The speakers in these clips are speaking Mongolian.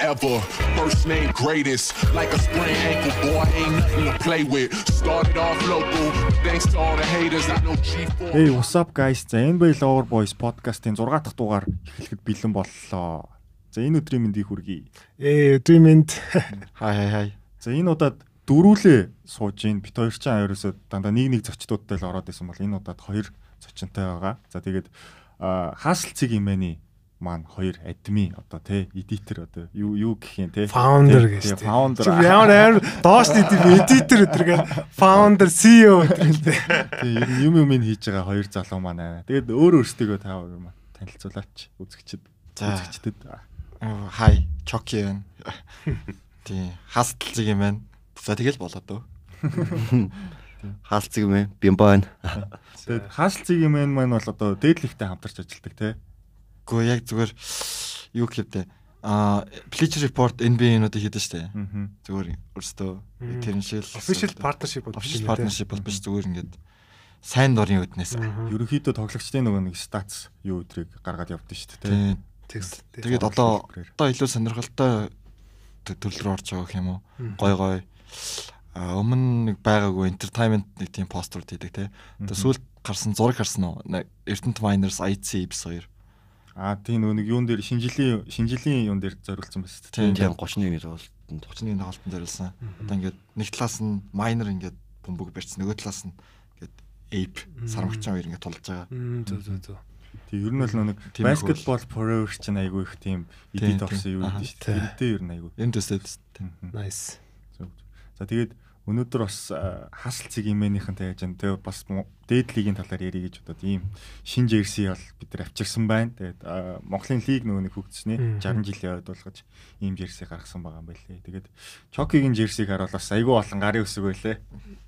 ever. First name greatest, like a sprained ankle, boy, ain't nothing to play with. Started off local, thanks to all the haters, I know G4. Hey, what's up guys? За NBA Lover Boys podcast-ийн 6 дахь дугаар эхлэхэд бэлэн боллоо. За энэ өдрийн мэндийг хүргэе. Ээ, өдриймэнд Хай хай хай. За энэ удаад дөрүүлээ сууж ийн. Бит хоёр ч ерөөсө дандаа нэг нэг зочдуудтай л ороод исэн бол энэ удаад хоёр зочинтай байгаа. За тэгээд аа, хаасл цэг имэний маань хоёр админ одоо те эдитер одоо юу юу гэх юм те founder Тэ, гэж. тэ, founder Чи Ямар амар доош нийтэм эдитер өдр гэ founder CEO E өдр л дээ. Тэг, ер нь юм юм ин хийж байгаа хоёр залуу маань аа. Тэгээд өөр өөрсдөө та хоёр маань танилцуулаач үзэгчд За. үзэгчдэд. Оо, Хай. Чоки байна. Тий. Хаалтцэг юм байна. За тэгэл болоод өө. хаалцэг юм ээ. Бимбо байна. Тэгээд хаасл цэг юм энэ маань бол одоо дээдлэгтэй хамтарч ажилладаг те. Гэхдээ яг зүгээр юу гэвдэ. Аа, Bleacher Report NBA-нуудыг хийдэж штэ. Аа. Зүгээр өөртөө Мм. тэрэн шиг л- Official partnership бол биш official юм дээ. partnership бол биш зүгээр ингээд сайн дурын үднээс. Ерөнхийдөө тоглогчдын нөгөө нэг статс юу өдрийг гаргаад явдсан шүү дээ те. Тий. Тэгс. Тэгээд одоо одоо илүү сонирхолтой тө- төрөл рүү орж байгаа гэх юм уу? Гой гой. А өмнө нэг байгаагүй entertainment нэг тийм постууд хийдэг те. Мгм. Одоо сүүлд гарсан зураг харсан уу? Нэг Эрдэнэт Miners IC Ibs 2. Аа тийм нөгөө нэг юун дээр шинжилгээ шинжилгээний юун дээр зориулсан байна шүү дээ. Тийм. Тийм 31-ний тоглолтод. 31-ний тоглолтод зориулсан. Одоо ингээд нэг талаас нь Miner ингээд бөмбөг барьсан, нөгөө талаас нь ингээд Ape сарвагчаа хоёр ингээд тулж байгаа. Мм зөө зөө зөө. Тийм ер нь бол нөгөө нэг Тийм их basketball forever чинь айгүй их тийм Тийм, эдит орсон тийм. юу Аха. гэдэг шүү дээ. Тэрнтэй ер нь айгүй. Эм төсөөд Мгм. Nice. Зөв. За тэгээд өнөөдөр бас аа, хасл цэг имэнийхэнтэй яаж энэ тэгээд бас мо- дээдлийн талаар ярих гэж бодоод ийм шин жерси бол бид нар авчирсан байна. Тэгээд аа, Монголын лиг нөгөө нэг хөгжсөний Мгм. 60 жилийн ойд болгож ийм жерси гаргасан байгаа юм байлээ. Тэгээд Чокигийн жерсиг харуул бас айгүй болон гарын үсэг байлээ.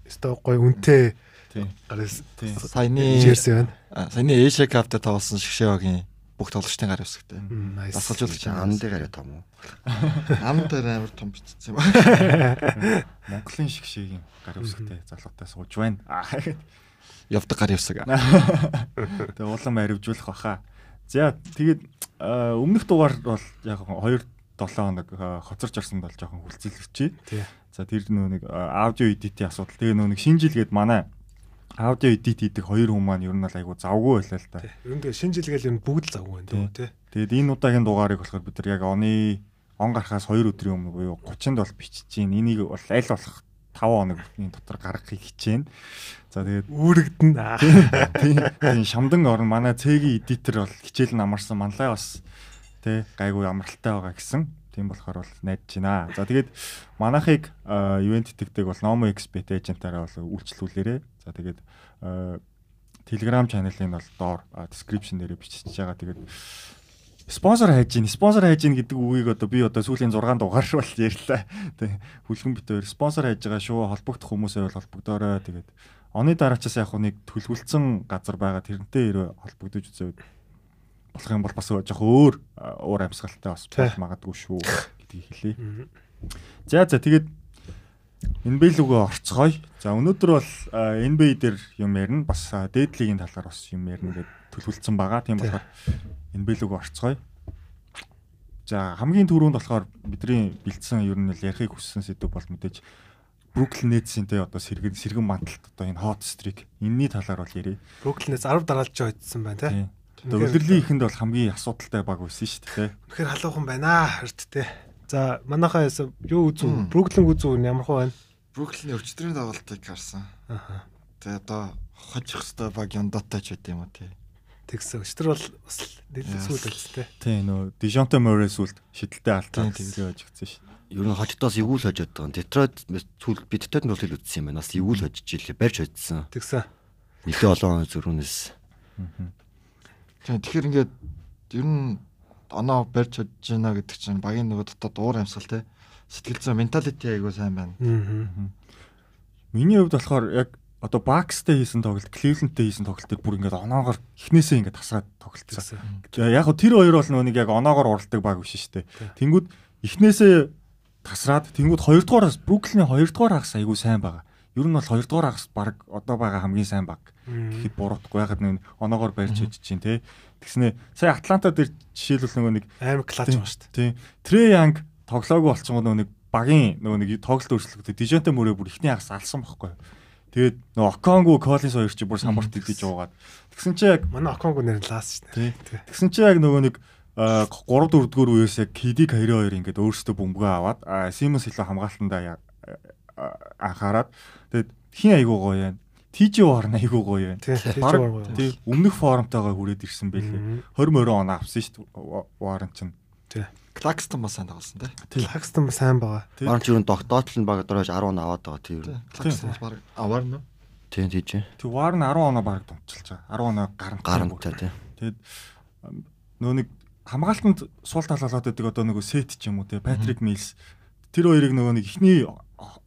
Өстө гой үнтэй Тийм. гараас Тийм. саяны Jersey байна. а, саяны Asia Cup-д тоглосон шгшээгийн бүх тоглолчдын гар өвсгтэй. Мм, Nice. Дасгалжуулагч Ам дээр яриа том уу? Ам дээр амар том бичсэн юм. Монголын шиг шиг юм гарын үсэгтэй залуутай сууж байна. Аа, Явдаг гар явсаг. Тэгээд улам аривжуулах баха. За тэгээд аа, өмнөх дугаар бол яг 2 7 хоног аа, хоцорч орсонд бол жоохон хүлцэлвчээ. Тий. За тэр нөө нэг а, аудио эдитийн асуудал. Тэгээ нөө нэг шинэ жил гээд манай аудио эдит хийдэг хоёр хүн маань ер нь бол айгу завгүй байлаа л та. Ер нь тэгээ шинэ жилгээл ер нь бүгд л завгүй байна дөө тий. Тэгээд энэ удаагийн дугаарыг болохоор бид нар яг оны он гарахаас 2 өдрийн өмнө буюу 30-нд бол бичиж гин. Энийг бол аль болох 5 хоногийн дотор гаргахыг хичээнэ. За тэгээд Үүрэгдэн. Аа. тийм тийм шамдан орн манай цэгийн эдитер бол хичээл нь амарсан манлай бас тий гайгүй амралтай байгаа гэсэн. Тийм болохоор бол найдаж байна. За тэгээд манахыг аа, event тэтгдэг бол Nomo Expert agent-аараа бол үйлчлүүлээрэ. За тэгээд аа, Telegram channel-ын бол доор аа, description дээрээ бичиж байгаа. Тэгээд спонсор хайж гин спонсор хайж гин гэдэг үгийг одоо би одоо сүүлийн 6 дугаар бол ярьлаа. Тэг. Хүлхэн битээр спонсор хайж байгаа шүү. Холбогдох хүмүүсээ бол холбогдоорой. Тэгээд оны дараачаас яг хуу нэг төлөвлөсөн газар байгаа. Тэрнтэй хэрэг холбогдож үзээд болох юм бол бас жоох өөр а, уур амьсгалтай бас Тэ. болох магадгүй шүү гэдгийг хэлээ. За за тэгээд NBA лүгөө орцгоё. За өнөөдөр бол э, а, NBA дээр юм ярина. Бас а, дээд лигийн талаар бас юм ярина гэж төлөвлөсөн байгаа. Тийм Тий. болохоор NBA лүгөө орцгоё. За хамгийн түрүүнд болохоор бидний бэлдсэн ер нь л ярихыг хүссэн сэдв бол мэдээж Brooklyn Nets-ийн тэ одоо сэргэн сэргэн манталт одоо энэ hot streak энэний талаар бол ярив. Brooklyn-ээс 10 дараалж очсон байна тий. Тийм. Одоо өдөрлийн ихэнд бол хамгийн асуудалтай баг байсан шүү дээ. тэ. Үнэхээр халуухан байна аа хөрт те. За манайхаа яса юу үзв? Мм. Бруклин үзв ямар хөө байна? Бруклиний өвчтрийн давалтыг харсан. Аха. Тэгээ одоо хожих хөстөө баг юндатай ч байд юм уу тий. Тэгсэн. Өчтөр бол бас нэлээд Яс. сүйд болсон те. Тийм нөө Dejounte Murray сүлд шидэлтэй алдаа Тийм, тийм. гэсэн явж гисэн шүү. Ер нь хождоос эвгүй л хожоод байгаа. юм. Детройт сүүл би Детройт нь бол хэл үтсэн юм байна. Бас эвгүй л хожиж ийлээ. Барьж хожсон. Тэгсэн. Нилээ олон зөрүүнээс. Тэгээ тэгэхээр ингээд ер нь оноо барьж чадж байна гэдэг чинь багийн нөгөө дотоод уур амьсгал тий. Сэтгэл зүйн менталити айгуу сайн байна. Аа. Миний хувьд болохоор яг одоо Bucks-тэй хийсэн тоглолт, Cleveland-тэй хийсэн тоглолтыг бүр ингээд оноогоор эхнээсээ ингээд тасраад тоглолцсон. За, Тэгсэн. Яг хөө тэр хоёр бол нүг яг оноогоор уралдаг баг биш шүү дээ. Тэнгүүд эхнээсээ тасраад тэнгүүд хоёрдугаар Brooklyn-ийн хоёрдугаар хагас айгүй сайн байгаа. Ер нь бол хоёрдугаар хагас баг одоо байгаа хамгийн сайн баг Мм. гэхэд буруудахгүй ягаад нэг оноогоор барьж хийж чинь те. Тэгснэ сая Атланта дээр жишээлбэл нөгөө нэг Амар клач Тийм. байгаа шүү дээ. тий Трэ Янг тоглоогүй болцсон нөгөө нэг багийн нөгөө нэг тоглолт өөрчлөлтөд дижентэ мөрөө бүр ихний хагас алсан байхгүй. Тэгээд нөгөө Оконгу, Коллинс хоёр чи бүр самбарт идэж уугаад. Тэгсэн чи яг Манай Оконго нэр нь лаас шнэ. Тий. Тэгсэн чи яг нөгөө нэг 3 4 дгээр үеэс яг Кидик 22 ингээд өөрсдөө бөмбөгөө аваад а, Симонс илүү хамгаалтандаа я- а- анхаарад тэгэд хин айгуу гоё юм. ТЖ Warren айгуу гоё юм. Тий. Тий. Баг- Жорго. Тий. Өмнөх форумтойгоо хүрээд ирсэн байлээ. 20 морь он авсан шүү дээ Warren чинь. Клакстон бас сайн тоглосон тий. Лакстон сайн байгаа. Тий. Баран ч юу докторт л баг дөрөж 10 он аваад байгаа тийм үү. Клакстон бас баг аваар нөө. Тийм тийж. Тэг Warren 10 оноо баг дунчилж байгаа. 10 оноо гарант. Гарамтай тийм. Тэгэд ам, нөө нэг хамгаалтанд суул тал болоод байдаг одоо нөгөө сет ч юм уу те Патрик Милс тэр хоёрыг нөгөө нэг ихний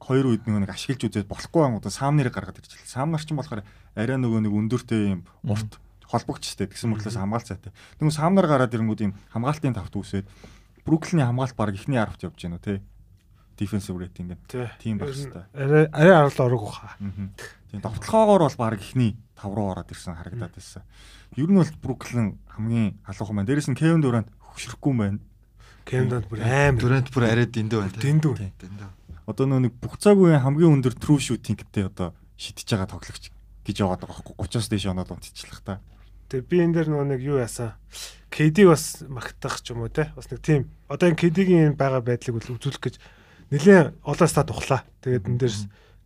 хоёр үед нөгөө нэг ашиглаж үзээд болохгүй юм одоо саамныг гаргаад ирчихлээ. Саамнаар ч юм болохоор арай нөгөө нэг өндөртэй юм урт холбогчтэй гэсэн мөртлөөс хамгаалт цайтай. Тэгмээс саамнаар гараад ирэнгүүд юм хамгаалтын тавт үсээд Бруклиний хамгаалт баг ихний 10-т явж гэнэ үү те. Defensive rating гэдэг. Тий. Тийм байх хэвээр. Арай арай арал орох уха. Мгм. Тийм давталгаагоор бол баг ихний 5 руу ороод ирсэн харагдаад байсан. Ер нь бол Бруклин хамгийн халуухан байна. Дээрээс нь Кевин Дюрант хөшрөхгүй юм байна. Кэмдэнд бүр амар. Дүрэнд бүр арай дэндүү байна тий. Дэндүү. Дэндүү. Одоо нөө нэг бүх цаг үеийн хамгийн өндөр true shooting-тэй одоо шидэж байгаа тоглогч гэж яваад байгаа байхгүй 30-аас дээш оноод унтчихлах та. Тэг би энэ дээр нөгөө нэг юу яасан? KD бас магтах ч юм уу те. Бас нэг тийм. Одоо энэ KD-гийн энэ байгаа байдлыг үл- үзүүлэх гэж нэлээд олон стат тухлаа. Тэгээд энэ дээр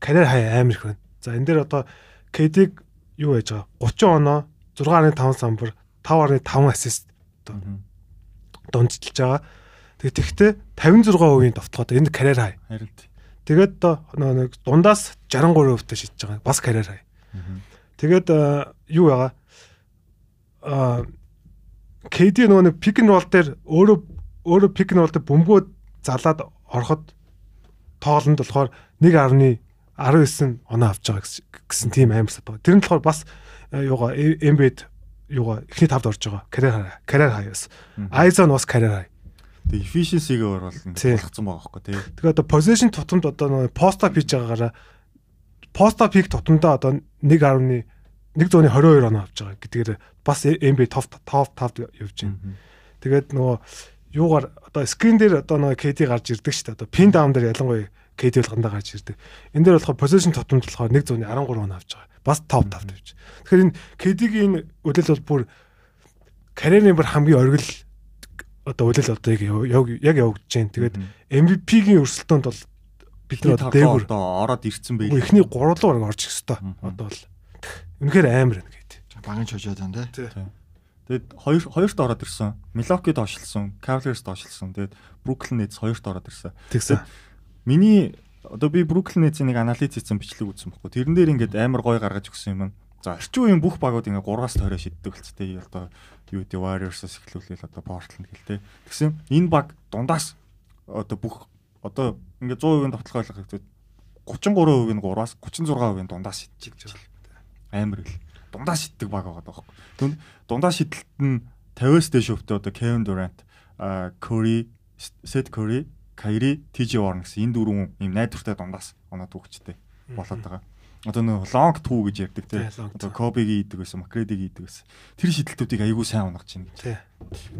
карьер хай амар их байна. За энэ дээр одоо KD-г юу яаж байгаа? 30 оноо 6.5 самбар 5.5 ассист дундчилж байгаа. Тэгээд тэгтээ 56% довтлоход энэ карьер хай. Харин тийм. Тэгээд одоо нөгөө нэг дундаас 63% та шидэж байгаа. Бас карьер хай. Тэгээд э, юу Э, яага а KD нөгөө нэг pick and roll дээр өөрөө өөрөө pick and roll дээр бөмбөгөө залаад ороход тоолонд болохоор 1.19 оноо авч байгаа гэсэн- гэсэн тийм аимсад байна. Тэр нь болохоор бас э, юугаа э, Embiid юугаа эхний тавд орж байгаа. Карьер хай- карьер хай бас. Айзон бас карьер хай. Тэгээ efficiency-гээ орвол Тийм. болгоцсон байгаа байхгүй тий. Тэгээ одоо э, position тутамд одоо нөө post up хийж байгаагаараа post up хийх тутамдаа одоо 1.1 1.22 оноо авч байгаа гэдгээр бас MB топ топ тавд явж байна. Тэгээд нөгөө юугаар одоо screen дээр одоо нөгөө KD гарч ирдэг шүү дээ. Одоо pin down дээр ялангуяа KD болгондоо гарч ирдэг. Энд дээр болохоор position тутамд болохоор 1.13 оноо авч байгаа. Бас топ тавд явж. Тэгэхээр энэ KD-гийн энэ үлэл бол бүр карьерийн бүр хамгийн оргил одоо үлэл одоо яг яг- яг явагдаж байна. Тэгээд MVP-гийн өрсөлдөөнд бол бид тэр нар одоо одоо дээгүр одоо ороод ирцэн Үгүй, байлээ. эхний 3 руу орж орчих өстой. Мгм. Одоо бол үнэхээр амар байна гэдэг. Багын чожоод байна тий. Тэгэд хоёр хоёрт ороод ирсэн. Milwaukee-д ошилсон, Cavaliers-д ошилсон. Тэгэд Brooklyn Nets хоёрт ороод ирсэн. Тэгсэн. Миний одоо би Brooklyn Nets-ийн нэг анализ хийсэн бичлэг үзсэн баггүй. Тэрэн дээр ингээд амар гой гаргаж өгсөн юм. нь. За орчин үеийн бүх багууд ингээд 3-аас 20-оо шиддэг болцтой. Ий одоо юу гэдэг Warriors-аас эхлүүлээл одоо Portland гэлтэй. Тэгсэн энэ баг дундаас одоо бүх одоо ингээд 100% нь тоглох байлгах хэвчээ 33% нь 3-аас 36% нь дундаас шидчих гэж байна. Амар хэл. Дундаас шиддэг баг байгаа даахгүй. Түнд дундаас шидэлт нь 50-аас дээш өвтө одоо Kevin Durant, а, Curry, Seth Curry, Kyrie, TJ Warren гэсэн энэ дөрвөн юм найдвартай дундаас оноо төгчтэй болоод байгаа. Одоо нөө long two гэж ярьдаг тийм. Тий, long two. Одоо Kobe-гийн идэг байсан, McGrady-гийн идэг байсан. Тэр шидэлтүүдийг аягүй сайн унгаж байна гэж. Тий.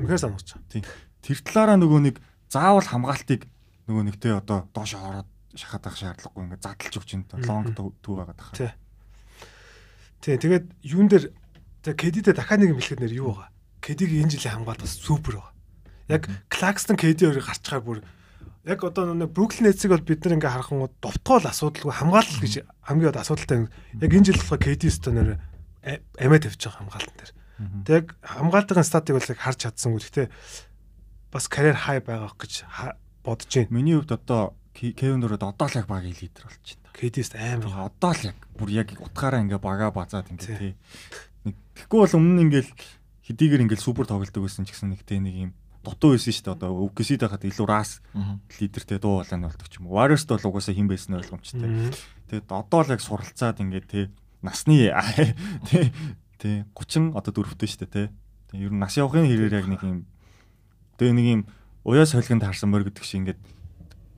Үнэхээр санагч. Тийм. Тэр талаараа нөгөө нэг заавал хамгаалтыг нөгөө нэгтэй одоо доош ороод шахаад авах шаардлагагүй ингээд задлж өгч энэ Мгм. long two two байгаад байгаа. Тий. Тий, тэгээд юун дээр за KD-дэ дахиад нэг юм хэлэхэд нэр юу байгаа? KD-гийн энэ жилийн хамгаалт бас супер байгаа. Яг Claxton KD хоёр гарчхаар бүр яг одоо нэг Brooklyn Nets-ийг бол бид нар ингээ харахын довтгоол асуудалгүй хамгаалал гэж хамгийн гол асуудалтай. Яг энэ жил болохоор KD стоноор амиа тавьж байгаа хамгаалтан дээр. Тэг яг хамгаалтын статыг бол яг харж чадсангүй. Гэхдээ бас карьер хай байгаах гэж ха- бодож байна. Миний хувьд одоо Ке- Кевин Дюрант одоо л яг багийн лидер болж байна. KD-ст амар гоо. Яг одоо л яг бүр яг утгаараа ингээ багаа базаад ингээ тий. Тий. Нэг тэгэхгүй бол өмнө нь ингээл хэдийгээр ингээл супер тоглолдог байсан ч гэсэн нэгтэй нэг юм дутуу байсан шүү дээ одоо өвксид байхад илүү рас Аа. лидертэй дуу болоо нь болдог ч юм уу. Warriors-д бол угаасаа хин байсан нь ойлгомжтой. Тэгэд одоо л яг суралцаад ингээ тий насны тий тий 30 одоо дөрөвтэй шүү дээ тий. Тэг ер нь нас явахын хэрээр яг нэг юм тэгээ нэг юм уяа солигонд харсан морь гэдэг шиг ингээ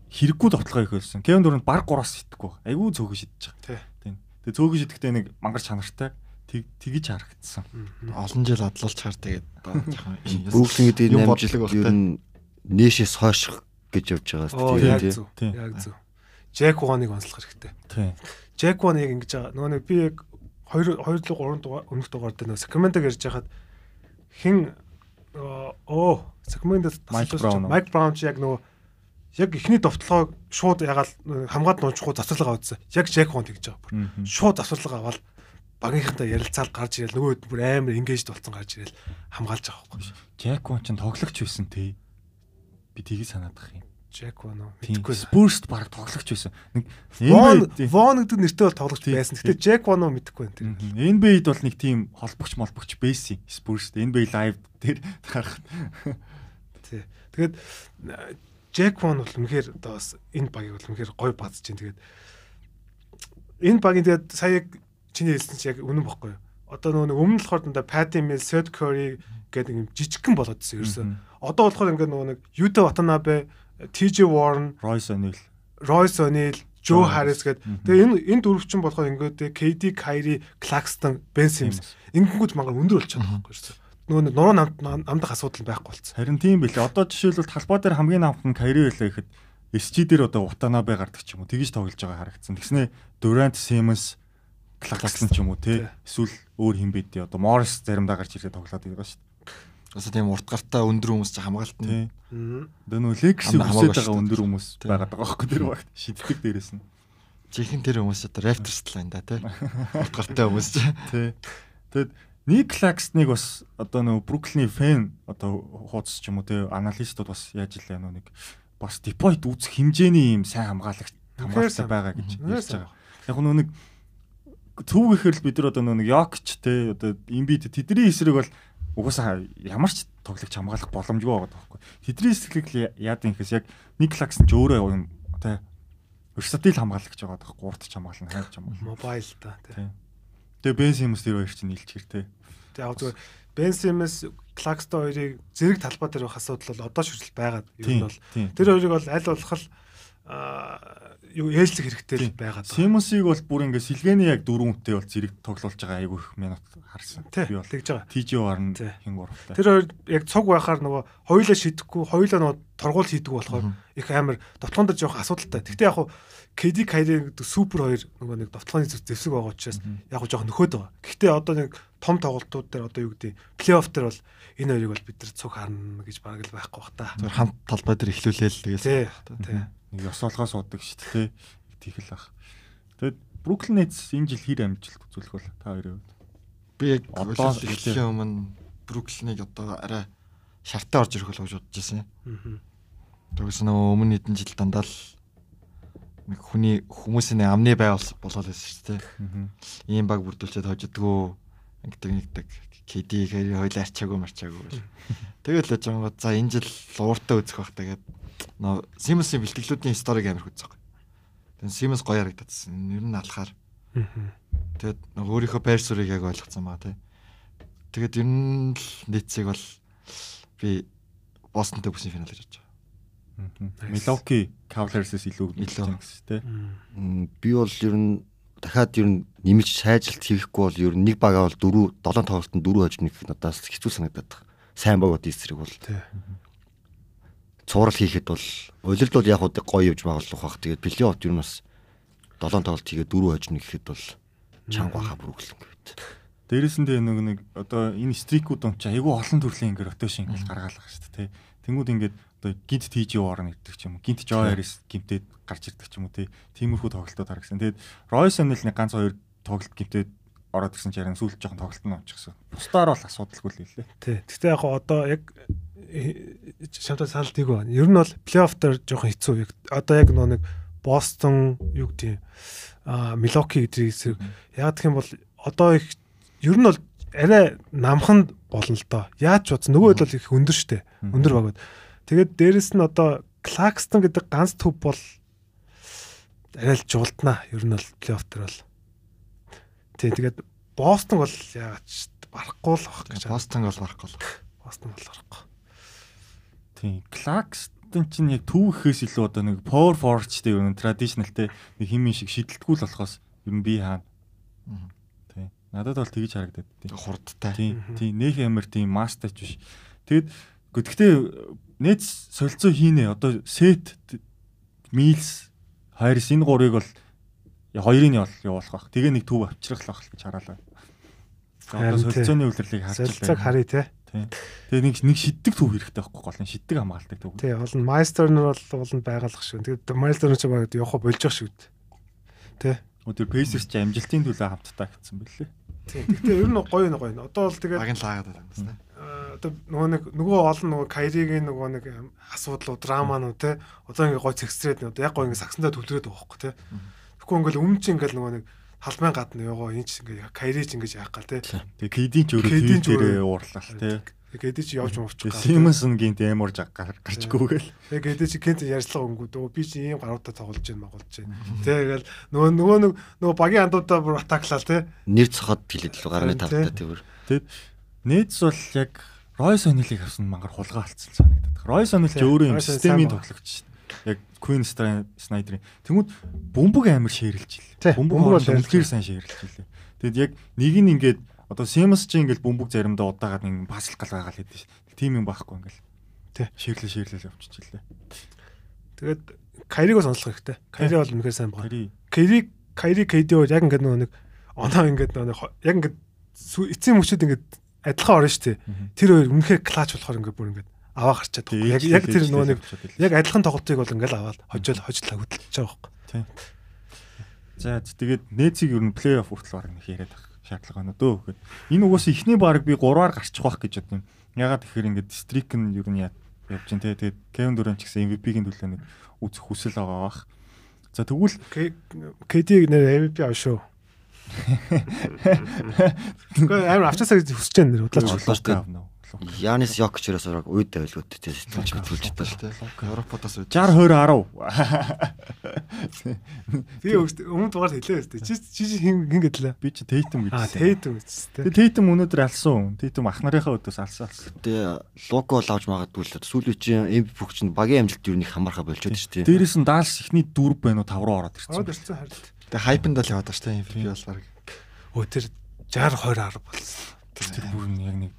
хэрэггүй товтлогоо ихэлсэн. Кевин Дюрант баг 3-аас итгэхгүй. Айгүй цөөхөн шидэж байгаа. Тий. Тийм. Тэгээ цөөхөн шидэхдээ нэг мангар чанартай тэг- тэгж харагдсан. Олон жил адлуулчаар тэгээд одоо жоохон Бүгд ингэдэг юм юм бодлого амжилт ер болтой. нь нээшээс хойших гэж явж байгаас Оо тийм яг тий. зөв. Тийм. Яг зөв. Джек Хуаныг онцлох хэрэгтэй. Тийм. Джек Хуан яг ингэж байгаа. Нөгөө нэг би яг 2 2 3 дугаар өмнөх дугаар дээр нөгөө Сакраментог ярьж байхад хэн нөгөө оо Сакраментод Майк Браун уу? Майк Браун ч яг нөгөө яг эхний довтлогоо шууд ягаал нөгөө хамгаад нуужгүй завсарлага авдсан. Яг Джек Хуан тэгж байгаа. бүр. Мгм. Шууд завсарлага аваад багийнхантай ярилцаад гарч ирэл нөгөө хэд бүр амар engaged болсон гарч ирэл хамгаалж байгаа байхгүй. Джек Вон ч тоглогч байсан тий. Би тгий санаадах юм. Джек Хуан уу Тийм. мэдгүй. Spurs-д баг тоглогч байсан. Нэг Вон NBA-д- Вон гэдэг нэртэй бол тоглогч Тийм, байсан. тийм. Гэтэ Джек Вон уу мэдгүй байна. Мгм. NBA-д бол нэг тийм холбогч молбогч байсан. Spurs-д NBA live дээр харах. Тий. Тэгээд э, Джек Вон бол үнэхээр одоо бас энэ багийг бол үнэхээр гоё базж байна. Тэгээд энэ багийн тэгээд сая яг чиний хэлсэн чинь яг үнэн бохгүй юу? Одоо нөгөө нэг өмнө болохоор дандаа Patty Mills, Seth Curry гэдэг юм жижигхэн болоод ирсэн ерөөсөө. Одоо болохоор ингээд нөгөө нэг Yuta Watanabe, TJ Warren, Royce O'Neal. Royce O'Neal, Joe Joe Harris гэдэг. Мгм. Тэгээ энэ энэ дөрөвчөн болохоор ингээд KD, Kyrie, Claxton, Ben Simmons ингэнгүүт мангаар өндөр болчиход байгаа байхгүй юу? Нөгөө нэг нуруу намд намдах асуудал байхгүй болсон. Харин тийм билээ. Одоо жишээлбэл талбай дээр хамгийн намх нь Kyrie байлаа гэхэд SG дээр одоо Watanabe гардаг ч юм уу. Тгийж тоглож байгаа харагдсан. Тэгснэ Durant, Simmons Clarkson ч юм уу тий. Тий. Эсвэл өөр хин бид тий. Одоо Morris заримдаа гарч ирээд тоглоод байгаа шүү Бас тийм урт гартаа өндөр хүмүүс чи хамгаалт нь. дээ. Тий. Аа. Одоо нөө Lakers-ийг Хамаа- хамаагүй үсэж байгаа шүү өндөр хүмүүс Тий. байгаад байгаа байхгүй тэр багт шиддэг дээрээс нь. Жинхэнэ тэр хүмүүс одоо Raptors тал энэ да тий. Урт гартаа хүмүүс чи. Тий. Тэгэд Ник Клаксныг бас одоо нөө Бруклиний фэн одоо хуудас ч юм уу тий аналистууд бас яаж илээ нөө нэг бас депойт үүсэх хэмжээний юм сайн хамгаалагч хамгаалалтаа сайн. байгаа гэж Үнэхээр ярьж сайн. байгаа. Яг нөө нэг төв гэхээр л бид нар одоо нөө нэг Йокч тий одоо Имбит тэдний эсрэг бол угаасаа ямар ч тоглогч хамгаалах боломжгүй байгаа тоххой. Тэдний эсрэг л яад юм гэхээс яг Ник Клаксн ч өөрөө юм тий Өрсөдөл хамгаалагч байгаа тоххой. Гуурт ч хамгаална, хайр ч хамгаална. мобайл та тий. Тий. Тэгээ Бен Симмс тэр хоёр чинь нилчгэр те. Яг зүгээр Бен Симмс, Клакстон хоёрыг зэрэг талбай дээр байх асуудал бол одоо шүрэл байгаад ер нь Тийм. бол тэр хоёрыг бол аль болох л аа, юу ээлжлэх хэрэгтэй л байгаад байна. Симмсийг бол бүр ингээ сэлгээний яг дөрөвөнтэй бол зэрэг тоглуулж байгаа айгүй их минут харсан. Тий, Би бол тэгж байгаа. TJ Warren Тий. хин гуравтай. Тэр хоёр яг цуг байхаар нөгөө хоёулаа шидэхгүй, хоёулаа нөгөө торгуул хийдэг болохоор их амар дотлоонд дэр жоох асуудалтай. Гэтэ яг хуу KD Kyrie гэдэг супер хоёр нөгөө нэг дотлооны зүг зэвсэг байгаа учраас яг хуу жоох нөхөд байгаа. Гэтэ одоо нэг том тоглолтууд дээр одоо юу гэдэг нь плей-офф дээр бол энэ хоёрыг бол бид нар цуг харна гэж бараг л байхгүй бах та. Тэр хамт талбай дээр эхлүүлээл тэгээс. Тий. Тий. Нэг ёсоолгоо суудаг шүү дээ те. Тийхэл ах. Тэгэд Brooklyn Nets энэ жил хэр амжилт үзүүлэх бол та хоёрын хувьд. Би яг Одоо болоод эхлэв. эхлэх өмнө Бруклиныг одоо арай шартаа орж ирэх болов гэж бодож байсан. Мгм. Тэгээс нөгөө өмнө хэдэн жил дандаа л нэг хүний хүмүүсийн амны бай бол- болоод байсан шүү дээ. Мгм. Ийм баг бүрдүүлчихэд хожидгөө ингэдэг нэгдэг KD хэрэг хоёлаа арчаагүй марчаагүй гэж. Тэгэл л жангод за энэ жил ууртаа үзэх бах тэгээд нөө Simmons-ийн бэлтгэлүүдийн сториг амирх үзэх. Тэгээд Simmons гоё харагдацсан. Нэр нь алхаар Мгм. Тэгэд нөгөө өөрийнхөө байр суурийг яг ойлгоцсон байгаа тий. Тэгэд ер нь л нийцийг бол би Бостонтэй бүсийн финал гэж бодож байгаа. Мгм. Nice. Milwaukee Cavaliers-с илүү өгнө Илүү. гэсэн те. Мм. М, Би бол ер нь дахиад ер нь нэмж сайжилт хийхгүй бол ер нь нэг багаа бол 4 7 тоглолтод 4 хожих гэх надаас хэцүү санагдаад байна. Сайн баг бод эсрэг бол Тий. цуурал хийхэд бол улирд бол яг хуу гоё явж байгуулах бах. Тэгээд плей-офф ер нь бас 7 тоглолт хийгээд 4 хожих гэхэд бол чанга хаа бүргэлэн гэдэг. Дээрээс нь тэгээ нэг нэг одоо энэ стрикүүд юм чи айгүй олон төрлийн ингээд ротошн ингээд гаргаалах шүү дээ тий. Тэнгүүд ингээд одоо гинт TJ Warren гэдэг ч юм уу. Гинт Joe Harris гинтэд гарч ирдэг ч юм уу тий. Тиймэрхүү тоглолтууд харагдсан. Тэгээд Royce O'Neal нэг ганц хоёр тоглолт гинтэд ороод ирсэн ч ярин сүүлд жоохон тоглолт нь очихсан. Бусдаар бол асуудалгүй л хэлээ. Тий. Гэтэ яг хуу одоо яг шамтай санал тийг байна. Ер нь бол плей-офф дээр жоохон хэцүү. Яг одоо яг нөө нэг Бостон юу гэдэг аа Милоки гэдэг зэрэг яг гэх юм бол одоо их ер нь бол арай намхан болно л доо. Яаж ч бодсон нөгөө хэд бол их өндөр штэ. Өндөр баг бод. Тэгээд дээрэс нь одоо Клакстон гэдэг ганц төв бол арай л жуултнаа. Ер нь бол плей-офф дээр бол. Тий. Тэгээд Бостон бол яагаад ч барахгүй л баг гэж. Бостон бол барахгүй л. Бостон бол гарахгүй. Тий. Clarkson чинь яг төв гэхээс илүү одоо нэг power forward ч гэдэг юм traditional тий. Нэг химийн шиг шидэлтгүй л болохоос ер нь би хаана. Мгм. Тий. Надад бол тэгж харагдаад тий. Хурдтай. Тийм, Мгм. тийм нөх амар тийм мастерч биш. Тэгэд Гэхдээ нээд солилцоо хийнэ. Одоо set meals хайрс энэ гурыг бол я- хоёрыг нь бол явуулах бах. Тэгээ нэг төв авчрах л бах чараалаа. Одоо Харин тий. солилцооны үйлрлийг харж Солилцоог харъя те. Тий. Тэгээ нэг нэг шиддэг төв хэрэгтэй байхгүй гол нь шиддэг хамгаалдаг төв. Тий, олон майстернер бол олон байгалах шүү. Тэгээд майстернер ч багт явах болж байгаа шүү. Тэ. Өдөр Pacers ч амжилтын төлөө хамтдаа гэсэн бэлээ. Тий. Гэтэ ер нь гоё нэг гоё. нь. Одоо бол тэгээд Баг нь лаагаад байгаа юм байна. аа, одоо нөгөө нэг нөгөө олон нөгөө Кайригийн нөгөө нэг эм, асуудлууд, драманууд те. Одоо ингээ гоё цэгсрээд нөгөө яг гоё ингээ сагсандаа төвлөрөөд байгаа хөөхгүй те. Тэгэхгүй ингээл өмнө чи ингээл нөгөө нэг халмайн гадна яваа энэ ч ингээ Кайрич ингээ яах гал те. Тэгээ KD ч өөрөө KD тэр ч өөрөө- тэрээ уурлал тий. Гэдэг чи явж муучих гал. Симонсон гинт эмор жаг гар- гарчгүйгээл. Тэгээ гэдэг чи кент ярьцлага өнгөд өө би чи ийм гаруудаа тоглож जैन магуулж जैन. Тэгээл нөгөө нөгөө нэг нөгөө багийн андуудаа бүр атаклаа те. Нэр цохоод хилээд л гарны Харин тавтаа тий. тэгвэр. Тэгэд Нэтс бол яг Рой Сонилыг авсан мангар хулгай алдсан санагдаад. Рой Сонил ч Тий, өөрөө юм Royce O'Neal сайн системийн баг. тоглогч шин. Яг Queen Snyder-ийн. Тэнгүүд бөмбөг амар ширэлж Тий, ил. Бөмбөг бөмбөг хооронд бол ширэлж үнэхээр сайн ширэлж илээ. Тэгэд яг нэг нь ингээд одоо Simmons ч ингээд бөмбөг заримдаа удаагаад ингээд паслах гал байгаа л хэдэж шин. Тим юм байхгүй ингээд. Тий. Ширлээ ширлээ явчих илээ. Тэгээд Кайриг сонслох хэрэгтэй. Кайри бол үнэхээр сайн баг. Тэри Кайри Кайри КД бол яг ингээд нөгөө нэг оноо ингээд нөгөө нэг хо- яг ингээд сүү- эцсийн мөчөд ингээд адилхан орно шүү дээ. Тэр хоёр үнэхээр клач болохоор ингээд бүр ингээд аваа гарчаад байгаа. Яг яг тэр нөгөө нэг яг адилхан тоглолтыг бол ингээд аваад хожил хожил хөдөлж байгаа байхгүй. За за, тэгээд нээцийг ер нь плей-офф хүртэл баг нэг яриад авах шаардлага байна дөө гэхэд энэ угаасаа ихний баг би 3-аар гарчих واخ гэж бодсон юм. Ягаад тэгэхээр ингээд стрик нь ер нь яа- явж байна те. Тэгээд Кевин Дүрэм ч гэсэн MVP-ийн төлөө нэг үзэх хүсэл байгаа бах. За тэгвэл КД нэр MVP авш шүү. Гэхдээ амар авчаасаа гэж хүсэж байна нэр удааж. Лукаштай. авна уу? Янис Йокичрээс ураг үйд байлгууд тий сэтгэлж хөдөлж тал. Тий. Европоос үүд. 60 20 10. Би өмнө дугаар хэлээ өстэй. Чи чи чи хин хин гэдлээ. Би ч Тейтум гэж. А хэлсэн. Тэйтум гэжтэй. Тэгээд Тейтум өнөөдөр алсан. Тейтум ах нарынхаа өдөөс алсан алсан. Тэгээ Луко л авч магадгүй л сүүлийн чинь эмп бүх чинь багийн амжилт юу нэг хамаарха болчиход шүү дээ. Дээрээс нь даалс ихний 4 байна уу 5 руу ороод Ороод ирсэн. ирсэн харилт. Тэг хайпнд л яваад тааштай юм би бол баг. Өө тэр 60 20 10 болсон. Тэр бүр нь яг нэг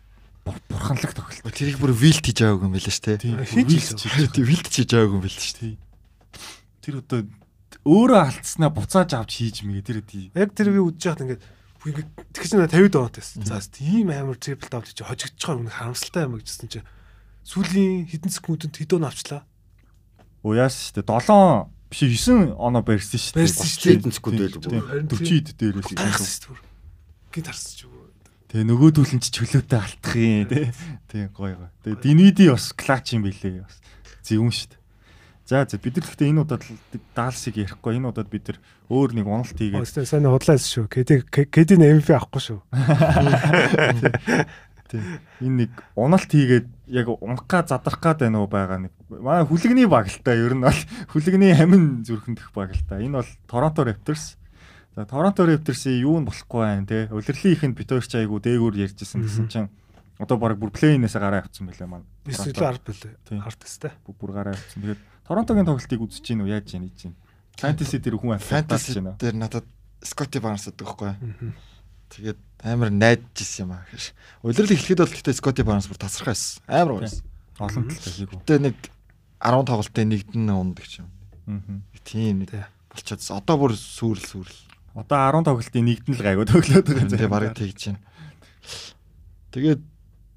бур- бурханлаг тохиолдсон. Тэр их бүр вилт хийж байгааг юм билээ шүү Тийм. дээ. Хийж Вилч хийж Тий. Вилт хийж байгааг юм билээ шүү дээ. Тий. Тэр одоо өөрөө алдснаа буцааж авч хийж мэгээ тэр тий. Яг тэр би үдж яхад ингээд бүр ингээд тэгэж нэг 50 донот байсан. За тийм амар трипл дабл чи хожигдож байгаа юм харамсалтай юм гэжсэн чи сүүлийн хэдэн секундэд хэдөө навчлаа. Оо яасан штэ 7 биш 9 оноо барьсан штэ. Барьсан шүү дээ. Хэдэн секунд байлгүй. Харин 40 ид дээрээс илүү. Гайхс зүр. Гинт харсч юу. Тэгээ нөгөө төлөнч чөлөөтэй алдах юм тий. Тий гой гой. Тэгээ Динвиди бас клач юм билээ бас. Зөвөн штэ. За за бид нар гэхдээ энэ удаад л даалсыг ярихгүй энэ удаад бид нар өөр нэг уналт хийгээд Өөстэй сайн худлаас шүү. КД КД MVP авахгүй шүү. тий энэ нэг уналт хийгээд яг унахга задрах гад байна уу байгаа нэг манай хүлэгний баг л та ер нь бол хүлэгний амин зүрхэндх баг л та энэ бол Торонто Raptors За Торонто Raptors-ийн юу нь болохгүй байна те. Улирлын ихэнд битүүрч айгу дээгүүр ярьжсэн гэсэн чинь одоо баг бүр плей-инээс гараа авцсан байлаа маань. Бис Торонто илүү ард билээ. Тийм. Ард тест. бүр- бүр гараа авцсан. Тэгээд Торонтогийн тоглолтыг үзэж гин үү яаж яаж чинь. Fantasy дээр хүн Фэнтези авчихсан байна. дээр надад Скотти Барнс гэдэг байхгүй. Мгм. Тэгээд амар найдаж исэн юм аа гэж. Улирал эхлэхэд бол гэхдээ Скотти Барнс бүр тасархаа байсан. Амар гоё байсан. Олон талтай хийгүү. Гэтэ нэг 10 тоглолтын нэгд нь унд гэж юм. Аа. Тийм нэг Тий. болчиходс. Одоо бүр сүрэл сүрэл. Одоо 10 тоглолтын нэгдэн л гайгүй төглөөд байгаа. Тэгээ барыг тэгж байна. Тэгээд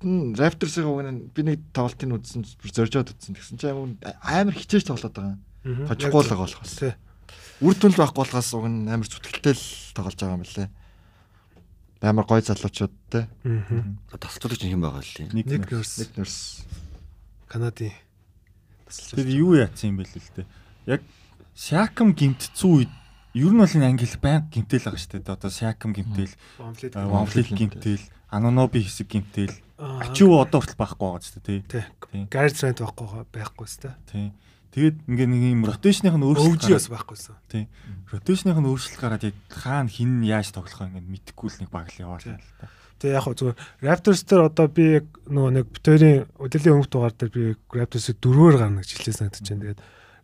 м, Raptors-ийн угна би нэг тоглолтын үзсэн бүр зоржоод үзсэн гэсэн чинь амар амар хичээж тоглоод байгаа. Тожихгүй л байгаа болох бас. Тий. Үр дүн л байхгүй болохоос угна амар зүтгэлтэй л тоглож байгаа юм лээ. Амар гоё залуучууд те. Мгм. Тасцуулагч хэм байгаа лээ. Нэг нэг. Нэг нэрс Нэг нэрс. Канадын Тэр юу яатсан юм бэ л л дээ. Яг Siakam гимтцүү үед ер нь бол энэ англи баян гимтэл байгаа шүү дээ. Одоо Siakam гимтэл, Вамфлит. Wamfleet гимтэл, Anunoby хэсэг гимтэл. Аа. Ачуу одоо хүртэл байхгүй байгаа ч тийм. Тий. Тий. Гарц рент байхгүй байхгүй сте. Тийм. Тэгээд ингээ нэг юм rotation-ийнх нь өөрчлөлт Өвжи бас байхгүйсэн. Тийм. Rotation-ийнх нь өөрчлөлт гараад яг хаана хин яаж тоглох юм ингээд мэдэхгүй л нэг баг л яваалаа л та. Тэгээ яг хөө зүгээр Raptors дээр одоо би яг нөгөө нэг битэрийн өдөрлийн өнгөт дугаар дээр би Raptors-ийг дөрвөөр гарна гэж хэлсэн санагдаж байна. Тэгээд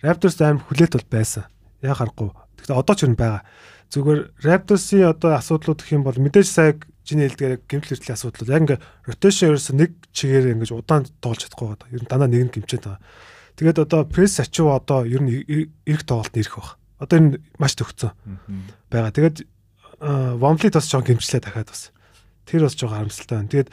Raptors аим хүлээлт бол байсан. Яг харахгүй. Гэхдээ одоо ч юм байгаа. Зүгээр Raptors-ийн одоо асуудлууд гэх юм бол мэдээж сая чиний хэлдгээр яг гэмтэл хэртлийн асуудал бол яг ингээ rotation ерөөсө нэг чигээр ингээ удаан тоолж чадахгүй байгаа. Ер нь дандаа нэг нь гимчээд байгаа. Тэгээд одоо пресс ачуу одоо ер нь э- э- эрэг тоолт ирэх баг. Одоо энэ маш төгцсөн байгаа. Тэгээд Вомфлит бас жоо гимчлээ дахиад бас. Тэр бас жоо харамсалтай байна. Тэгээд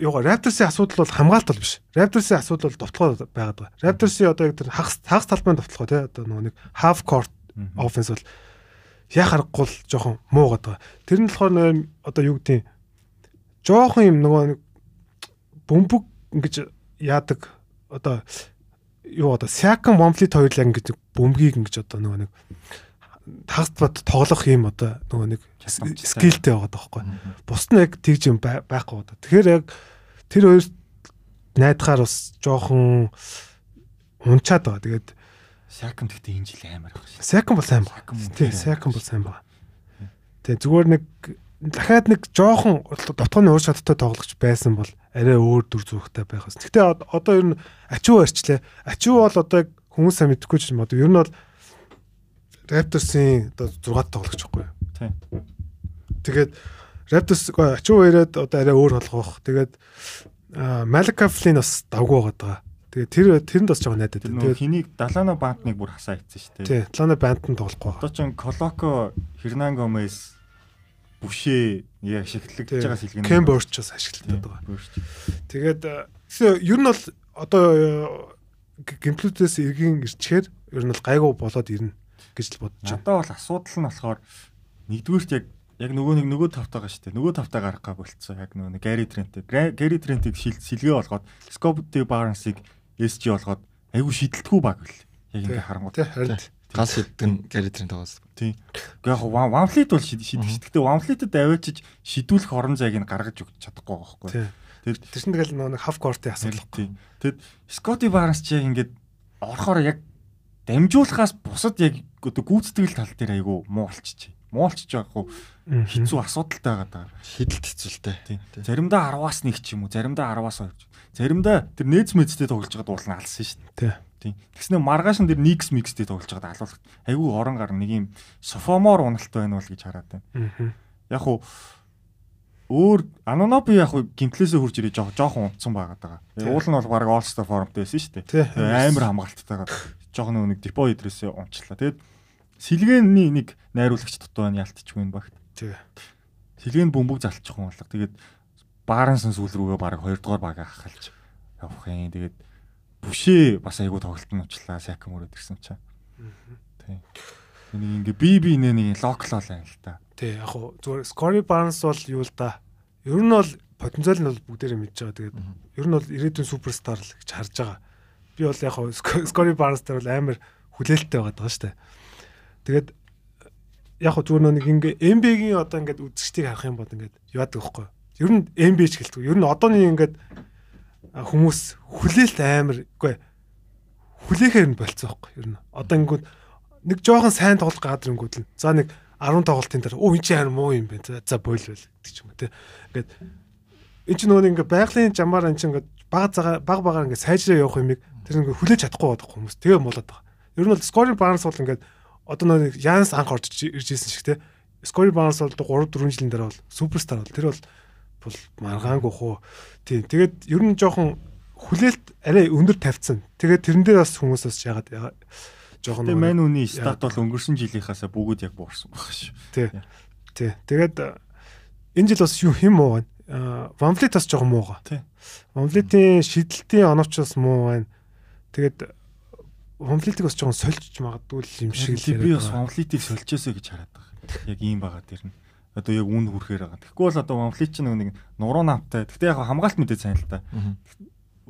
Яга Raptors-ийн асуудал бол хамгаалт бол биш. Raptors-ийн асуудал бол довтлогоо байгаад байгаа. Raptors-ийн одоо яг тэр хагас хагас талбайн довтлогоо тий одоо нөгөө нэг half court offense бол яа харахгүй л жоохон муу гадаг. Тэр нь болохоор нэр одоо юу гэдэг нь жоохон юм нөгөө нэг бөмбөг ингэж яадаг одоо юу одоо Siakam Wembley-т хоёулаа ингэж бөмбөгийг ингэж одоо нөгөө нэг тагт бат тоглох юм одоо нөгөө нэг Чадамжтай. скилтэй байгаа даахгүй. Бус нь яг тэгж юм бай- байхгүй одоо. Тэгэхээр яг тэр хоёр найдахаар бас жоохон унчаад байгаа. Тэгээд Сакам гэхдээ энэ жил амар байх шээ. Сайкон бол сайн Сайкон байна. мөн Тий, тийм. сайкон бол сайн байна. Тэг зүгээр нэг дахиад нэг жоохон дотооны ур чадтай тоглогч байсан бол арай өөр дүр зүйхтэй байх бас. Гэтэ од- одоо ер нь ачуу арчлаа. Ачуу бол одоо яг хүмүүс сайн мэдэхгүй ч юм одоо ер нь бол Raptors-ийн одоо 6-т тоглогч байхгүй юу? Тийм. Тэгээд Raptors ой, ачуу яриад одоо арай өөр болгох. Тэгээд аа, Malika Flynn бас давгүй байгаа даа. Тэгээд тэр тэрэнд бас жоо найдаад. Тэр нөгөө байна. хэнийг Далано бантныг бүр хасаа ицсэн шүү дээ. Тэгээд тий, Atlanta Band-д тоглохгүй. Одоо ч Колоко, Хернан Гомес бүшээ яг ашиглаж байгаа сэлгэн. Кемборч бас ашиглалтад байгаа. Тэгээд э, гэсэн ер нь бол одоо э, г- гимплүүдээс эргэн ирчхээр ер нь бол гайгүй болоод ирнэ гэж л бодож байна. Надад бол асуудал нь болохоор нэгдүгээрт яг яг нөгөө нэг нөгөө тавтайгаа шүү дээ. Нөгөө тавтай гарах гаг болцсон. Яг нөгөө нэг Гари Тренттэй. Гра- Гари Трентийг шил- сэлгээ болгоод Скопти Барнсыг SG болгоод айгүй шидэлтгүү баг үл. Яг ингээ харангуут. Тэ харин Гал шидгэн Гаритрийн тоос. Тийм. Яг Ванфлит бол шид- шидэгч. Гэтэ Ванфлитэд аваачиж шидүүлэх орон зайг нь гаргаж өгч чадахгүй байгаа хөөхгүй. тий. Тэр Тэр чинь тэгэл нөгөө нэг хав кортын асуудал. Тийм. Тэгэд Скоти Барнс ч яг ингээд орохоор яг дамжуулахаас бусад яг одоо гүйтгэл тал дээр айгүй муу болчихжээ. Муу болчих байхгүй Хизүү. хэцүү асуудалтай байгаа даа. Шидэлт хэцүүлтэй. Тийм. Заримдаа 10-аас 1 ч юм уу, заримдаа 10-аас 2. Заримдаа тэр нээц мэдтэй тоглож байгаад уулна алсан шүү дээ. Тэ. Тийм. Тэгснэ маргааш нь тэр Никс микстэй тоглож байгаад алуулах. Айгүй орон гар нэг юм софомор уналт байна уу л гэж хараад байна. Яг уу өөр Анонопи яг уу гимтлээсээ хурж ирээ жоо- жоохон унтсан байгаа даа. Тийм. Уул нь бол баг All-Star формттэй байсан шүү дээ. Тэ. амар хамгаалттайгаар жоохон нөгөө нэг депо идрээсээ унчлаа. Тэгэд сэлгээний нэг найруулагч дотоо нь ялтчихгүй юм багт. Тэ. Сэлгээний бөмбөг залчих юм болго. Тэгэд бааранс нь сүүл рүүгээ баг 2 дугаар багаа хахалж явах юм. Тэгэд бүшээ бас айгу тоглолт нь учлаа. Сакам өрөөд ирсэн чаа. Тэг. Тэнийг ингээ би би нэ нэг локлол байл та. Тэ яг хуу зүгээр Scory Barnes бол юу л да. Ер нь бол потенциал нь бол бүгдээрээ мэдж байгаа. Тэгээд ер нь бол ирээдүйн суперстар л гэж харж байгаа. Би бол яг хуу Scory Barnes дээр бол амар хүлээлттэй байгаа даа штэ. Тэгээд яг хуу зүгээр нэг ингээ NBA-гийн одоо ингээд үзэгчдийг харах юм бол ингээд яадаг вэхгүй. Ер нь NBA ч гэлтгүй. Ер нь одооны ингээд а, хүмүүс хүлээлт амар үгүй хүлээхээр нь болцсон вэхгүй. Ер нь одоо ингээд нэг жоохон сайн тоглолт гадар ингүүд л за нэг 10 тоглолтын дараа оо энэ чинь харин муу юм байна. За- За бойл байл гэдэг ч юм уу те. Ингээд эн чинь нөгөө нэг ингээ байгалийн жамаар эн чинь ингээ баг зага баг багаар ингээ сайжраа явах юмыг тэр ингээ хүлээж чадахгүй байдаг хүмүүс тэгээ молоод байгаа. Ер нь бол scoring balance бол ингээ одоо нөгөө Янс анх орж иж- ирж исэн шиг те. Scoring balance бол 3 4 жилийн дараа бол суперстар бол тэр бол бол маргаангүй хөө. Тийм. Тэгээд ер нь жоохон хүлээлт арай өндөр тавьсан. Тэгээд тэрэн дээр бас хүмүүс бас ягаад ягаад- жоохон Гэтэ нөгөө нэг- мань үний стат бол өнгөрсөн жилийнхаасаа бүгд яг буурсан баг шүү. Тий. Тий. Тэгээд э, энэ жил бас юу хэм муу байна. Вамфлит бас жоохон муу байгаа. Тий. Вамфлитийн шидэлтийн оновч бас муу байна. Тэгээд Вамфлитиг бас жоохон сольж магадгүй л юм шиг л би яриад бас байгаа. Ванфлитийг сольчихсоо гэж хараад байгаа. Яг ийм байгаа дэрн. Одоо яг үн хүрхээр байгаа. Тэгэхгүй бол одоо Ванфлит ч нөгөө нэг нуруу намтай. Гэтэ яг хамгаалт мэдээ сайн л та. Мгм.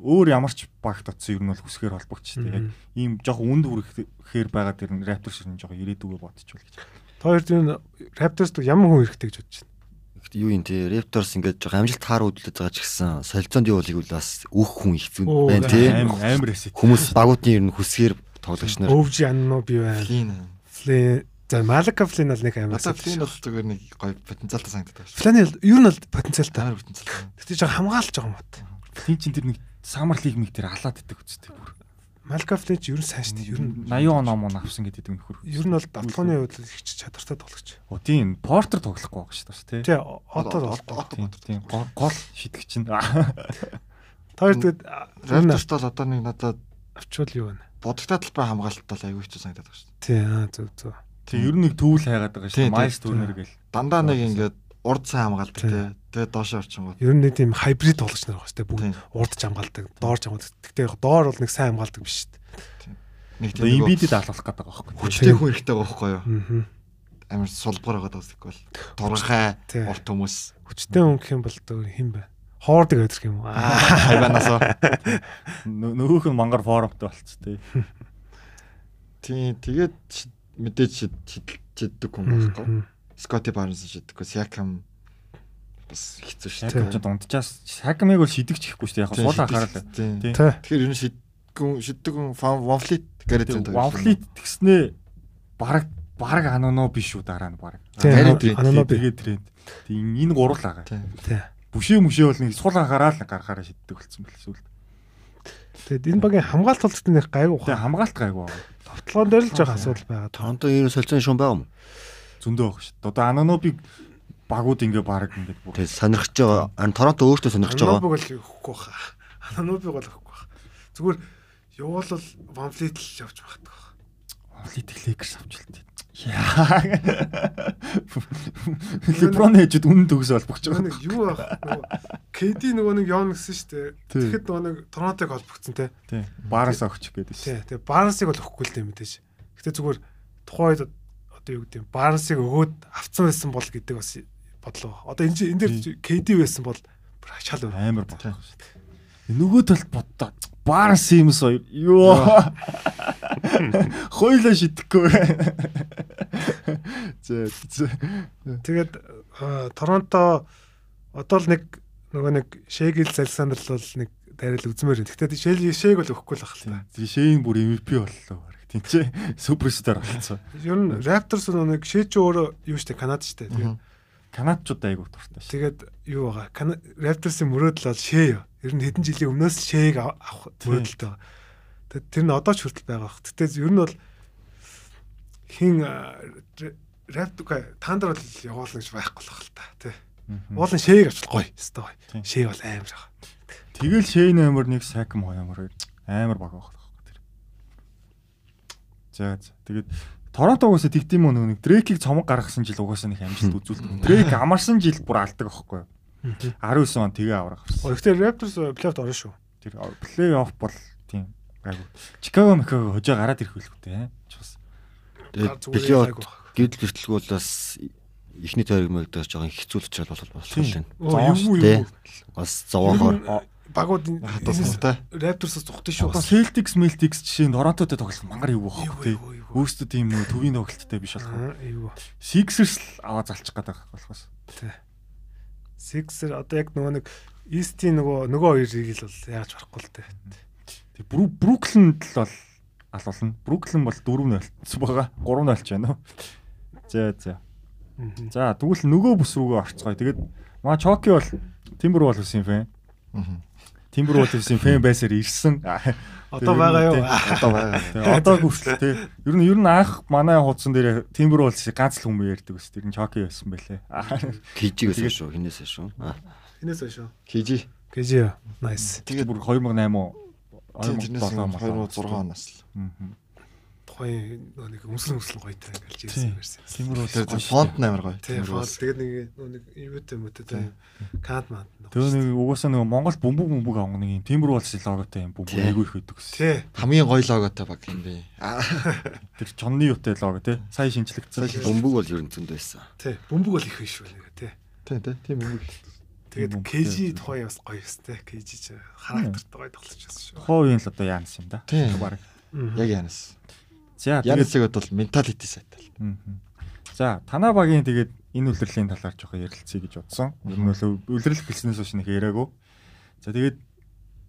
Өөр ямар ч багт атсан ер нь бол хүсгээр холбогдчихтэй. Яг Мгм. ийм жоохон үнд хүрэхээр байгаа дэрн Raptor шиг жоохон ирээдүгөө бодчихвол гэж. Та хоёрт энэ Raptors-д ямар хүн ирэхтэй гэж бодож байна? Юу юм те Raptors ингээд жоо амжилт таар үдлээд байгаа ч гэсэн солилцоонд юу болыг бол бас өөх хүн хэцүү Оо, байна те. Аим амар эсэ. Хүмүүс багуудын ер нь хүсгээр тоглогч нар Өвж Янно би байна. Флин. Флин. За Малика Флин бол нэг амар. Надад флин бол зүгээр нэг гоё потенциалтай санагддаг шүү. Флин бол- ер нь бол потенциалтай. Амар потенциалтай. Тэгтээ жоохон хамгаалж байгаа юм бат. Тин чин тэр нэг Summer League мэг тэр алаад идэх үстэй бүр. Малка Флеч ер нь сайн шүү дээ. Ер нь 80 оноо мөн авсан гэдэг нь нөхөр. ер нь бол давталгааны хувьд л их ч чадвартай тоглогч. Оо тийм портер тоглохгүй байгаа шүү дээ. Тий, отор болдог. Тийм. Тийм. Гол гол шидэгч нь. Хоёр тэгэд Рэмнерт Raptors бол одоо нэг надад авчвал юу вэ? бодогтой талбай хамгаалалттай л аягүй хэцүү санагдаад байна шүү дээ. Тий, аа зөв зөв. Тийм ер нь нэг төвл хайгаад байгаа шүү Тийм, дээ. Майс тийм. түүнэр гэл. Дандаа нэг ингээд урд сайн хамгаалдаг тий. Тэгээ доош орчингууд. Ер нь нэг тийм хайбрид тоглогч нар байгаа шүү дээ. Тийм. Бүгд урд ч хамгаалдаг, доор ч хамгаалдаг. Тэгтээ яг доор бол нэг сайн хамгаалдаг биш шүү дээ. Нэг Одоо нэг имбидэд алуулах гэдэг байгаа байхгүй. хүчтэй хүн ихтэй байгаа байхгүй юу? Аа. Амар сулбар байгаа даа гэвэл турхай Тий. урт хүмүүс Хүчтэй хүн гэх юм бол дөр хин бэ? Хоордог байдаг юм уу? Аа. хайванаас Нө- Нөгөөх нь мангар форумтай болцсон тий. тий тэгээд ч- мэдээж шид- шид- шиддэг хүн байхгүй. Мгм. Скоти Барнс шиддэггүй Сякам бас хэцүү шүү Шакам ч дээ. дундчаас Шакамыг бол шидэгч ихгүй шүү дээ. Яг Тий, суул шиддэг- анхаарал. тий. Тий. Тэ. Тэгэхээр ер нь шиддэг хүн- шиддэг хүн Ванфлит гэрээд байдаг. Ванфлит тгснээ бараг бараг ануно биш үү дараа нь бараг. Тий, Ану- Тий, Ану- тий, тэгээд тренд. Тий энэ гурал байгаа. Тий. Тий. Бүшээ мүшээ бол нэг сул анхаарал нэг гарахаараа шиддэг болсон байх сүлд. Тэгэд энэ багийн хамгаалт толгот нэг гайгүй Тий ухаа. хамгаалт гайгүй байгаа. Тавталгаан дээр л жоох асуудал байгаа. Торонто ер нь солилцсон шун байгаа юм. Зөндөө байх шүү дээ. Одоо анонобиг багууд ингээ бараг ингээ бүр Тэгээ сонирхож байгаа. Ан Торонто өөртөө сонирхож байгаа. Ананобиг л өгөхгүй баха. Ананобиг бол өгөхгүй баха. Зүгээр явал л вамфлит л явж багтдаг баха. Олит Лекерс авчлаа. Яа. Леброн ээжид үнэн төгс олбогч Нөгөө байгаа. нэг юу баах нөгөө КД нөгөө нэг явна гэсэн шүү дээ. Тий. Тэгэхэд нөгөө нэг Торонтог олбогдсон те. Тий. Бараас огч гэдэг шүү. Тий. Тэгээ Барнсыг бол өгөхгүй л дээ мэдээж. Гэтэ зүгээр тухайн үед одоо юу гэдэг юм Барнсыг өгөөд авцсан байсан бол гэдэг бас бодлоо. Одоо энэ чи- энэ дэр Тий. КД байсан бол бүр ачаал өөр. Амар бат. Э, Нөгөө талд боддоо. Барс юм соёо. Йоо. Хойлоо шидэхгүй. Зэ зэ. Тэгээд аа, Торонто одоо л нэг нөгөө нэг Шэгил Залсандр л бол нэг дайрал үзмээр байна. Гэхдээ Шэл Шэг бол өгөхгүй л ахлаа. Жишээ нь бүр MVP боллоо. баг. Тийм ч суперстаар болсон. Ер нь Raptors нөгөө нэг Шэж өөр юу штэ Канад штэ. Тэгээд Канадчууд айгуу дуртай шүү. тэгээд юу байгаа? Кана- Raptors-ийн мөрөөдөл бол Шэ юу. Ер нь хэдэн жилийн өмнөөс л Шэг ав- авах Тийм. мөрөөдөлтэй байгаа. Тэгээд тэр нь одоо ч хүртэл байгаа бах. Гэхдээ ер нь бол хин Raptor тандра бол явуулна гэж байхгүй л бах л та. Тэ. Мгм. Уулын Шэг авчлахгүй. Хэвээ Тийм. гоё. Шэ бол амар байгаа. Тэгэл шэйн амар нэг сайкм хоямор амар баг байх байхгүй тэр. За за. Тэгээд Торонто угаасаа тэгдэм юм нэг Дрейкийг цомог гаргасан жил угаасаа нэг амжилт үзүүлдэг. Дрейк амарсан жил бүр алдаг байхгүй юу? 19 он тэгээ аврах. Ой, Гэхдээ Raptors плейофф орно шүү. Тэр плей-офф бол тийм гайгүй. Чикаго Микаго хожоо гараад ирэх үлгүүтэй. Чус. Тэгээ Гар зүгээр бэлиот яадаг байх. гидл гэртлгүй бол бас эхний тойрог мөрөгдөж байгаа хэцүү л учраас болох болох юм байна. Оо, юу юу. Тэ. Бас зовоохоор Багууд энэ- энэ хатуултай. Raptors-оос зүхтэй шүү. Одоо Celtics Celtics жишээ нь Торонтотой тоглох мангар юу байхгүй Эйгүй, тий. эйгүй, эйгүй. Өөрсдөө тийм нэг төвийн тоглолттой биш болох. Аа, эйгүү. Sixers л аваа залчих гээд байгаа болохоос. Sixer одоо яг нөгөө нэг East-ийн нөгөө нөгөө хоёрыг л бол яаж барахгүй л дээ. Тэг Бру- Бруклинд л бол алуулна. Бруклин бол 4-0 ц байгаа. 3-0 ч байна уу? За за. Мгм. За тэгвэл нөгөө бүс рүүгээ орцгоё. Тэгээд маа Чоки бол Тимбер бол гэсэн фэн. Мгм. Тимбер бол гэсэн фэн байсаар ирсэн. Одоо байгаа юу? Одоо байгаа. Одоо хүртэл тий. Ер нь ер нь анх манай хуудсан дээр Тимбер бол ганц л хүмүүс ярьдаг ус. Тэр нь Чоки байсан байлээ. кижиг гэсэн шүү, хинээсээ шүү. Аа. Энэс шүү. Кижи. Гэжи. Nice. Тэгээд бүр 2008 уу? Тийм тэрнээс 2006 2007 оноос л. Мгм. Тухайн нөгөө нэг өмсөл өмсөл гоё тэр ингээл жийсэн байсан. Тимбер бол Тэр фонт нь амар гоё. Тэгээ Тимбер фол бас. тэгээ нэг нөгөө нэг юутэй мөтөд Канад манд. Тэгээ нэг угаасаа нэг Монгол бөмбөг бөмбөг авах нэг юм Тимбер улсын логотой юм бөмбөг Тий. айгүй их өгдөг гэсэн. Тэ. Хамгийн гоё логотой баг юм бэ. Тэр чонны юутай лого тий. Сайн шинжлэгдсэн. Бөмбөг бол ер нь зөнд байсан. Тэ. Бөмбөг бол их биш шүү нэг тэ. Тийм тийм юм. Тэгээд Бөмбөг, тэ. KG тухайн бас гоё өс тэ. KG ч характертай гоё тоглож байсан шүү. Тухайн үеийн л одоо яанс юм да. Тий. Бараг. Яг Янис. За тэгээд Янисыг бодвол менталити сайтай. мгм. За танаа багийн тэгээд энэ үлрэлийн талаар жоохон ярилцъя гэж бодсон. Ер нь бол үлрэл гэлснээс хойш нэг яриаггүй. За тэгээд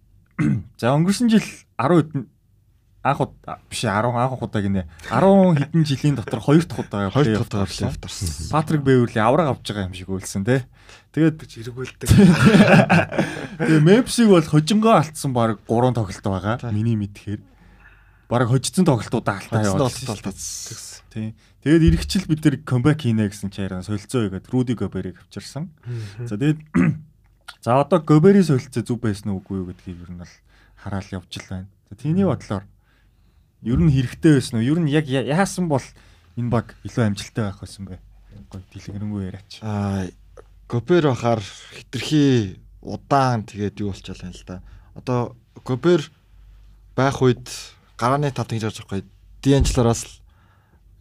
за өнгөрсөн жил 10 хэдэн анх уд а, биш 10 анх удаа гинэ 10 хэдэн жилийн дотор хоёр дахь удаа Хоёр playoff дахь удаа орсон. плейофф орсон. Патрик Бэйвэрли авраг авч байгаа юм шиг үйлсэн тий. Тэгээд гэж эргүүлдэг. Э, Тэгээ Мемпсиг бол хожингоо алдсан баг 3 тоглолт байгаа. Тийм. Миний мэдхээр. бараг хожицсан тоглолтуудаа алдаа Хоцсон явуулсан шүү дээ. толтол тац. Тий. Тэгээд эргэжил бид нэр камбэк хийнэ гэсэн чи яриа солилцоо өгөөд Руди Гоберийг авчирсан. За тэгээд за одоо Гобери солилцоо зүв байсан уу үгүй юу гэдгийг ер нь бол хараал явж л байна. За тийний бодлоор ер нь хэрэгтэй байсан уу? Ер нь яг я- яасан бол энэ баг илүү амжилттай байх байсан бэ? Гой дэлгэрэнгүй яриач. Аа Гобер бахаар хитрхи удаан тэгээд юу болчихлоо юм л да. Одоо Гобер байх үед гарааны тав гэж ярьж байгаа байхгүй. Дэнчлараас л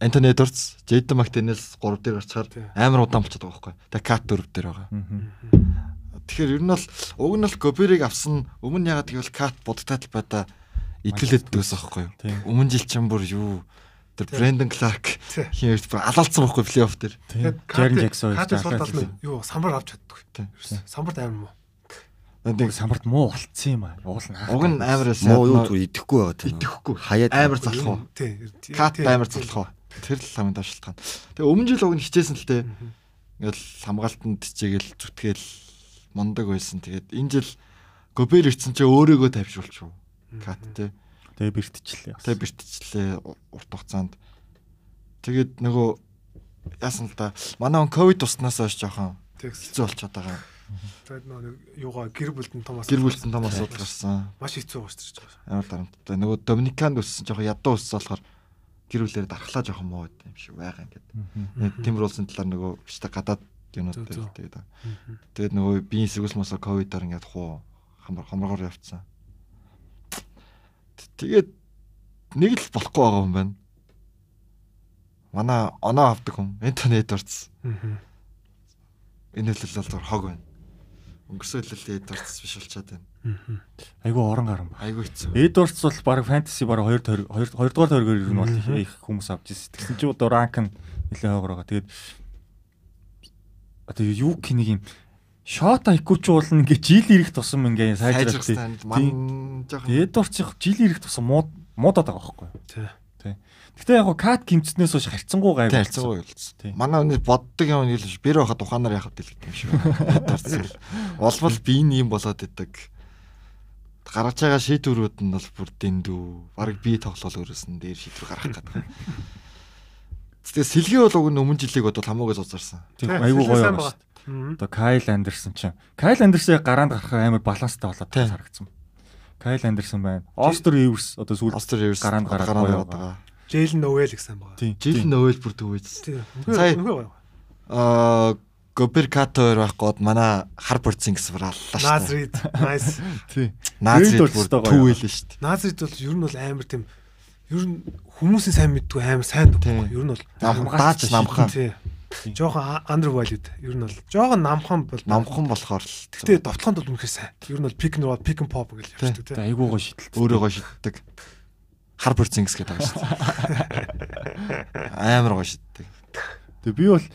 Антони Эдвардс, Джейден Мактенэлс 3 дээр гарчаар Тий. амар удаан болчиход байгаа байхгүй. Тэ Кат 4 дээр байгаа. Тэгэхээр ер нь бол уг нь бол Гоберийг авсан өмнө ягаад гэвэл Кат будтай талбайда итгэлэддэг байсан байхгүй. юу? Тийм. Өмнө жил ч юм бүр юу тэр Брэндон Кларк Тий. хин эрт бүр алаалцсан байхгүй плей-офф дээр. Тэгээд Жарен Жаксон хатас хоёр суултал юу самбар авч чаддаггүй. Тий. Ерөөс Самбарт амар муу. Нэг самбарт муу болцсон юм аа. Уулна. Уг нь амар байсан. Муу юу түр идэхгүй байгаа тань. Идэхгүй. Хаяад Амар залах уу? Тий. Кат амар залах уу? Тэр л хамгийн доо шалтгаан. Тэгээ өмнө жил уг нь хичээсэн л те. Ингээл хамгаалтанд чигээл зүтгэл мундаг байсан. Тэгээд энэ жил Гобер ирсэн чи өөрөөгөө тавьшулчих. Кат те. тэгээд бэртчихлээ. Тэгээ бэртчлээ у- урт хугацаанд. Тэгээд нөгөө яасан л да. Манай он ковид туснаас хойш жоохон Тэгс. хэцүү болчиход байгаа. Тэгээд нөө нэг юугаа гэр бүлд нь том асуудал. Гэр бүлсэн том асуудал гарсан. Маш хэцүү гоочтой ч байгаа. Амар дарамттай. Нөгөө Доминиканд өссөн жоохон ядуу өссөн болохоор гэр бүлээр дархлаа жоохон муу байт юм шиг байгаа юм. Тэгээд Тимэр улсын талаар нөгөө бичдэг гадаад юмнууд Зөө, дээр зөө. тэгээд байгаа. тэгээд нөгөө биеийн сэргүүлс мосо ковидаар ингээд хуу хамар хамаргаар явцсан. Т- Тэгээд нэг л болохгүй байгаа юм байна. Манай оноо авдаг хүн интернет дурц. Мгм. Энэ хөлөл бол зур хог байна. Өнгөрсөн хөлөл дурц биш болчиход байна. Мгм. Айгу орон гарсан. Айгүй хэцүү. Эдвардс бол баг фэнтези баг 2 2 2 дугаар тойргоор ер нь бол их- Мгм. их хүмүүс авч ирсэн. Тэгсэн чинь одоо ранк нь нэлээд хойгор байгаа. Тэгээд одоо юу гэх нэг юм шот айкууч уулна гэж жил ирэх тусам ингээ Сайжрах сайжралтай. танд ман жоохон Эдвардс их жил ирэх тусам муу муудаад байгаа байхгүй. юу? Тий. Гэтэ яг гоо кат кимцснээс хойш харцсангуу гай тарцсан үйлс. Тийм. Манай хүний боддог юм нь л биш. Бэр байхад ухаанаар яхад дэлгэдэг юм шиг. Тарцсан. Олбол би энэ юм болоод идэг. Гаргаж байгаа шийдвэрүүд нь бол бүр дэндүү. Бараг би тоглол өрөөс нь дээр шийдвэр гаргах гэдэг. Тэгээ сэлгээ бол уг нь өмнө жилиг бодвол хамаагүй зузарсан. Тий, Айгу сайн гоё байгаа. шүү байгаа. дээ. Мгм. Одоо Кайл Андерсон чинь. Кайл Андерсыг гараанд гарахаар амар баланстай болоод Тийм. харагдсан. Кайл Андерсон байна. Остер Ивс одоо сүүлд Остер Эверс гараанд гараад гоё байгаа. Жэйл нөөл гэсэн байгаа. Тийм. Жил тийм. нөөл бүр төвөөс. Тий. Сая- Үнгүй гоё. Аа Гобер Катоор байх гоод манай хар бүрцэн гэсэн бүр аллаа шүү. Назрид. Nice. Тий. Наазрид Нээлт бүр болцтой гоё. төвөөлөн шүү. Назрид бол ер нь бол амар тийм ер нь хүмүүсийн сайн мэддгүй амар сайн Тий. дөггүй. Ер нь бол Нам- Даач намхан. тий. Жохон undervalued. Ер нь бол жоохон намхан бол намхан болохоор л Гэтэ довтлоход бол үнэхээр сайн. Ер нь бол pick and roll, pick and pop гэж Тий. явчихдаг тий. Айгу гоё шидэл. өөрөө гоё шиддэг. Хар бүрцэнгс гэдэг байгаа шүү дээ. Амар гоё шиддэг. Тэгээ би бол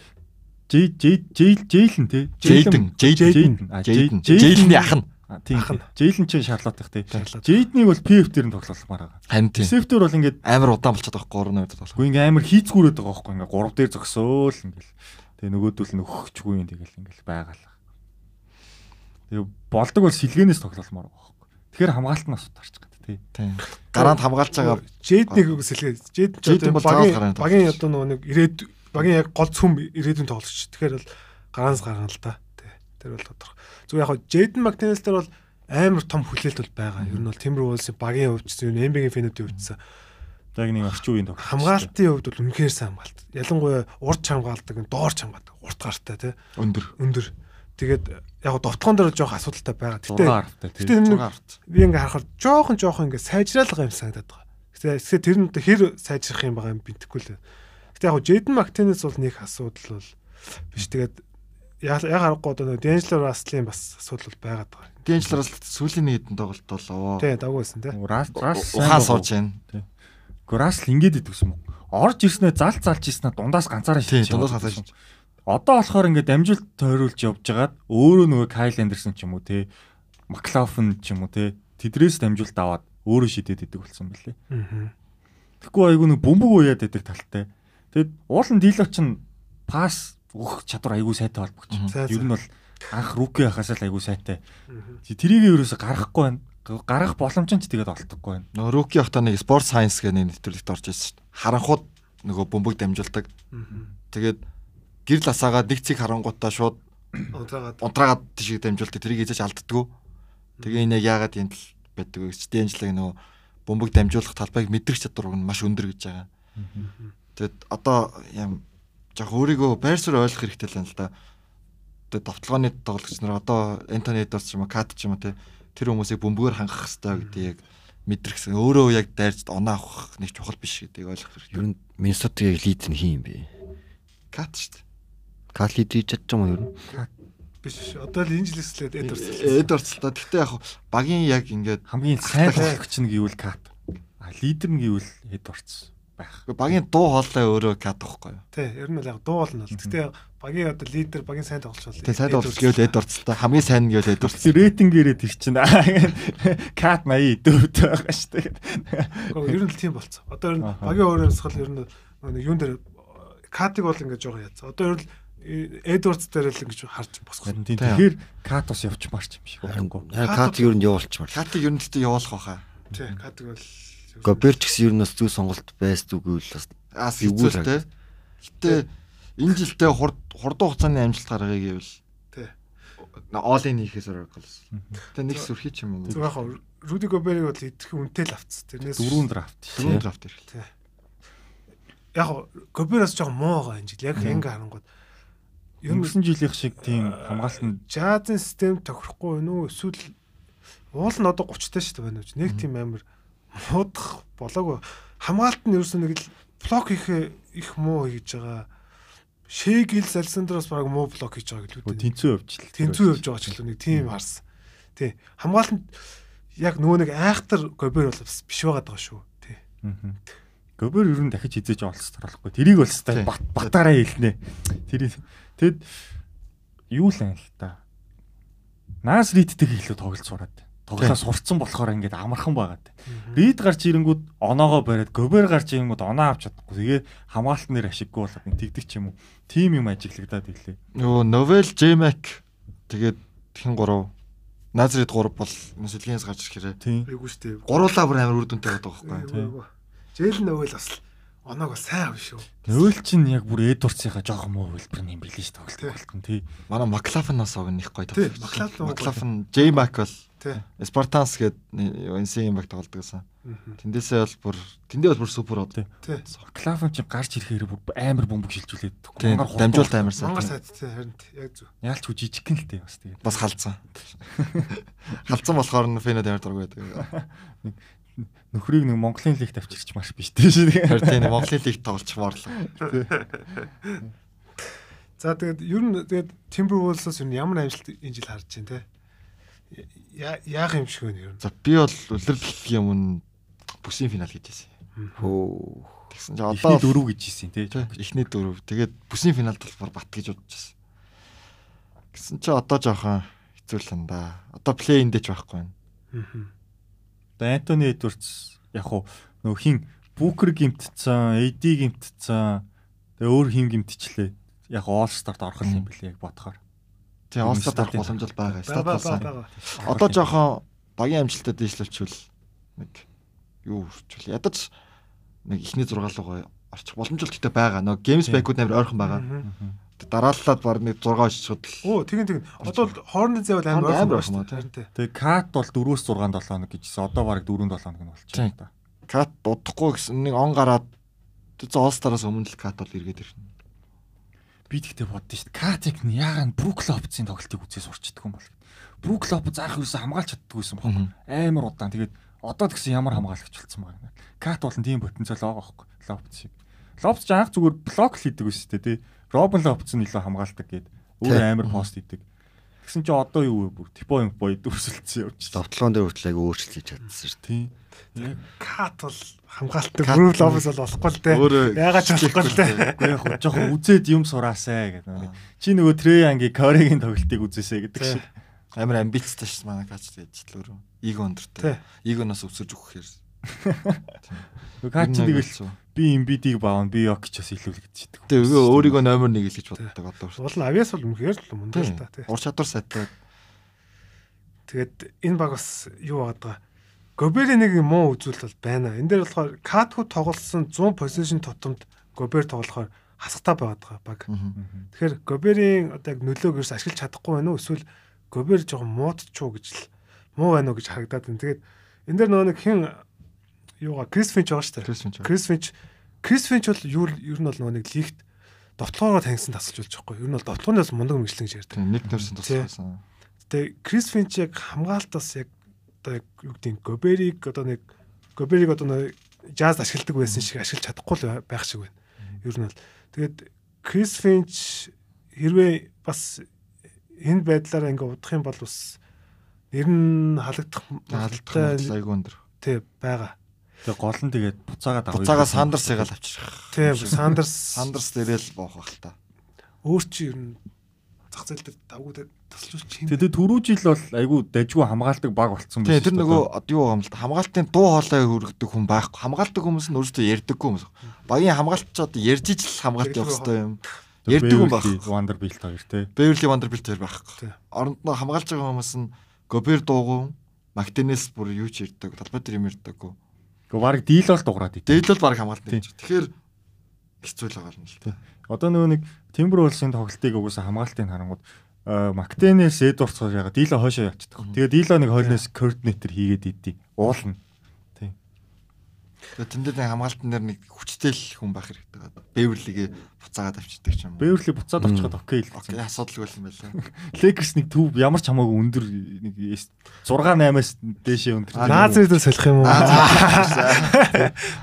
Жей Жей Жейл Жейлэн тий. Джейден, Джейден, А, Жейден. Джейден. Джейдний ах нь А, Тийм. Ах нь. Жейлэн чинь шарлотх тий. Шарлотт. Жейднийг бол PF дээр нь тоглоулмаар байгаа. хань тийм. Сефтер бол ингээд Амар удаан болчиход байгаа 3 минут болох. үгүй ингээ амар хийцгүүрээд байгаа байхгүй ингээ 3 дээр зогсөөл ингээл. Тэгээ нөгөөдөл нь өгөхчгүй юм тэгэл ингээл байгаалаа. Тэгээ болдог бол сэлгэнээс тоглоулмаар байгаа байхгүй. Тэгэхээр хамгаалт нь асуу тарч гэдэг тий. Тийм. Гараанд хамгаалж байгаа Jade-ийг үг сэлгээ. Jade ч Jade одоо бол багийн цагаан гараанд багийн одоо нөгөө нэг ирээд багийн яг гол цөм ирээдүйн тоглогч. Тэгэхээр бол гараанаас гаргана л да. Тий. Тэр бол тодорхой. Зүгээр яг хаа Jade Martinez дээр бол амар том хүлээлт бол байгаа. Ер нь бол Timberwolves-ийн багийн хувьд ч, ер нь NBA-ийн фэнүүдийн хувьд ч За яг нэг орчин үеийн тоглолт. хамгаалтын хувьд бол үнэхээр сайн хамгаалт. Ялангуяа урд хамгаалдаг, доор хамгаалдаг, урт гартай тий. өндөр. Өндөр. Тэгээд яг нь довтхон дээр жоох асуудалтай байгаа. 6 Гэтэ аргатай тий. гэтэ энэ нэг 6 арт. би ингээ харахаар жоохон жоохон ингээ сайжраалга юм санагдаад байгаа. Гэтэ эсвэл тэр нь одоо хэр сайжрах юм байгаа юм бинтггүй л. байна. Гэтэ яг Джейден Мактенес бол нэг асуудал бол биш тэгээд яг яг харахгүй одоо нөгөө Дэнжлер Раслийн бас асуудал бол байгаад байгаа. Дэнчлэрс сүүлийн нэг хэдэн тоглолт болоо. Тэ дагуулсан тий. Рас рас Ухаа сурж байна. Грасл ингээд идэвс юм. Орж ирснээр зал залж ирснээр дундаас ганцаараа Тийм, шилжиж дундаас яваад хасааш. байсан. Одоо болохоор ингээд амжилт тойруулж явж байгаад өөрөө нөгөө Кайл Андерсон ч юм уу те Маклафен ч юм уу те тэдрээс дамжуулт аваад өөрөө шидэд идэг болсон бэлээ. Аа. Тэгэхгүй айгүй нэг бөмбөг уяад идэг талтай. Тэгэд уулын дилоч нь пас өгөх чадвар айгүй сайтай холбогч. Мгм. Сайн, Ер сайн. нь бол анх руки хахаас л айгүй сайтай. Тэрийг ерөөсө гарахгүй байна. гарах боломж нь ч тэгээд олдохгүй байна. Нөгөө руки ахта нэг спорт сайенс гэх нэг нэвтрүүлэгт орж ирсэн шүү дээ. Харанхууд нөгөө бөмбөг дамжуулдаг. Тэгээд гэрл асаагаад нэг цэг харангуудаа шууд Унтраагаад. унтраагаад тийш дамжуулдаг. Тэрийг эзэж алддаггүй. Тэгээ энэ яг яагаад энэ тал байдаг вэ? Гэвч Дэнжлаг нөгөө бөмбөг дамжуулах талбайг мэдрэх чадвар нь маш өндөр гэж байгаа. Тэгэд одоо юм яг өөрийгөө байр суурь ойлгох хэрэгтэй л юм л да. Тэгээд давталгааны тоглогч нар одоо Энтони Эдвардс ч юм уу, Кат ч юм уу те тэр хүмүүсийг бөмбөгөөр хангах хэрэгтэй гэдэг яг мэдрэхсэн. Өөрөө яг дайрч оноо авах нэг чухал биш гэдгийг ойлгох Ер хэрэгтэй. нь Миннесотагийн лид нь хин юм бэ? Кат шүү дээ. Кал лид хийж чадчих юм уу ер нь? Биш. Одоо л энэ жилслээд эдвэрс. Эдвардс л да. Гэхдээ яг багийн яг ингээд Хамгийн сайн тоглогч нь гэвэл Кат. А лидер нь гэвэл Эдвардс байх. багийн дуу хоолой өөрөө Кат واخхой. Тий, ер нь л яг дуул нь бол. Гэтэ багийн одоо лидер, багийн сайн тоглолч бол. Тэгээ сайн тоглож гэвэл Эдвардс л да. Хамгийн сайн нь гэвэл Эдвардс. Тэгсэн рейтингээрээ тэр чинь аа, Кат 80 дөрөвт байгаа шүү дээ. Гэхдээ ер нь л тийм болцсон. Одоо ер нь Аха. багийн өөрөөр сахал ер нь нэг юун дээр катыг бол ингэж жоо яц. Одоо ер нь э, Эдвардс дээр л ингэж харж босгох. Харин тийм тэгэхээр Кат ус явчмаарч юм шиг байна. Яа, Кат ер нь явуулчмаар. Катыг ер нь тэтэ явуулах байхаа. Тий, катыг бол Гоберч гэсэн ер нь бас зүй сонголт байс зүгүй л бас Аас Эвгүй л хэцүүтэй. Гэтэ энэ жилдээ хурд хурдан хугацааны амжилт гаргая гэвэл Тий. Оолын хийхээс Oracles. Тэ нэг сүрхий ч юм уу. Зүгээр хаа Руди Гобериг бол идэх үнтэй л авцсан. Тэрнээс Дөрөв драфт шүү Дөрөв дээ. драфт ирэв. яг хав, Гобераас жоохон муу байгаа энэ жил. Яг ингээ харангууд. Ер нь Өнгөрсөн жилийнх шиг тийм хамгаалалт нь жаазын систем тохирохгүй байна уу? Эсвэл уул нь одоо 30 таа шүү дээ байна уу? Нэг тийм амар муудах болоогүй. Хамгаалт нь ерөөсөө нэг л блок хийх их муу хийж байгаа. Шээгэл Александроос баг муу блок хийж байгаа гэлээ. Нөгөө тэнцүү явж л. тэнцүү явж байгаа ч л нэг тийм харсан. Тий. Хамгаалт нь яг нөгөө нэг айхтар гобер бол бас биш байгаа даа шүү. Тий. Мгм. Гобер ер нь дахиж хизээж олцс тарахгүй. Тэрийг бол стай Тийм. бат батаараа хэлнэ. Тэрийг тэгэд юу л ана л та. Нас ридтэй илүү тоглолт сураад. Тоглоо сурцсан болохоор ингээд амархан байгаад. Рид гарч ирэнгүүд оноогоо бариад гобер гарч ирэнгүүд оноо авч чадахгүй. Тэгээд хамгаалалт нэр ашиггүй болоод ин тэгдэг ч юм уу. Тим юм ажиглагдаад ирлээ. Нөгөө Novel J-Mac тэгээд тхэн 3 Назрид 3 бол Мөсөлгийнс гарч ирэх хэрэг. Тийм. Айгуу шүү дээ. Гуруула бүр амар үр дүнтэй байгаа байхгүй. тий. Айгуу. Жээл нөгөө л бас л оноог бол сайн авна шүү. Нөөл чинь яг бүр Эдвардсынхаа жоох муу хөлбөр нь юм билээ шүү тоглолт Тийм. болтон тий. Манай Маклафнаас ог нэг гоё Тий, тоглож. Маклафн уу гоё. Маклафн J-Mac бол Тий. Спартанс гээд NC-ийн баг тоглодог гэсэн. Мгм. Тэндээсээ бол бүр тэндээ бол бүр супер од. Тий. Клафн чинь гарч ирэхээр бүр амар бөмбөг шилжүүлээд. Тийм, Монгор хурдан дамжуулт амар Монгол сайд сайн. тий харин тий, яг зөв. Яалч хүү жижиг гэн л дээ бас тэгээд. Бас халдсан. Халдсан болохоор нь финод амар дургүй байдаг. Нөхрийг нэг Монголын лигт авчирч маш биш тийм шээ. Тэр тийм Монголын лиг тоглолчмоор л. За тэгээд ер нь тэгээд Timberwolves-ос ер нь ямар амжилт энэ жил харж байна те. Я- Яах юм шиг байна ер нь. За би бол үлрэлт юм нь бүсийн финал гэж хэлсэн. хөө. Тэгсэн чинь одоо Эхний дөрөв гэж хэлсэн тий. Тий, эхний дөрөв. Тэгээд бүсийн финалд бол бүр бат гэж бодож байсан. Гэсэн чи одоо жоохон хэцүү л юм да. Одоо плей-ин дэж байхгүй байна. Одоо Антони Эдвардс яг хуу нөх хин Букер гимтцэн, AD гимтцэн, тэгээ өөр хин гимтчлээ. Яг All Star-т орох л юм билээ яг бодохоор. Тий, Мм, олсод арах статийн- боломж л байгаа. Бага Стат бага болсон. бага. Одоо жоохон багийн амжилтад дэвшлүүлчихвэл нэг юу хүрчвэл ядаж нэг эхний зургаал руу гоё орчих боломж л гэхдээ байгаа. Нөгөө геймс Тий. бэкүүд амар ойрхон байгаа. Мгм. Дарааллаад баг нэг 6 очсод л Оо тэгин тэгин. Одоо л хоорондын зэвэл амар Хоорондын ойрхон байна амар ойрхон шүү дээ. Тэгээ Кат бол 4-өөс 6 7 хоног гэжсэн. Одоо бараг 4 7 хоног нь Тий. болчихсон та. кат дудахгүй гэсэн нэг он гараад зоолстараас өмнө л кат бол эргээд ирнэ. Би тэгтээ боддоо шүү дээ. Катик нь яагаад Брук Лопцын тоглолтыг үзээс урчдаг юм бол гэд. Брук Лоп заах юусэн хамгаалч чаддаггүйсэн баг. Амар удаан. Тэгээд одоо тэгсэн ямар хамгаалагч болсон баг. Кат болон тийм потенциал байгаа байхгүй. Лопц шиг. Лопц ч анх зүгээр блок л хийдэг байсан шүү дээ тий. Робин Лопц нь илүү хамгаалдаг гээд өөр Тий. амар пост хийдэг. Тэгсэн чи одоо юу вэ бүр типо юм бой дүрсэлцсэн явчихсан. Давталгаан дээр хүртэл айгүй өөрчлөлт хийж чадсан шүү Тий. Яг Кат бол хамгаалттай Кат- Groove Lobs бол болохгүй л дээ. Өөрөө Яагаад ч болохгүй л дээ. Уу яг хөө жоохон үзээд юм сураасай гэдэг. Чи нөгөө Трейангийн Корегийн тоглолтыг үзээсэй гэдэг шиг. Амар амбицтай шээ манай кач тэгж л өөрөө. Иго Тий. өндөртэй. Игоноос өсөж өгөх хэр. Нөгөө Кат чи тэгэл Ер нь би Embiid-ийг баавна, би Jokic-ос илүүлэгдчихдэг. Тэгээ өгөө өөрийгөө номер 1 гэж боддог одоо. Уул нь авьяас бол үнэхээр л мундаг л та тий. Ур чадвар сайтай. Тэгээд энэ баг бас юу болоод байгаа. Гобери нэг муу үзүүлэлт бол байна. Энд дээр болохоор Катху тоглосон 100 position тутамд Гобер тоглохоор хасгатай байгаад байгаа баг. Тэгэхээр Гоберийн одоо яг нөлөөг ерөөс ашиглаж чадахгүй байна уу? Эсвэл Гобер жоохон муудчихуу гэж л муу байна уу гэж харагдаад байна. Тэгээд энэ дээр нөгөө нэг хэн юугаа Крис Финч байгаа шүү дээ. Крис Финч. Крис Финч Крис Финч бол юу ер нь бол нөгөө нэг лигт дотлоогоор таньсан тасалж болж байгаа хгүй. Ер нь бол дотлооны бас мундаг мэрэгчлэн гэж ярьдаг. нэг төрсөн тусгасан. Гэтэ Крис Финч яг хамгаалтаас яг одоо яг юу гэдэг нь Гобериг одоо нэг Гобериг одоо нэг жаз ашигладаг байсан шиг ашиглаж чадахгүй л бай- байх шиг байна. Ер нь бол тэгээд Крис Финч хэрвээ бас энэ байдлаараа ингээ удах юм бол бас нэр нь халагдах Алдах магадлалтай айгүй өндөр. тий байгаа. Тэгээ гол нь тэгээд буцаагаа давж. Буцаага сандерс ягаал авчрах. Тий Сандерс Сандерс дээрэл боох бах л та. өөр чи ер нь зах зээл дээр давгуудад тасалжуулчих юм. Тэгээд түрүү жил бол айгүй дажгүй хамгаалдаг баг болцсон Тий, шүү тэр дээ. нөгөө од- юу юм л та, хамгаалтын дуу хоолой хүргэдэг хүн байхгүй. Хамгаалдаг хүмүүс нь өөрсдөө ярьдаггүй хүмүүс. Багийн хамгаалтч одоо ярьж ижил хамгаалт явах хэрэгтэй юм. Тэр Ярьдаг хүн Beverly байх. Wonder Bilt хоёр те. Beverly Vanderbilt тэр байхгүй. Тий. Оронд нь хамгаалж байгаа хүмүүс нь Gobert дуугүй, Martinez бүр юу ч ярьдаг, талбай дээр юм ярьдаггүй. Гэхдээ баг дийл бол дуграад ий. Дээл бол баг хамгаалт Тий. гэж. Тэгэхээр хэцүү л байгаа юм л та. Одоо нөгөө нэг Timberwolves-ийн тоглолтыг угсаа хамгаалтыг харангууд Мактенес Эдвардс хоёр яга дийло хойшоо явчихдаг. Тэгээд дийло нэг хойлноос координатор хийгээд идэв. Уулна. Тэгээд тэндээ нэг хамгаалтан дээр нэг хүчтэй л хүн байх хэрэгтэй байна. Beverly-гээ буцаагаад авчирдаг ч юм уу. Beverly буцаад очиход окей л Окей, гэсэн. асуудалгүй л юм байлаа. Lakers нэг төв ямар ч хамаагүй өндөр нэг 6 8-аас дээшээ өндөр. Аа, Наад Наазын дээр солих юм уу?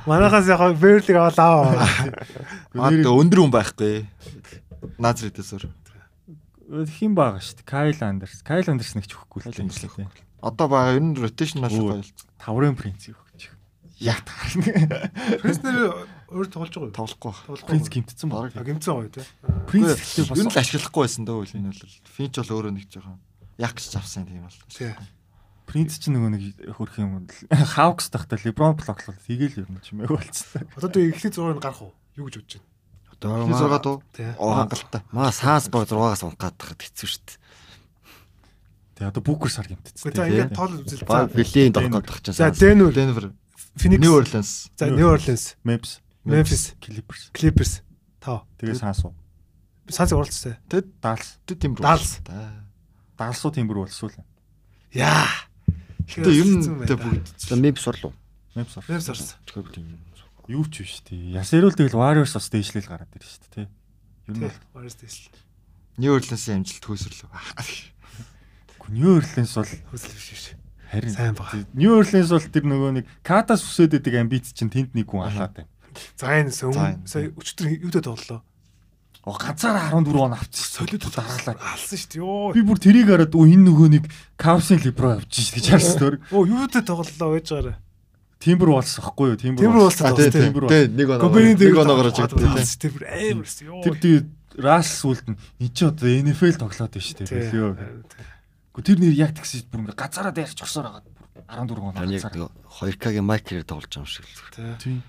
Манахаас яг Берлиг авлаа. Аа, тэгээд өндөр хүн байхгүй. Назридэс өөр. хин байгаа шүү дээ. Kyle Anderson. Kyle Anderson нэг ч өгөхгүй л Kyle Anderson дээ. Одоо бага ер нь ротейшнл Өө. гоё л. Таврын принц өгч. Яг Преснер өөр тоглож байгаа юу? тоглохгүй. байна. Тоглохгүй. Принц гимтсэн баг. А гимцэн гоё те. Принц гэхдээ Ер нь л бас ашиглахгүй байсан дөө үл энэ бол. Финч бол өөрөө нэг жоохон яг гэж авсан юм бол. Тий. принц ч нөгөө нэг хөрх юм л. Hawks тахта LeBron блоклол тэгэл ер нь чимээг болцсон. Одоо тэг эхний зургийг гарах уу? Юу гэж бодож байна? Одоо Финч зургаа маа- дуу. Тий. Оо хангалттай. маа саас баг 6-аас унах гадахад хэцүү штт. Тэгээ одоо Booker сар гимтсэн. Гэхдээ ингээд тоол үзэл. За, Баг бэлээн дохгоод тахчихсан. За, Denver, Denver, New Phoenix, Orleans. за New Orleans, Memphis, Memphis, Clippers. Clippers тав. Тэгээ саасуу. Санс уралцсан. Тэд Dallas. тэд юм бүү. Dallas. Dallas-уу Timber болсуул. Яа. Тэ ер нь тэ бүгд. За мипс орлоо. Memphis. ор. Нэр сорсон. Тэгэхээр бид юм. Юу ч биш тий. Ясэрүүл тэгэл Warriors бас дээшлэл гараад ирж шүү дээ тий. Ер нь Тий. бол Орос дэсл. New Orleans-ийн амжилт хөөсрлөө. Аа. New Orleans бол Хөсөл биш биш. харин Сайн бага. New Orleans бол тэр нөгөө нэг Катас үсээд идэг амбиц чинь тэнд нэг хүн алаад байна. За энэ сүүн. Zion. Сая өчтөр юудэ тоглолоо. Оо ганцаараа 14 он авчихсан. Солид дараалаа. алсан шүү дээ. Йоо. Би бүр тэрийг хараад өө энэ нөгөө нэг Cavs-ийн LeBron авчихсан гэж харсан дөр. Оо юудэ тоглолоо байж гараа. Timber болсон хэвгүй юу? Timber. Timber болсон. тий, болсон. тий, тий, нэг Гоберийн дээр нэг оноогоор жигтэй. Тэр бүр амар шүү. Йоо. Тэр тий Russ үлд нь энэ ч одоо NFL тоглоод байна шүү дээ. Тий. Билүү. Гэхдээ тэр нэр яг тэгсэн чинь бүр ингээ газараа дайрч өгсөөр хагаад бүр 14 он Яг газар. 2К-гийн майкрээр тоглож байгаа юм шиг л. Тэ. Тийм.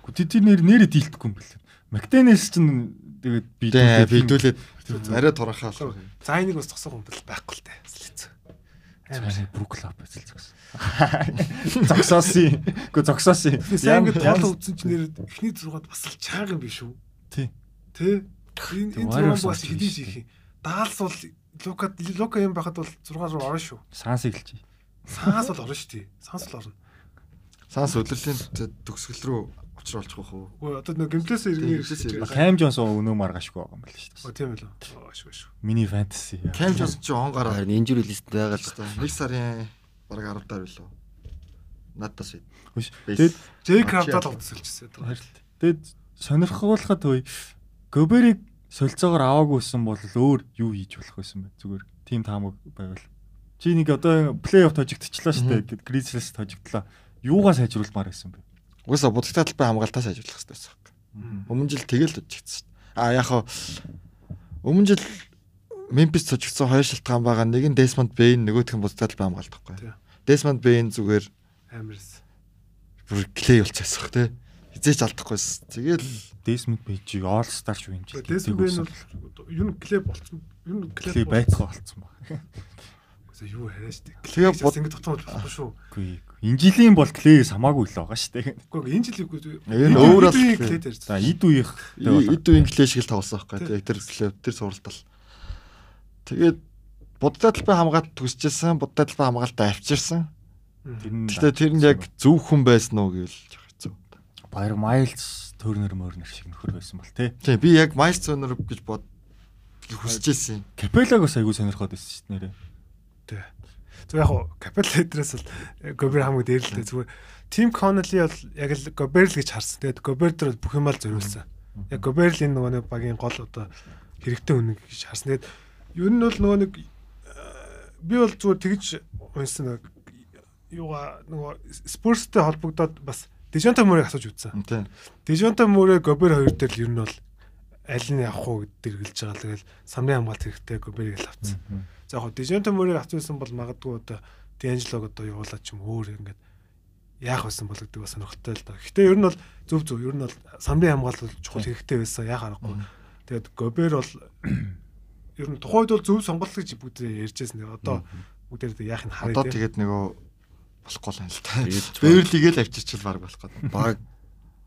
Гэхдээ тэр нэр нэрэ дийлдэхгүй юм бэлээ. Мактенес чинь тэгээд Тэ бийдүүлээ. бидүүлээд арай турахаа алах. За энийг бас зогсох юм бол байхгүй л дээ. Слэц. Амар. Цаашаа бүр клуб эзэл зогсон. Зогсоосын. Гэхдээ зогсоосын. Би сайн ингээд тоол үзсэн чинь нэр эхний зургаад бас л чаага юм биш үү? Тий. Тэ. Энэ энэ Warriors зураг бас авч хэдий биш шиг юм. Даалс бол Лука Лука юм байхад бол 6 руу орно шүү. Санс эглэж. Саас бол орно шүү дээ. Саас л орно. Санс өдөрлийн төгсгөл рүү очруулчих واخ уу. Өө одоо нэг гимплээс иргэн Гэмплээс иргэн. ирсэн. Кайм Джонс өнөө маргашгүй байгаа юм байна шүү Оо дээ. тийм байлаа. Оо шүү шүү. Миний фэнтези. Cam Johnson ч он гараа. Харин инжүри лист байгаа л. Нэг сарын бараг 10 даар билүү. Надаас бий. Тэгээд Джей Очи- Крафтад олдсэлжсэн. Харилт. Тэгэд сонирхолтой үе Гоберийг солилцоогоор аваагүйсэн бол өөр юу хийж болох байсан бэ? Зүгээр тийм таамаг байвал. Чи нэг одоо плей-офф тожигдчихлаа шүү дээ. Гэт Гризлс тожигдлаа. Юугаа сайжруулмаар байсан бэ? Угаасаа будагтай талбай хамгаалтаас ажиллах хэрэгтэй байсан. Өмнө жил тэгэл төжчихсэн. А яг хаа өмнө жил Мемфис төжигдсэн хоёр шалтгаан байгаа. Нэг нь Desmond Bain, нөгөөх нь будагтай талбай хамгаалт байхгүй. Тий. Desmond Bain зүгээр Амарс. бүр клей болчихсон хөх тий. Хизээч алдахгүйс. Тэгэл Дэсмент Бейжиг All Star швинж. Лесбен бол юу н клеп болцсон. Юу н Клей клеп байцгаа болцсон баг. За юу хараа штэ. Тэгээ Клей бас ингэ тогтоомж болохгүй шүү. Үгүй. Энэ жилийн бол клей хамаагүй л байгаа шүү дээ. Гэхдээ энэ жил үгүй. Энэ өөрөө л Клей Clay. дээр. За эд үеийнх Эд үеийн клэш шиг л тоглосон байхгүй тийм тэр слэв тэр суралтал. Тэгээд буддаа талбай хамгаалт төсчсэн, буддаа талбай хамгаалт авчирсан. Гэтэ тэр нь яг зөв хүн байсан уу гэвэл жоох хэцүү. баяр майлз төрнөр мөрнөр шиг нөхөр байсан бол тий. Тийм би яг Miles Turner гэж бод хүсэж ирсэн юм. Капелаг бас айгүй сонирхоод байсан шүү дээ нэрээ. Тэ. Зөв яг хуу капиталдрээс л Гобер хамгийн дээр л дээ зүгээр. Тим Коннелли бол яг л Гобер л гэж харсан. Тэгээд Гобер дээр бол бүх юм л зориулсан. Яг Гобер л энэ нөгөө нэг багийн гол одоо хэрэгтэй үнэ гэж харсан. Тэгээд ер нь бол нөгөө нэг э, би бол зүгээр тэгж унсан нэг юугаа нөгөө Spurs-тэй холбогдоод бас Дежонта Мөрийг асууж үзсэн. Тийм. Дижонта Мөрэ Гобер хоёр дээр л ер нь бол аль нь явах уу гэдэг эргэлж байгаа. Тэгэл самрын хамгаалт хэрэгтэй Гоберийг л авцсан. За яг Дижонта Мөрэ авцсан бол магадгүй одоо Дэнжлог одоо явуулаад ч юм өөр ингээд яах байсан бол гэдэг бас сонирхолтой л да. Гэхдээ ер нь бол зөв зөв ер нь бол самрын хамгаалт бол чухал хэрэгтэй байсан. Яах аргагүй. Тэгэд Гобер бол ер нь тухайд бол зөв сонголт гэж бүгдээ ярьжсэн. Тэгээ одоо бүгдээр яах нь харъя. Одоо тийм. тэгээд нөгөө болохгүй л юм л та. Тэгээд Бэрлигээ л авчирчил баг болох гэдэг. баг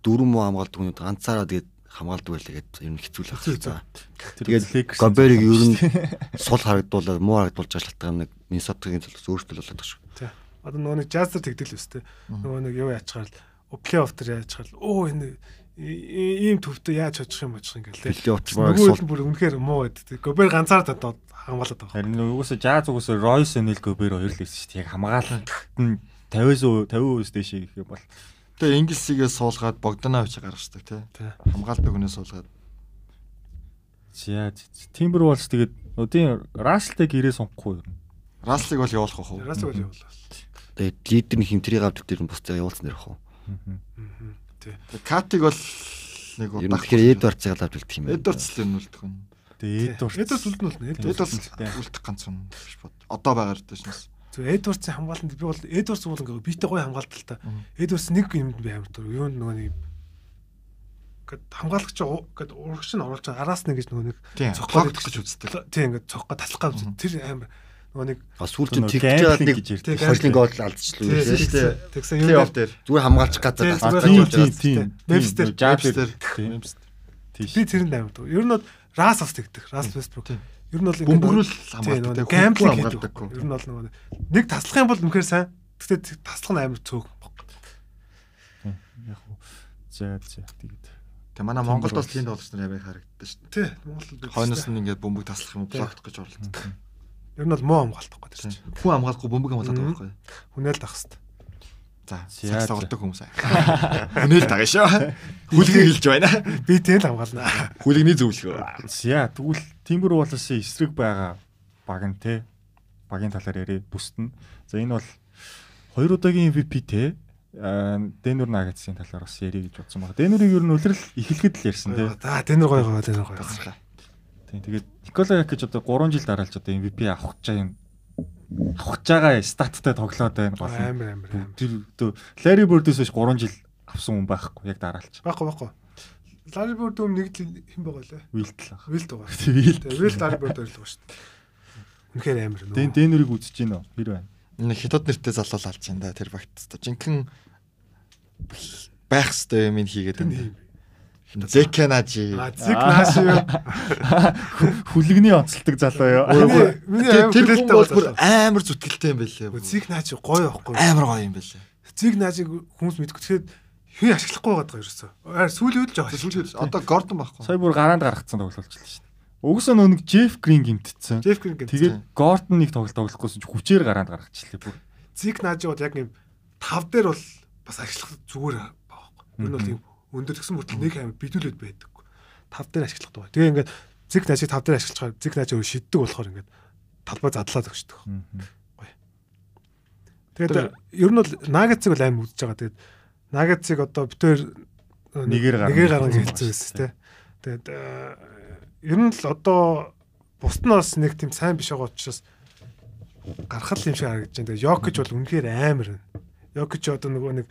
дөрөв мөө хамгаалдаг хүнүүд ганцаараа тэгээд хамгаалдаг байлаа гэд ер нь хэцүү л Хэцүү, байна. Тэр Тэгээд Lakers-ын Гоберийг ер тоглогч нь шүү дээ. сул харагдуулаад муу харагдуулж байгаа шалтгаан нэг Минсотагийн төлөөс өөрчлөлт болоод байгаа шүү. Тий. Одоо нөгөө нэг жазер тэгдэл өстэй. Нөгөө нэг юу яачгаар л плей-офф төр яачгаар л оо энэ и- ийм төвтэй яаж очих юм очих ингээл тий. Плей-офф ч баг Нөгөө сул нь бүр үнэхээр муу байд. тий. Гобер ганцаар татаад хамгаалаад байгаа. Харин угсаа Jazz угсаа Royce O'Neal Gobert хоёр л байсан шүү дээ. Яг хамгаалалт нь 50% 50% дэш их юм бол Тэгээд Инглисигээ суулгаад Богданаа авчи гаргаждаг тий. Тий. Хамгаалдаг хүнээ суулгаад. За Timberwolves тэгээд өдийн Russell-тэй гэрээ сонгохгүй юу? Раслыг бол явуулах уу? Яраас бол явуулаа. тэгээд лидер нь хэмтрийг авдаг дээр нь бусдаа явуулсан дэрх үү. Тий. Катиг бол нэг Ер удаа. нь тэгэхээр Эдвардсыг л авдаг юм байна. Эдвардс л юм үлдэх нь. Тэгээд Edwards. Эдвард үлдэн болно. Эдвард. Эдвардс үлдэх ганц юм биш бод. Одоо байгаа гэдэг шнэс. Зөв Эдвардсын хамгаалалт би бол Эдвардс бол ингээ бийтэй гоё хамгаалт л та. Мгм. Эдвардс нэг юмд би амар тур. Юу нөгөө нэг гэд хамгаалагч уу- гэд урагш нь оруулж байгаа. араас нэг гэж нөгөө нэг Тийм. цохлоод Цохлогдох гэж үздэг. Тийм ингээ цохгоо таслах гэж үздэг. Тэр амар нөгөө нэг А сүүлд нь Нөгөө тэгж жаад gambling нэг гэж ярьдаг. хослын гол алдчихлаа юу Тий, гэсэн чинь. тий. Тэгсэн юм Плей-офф дээр дээр. Зүгээр хамгаалчих газар Тий, тасдаг зүгээр байж Тийм байгаа тийм шүү. тийм. Memphis-тэй. Jazz-тэй. Тийм. Мемс. би Тийш. тэрэнд амар дуу. Ер нь бол Раас бас тэгдэг. Раас Вестбрук. Тийм. Ер нь бол ингээд Бөмбөрөл Тийм, хамгаалдаг. нөгөө тий. гэмблинг Хөнгөн хийдэг. Ер нь бол нөгөө нэг таслах юм бол үнэхээр сайн. Гэхдээ тэг- таслах нь амар цөөх. Яг уу. За за тэгээд Тэг манай Монголд бас тийм тоглогч нар яваа харагддаг шүү. Тий. Монголд дээ. үү. Хойноос нь ингээд бөмбөг таслах юм Тий. блокт гэж оролддог. ер нь бол муу хамгаалтахгүй тэр чинь. Хүн хамгаалахгүй бөмбөг хамгаалаад Мгм. байгаа байхгүй. Хүнэл дах хэв. За, За, за. сакс тоглодог хүмүүс аа. Хүнэл тагаш шүү. Хүлгийг хэлж байна. Би тэл хамгаална. Хүлэгний зөвлөгөө. За тэгвэл Timberwolves-ийн эсрэг байгаа баг нь те багийн талаар яриа бүстэн. За энэ бол хоёр удаагийн MVP те а, Denver Nuggets-ийн талаар бас яриа гэж бодсон баг. Denver-ийг ер нь үлрэл эхлэхэд л ярьсан те. За тэнэр гоё гоё тэнэр гоё. Тийм тэгээд Nikola Jokic одоо 3 жил дараалж одоо MVP авах гэж юм авах гэж байгаа статтай тоглоод байна гол нь. Амар амар амар. Тэр одоо Larry Bird-өөс биш 3 жил авсан хүн байхгүй яг дараалж. Баггүй баггүй. Лариборд дэм нэг л хэн байгаа лээ. Уилтл ах. Вилд байгаа. Вилд. Тий, Вилд Лариборд ойрлог шүү дээ. Үнэхээр амар нөө. Дэн Denver-ийг үзэж гинөө хэр байна? Энэ хятад нэртэй залуу алж энэ да тэр багт. Жинхэн байх хэвээр юм ин хийгээд байна. Зекенажи. А зэг нааш юу? Хүлэгний онцлдог залуу ёо. Миний миний Тэр амар тэр хүн бол бүр болсон. амар зүтгэлтэй юм байлээ. бүр. Зэг наач гоё байхгүй. Амар гоё юм байлээ. Зэг наажиг хүмүүс мэдгүй тэгэхэд хин ашиглахгүй байгаад байгаа ерөөсөө. Аа сүүлийн үед л жоо. Сүүлд одоо Гордон байхгүй. Сая бүр гараанд гаргацсан тоглолцолчлаа шүү дээ. Угсаа нөө нэг Джеф Грин гимтдсэн. Джеф Грин гэдэг. Тэгээд Гордон нэг тоглолт тоглохгүйсэн ч хүчээр гараанд гаргачихлаа бүр. Зэг наажиг бол яг юм тав дээр бол бас ашиглах зүгээр байхгүй. Ер нь бол юм өндөр тгсэн мөртлөө нэг амар бидүүлээд байдаг. Тав дээр ашиглах дуу. Тэгээ ингээд зэг наажиг тав дээр ашиглахаар зэг наажиг өөр шиддэг болохоор ингээд талбай задлаад өгчдөг. Тэгээд ер нь бол Нагацыг бол аим үзэж байгаа. Тэгээд Нагацыг одоо битээр Нэгээр гарна. нэгээр гарна гэж хэлсэн байсан тий. Тэгээд э, ер нь л одоо бусд нь бас нэг тийм сайн биш байгаа учраас гарах л юм шиг харагдаж байна. Тэгээд Йокич бол үнэхээр амар байна. Йокич одоо нөгөө нэг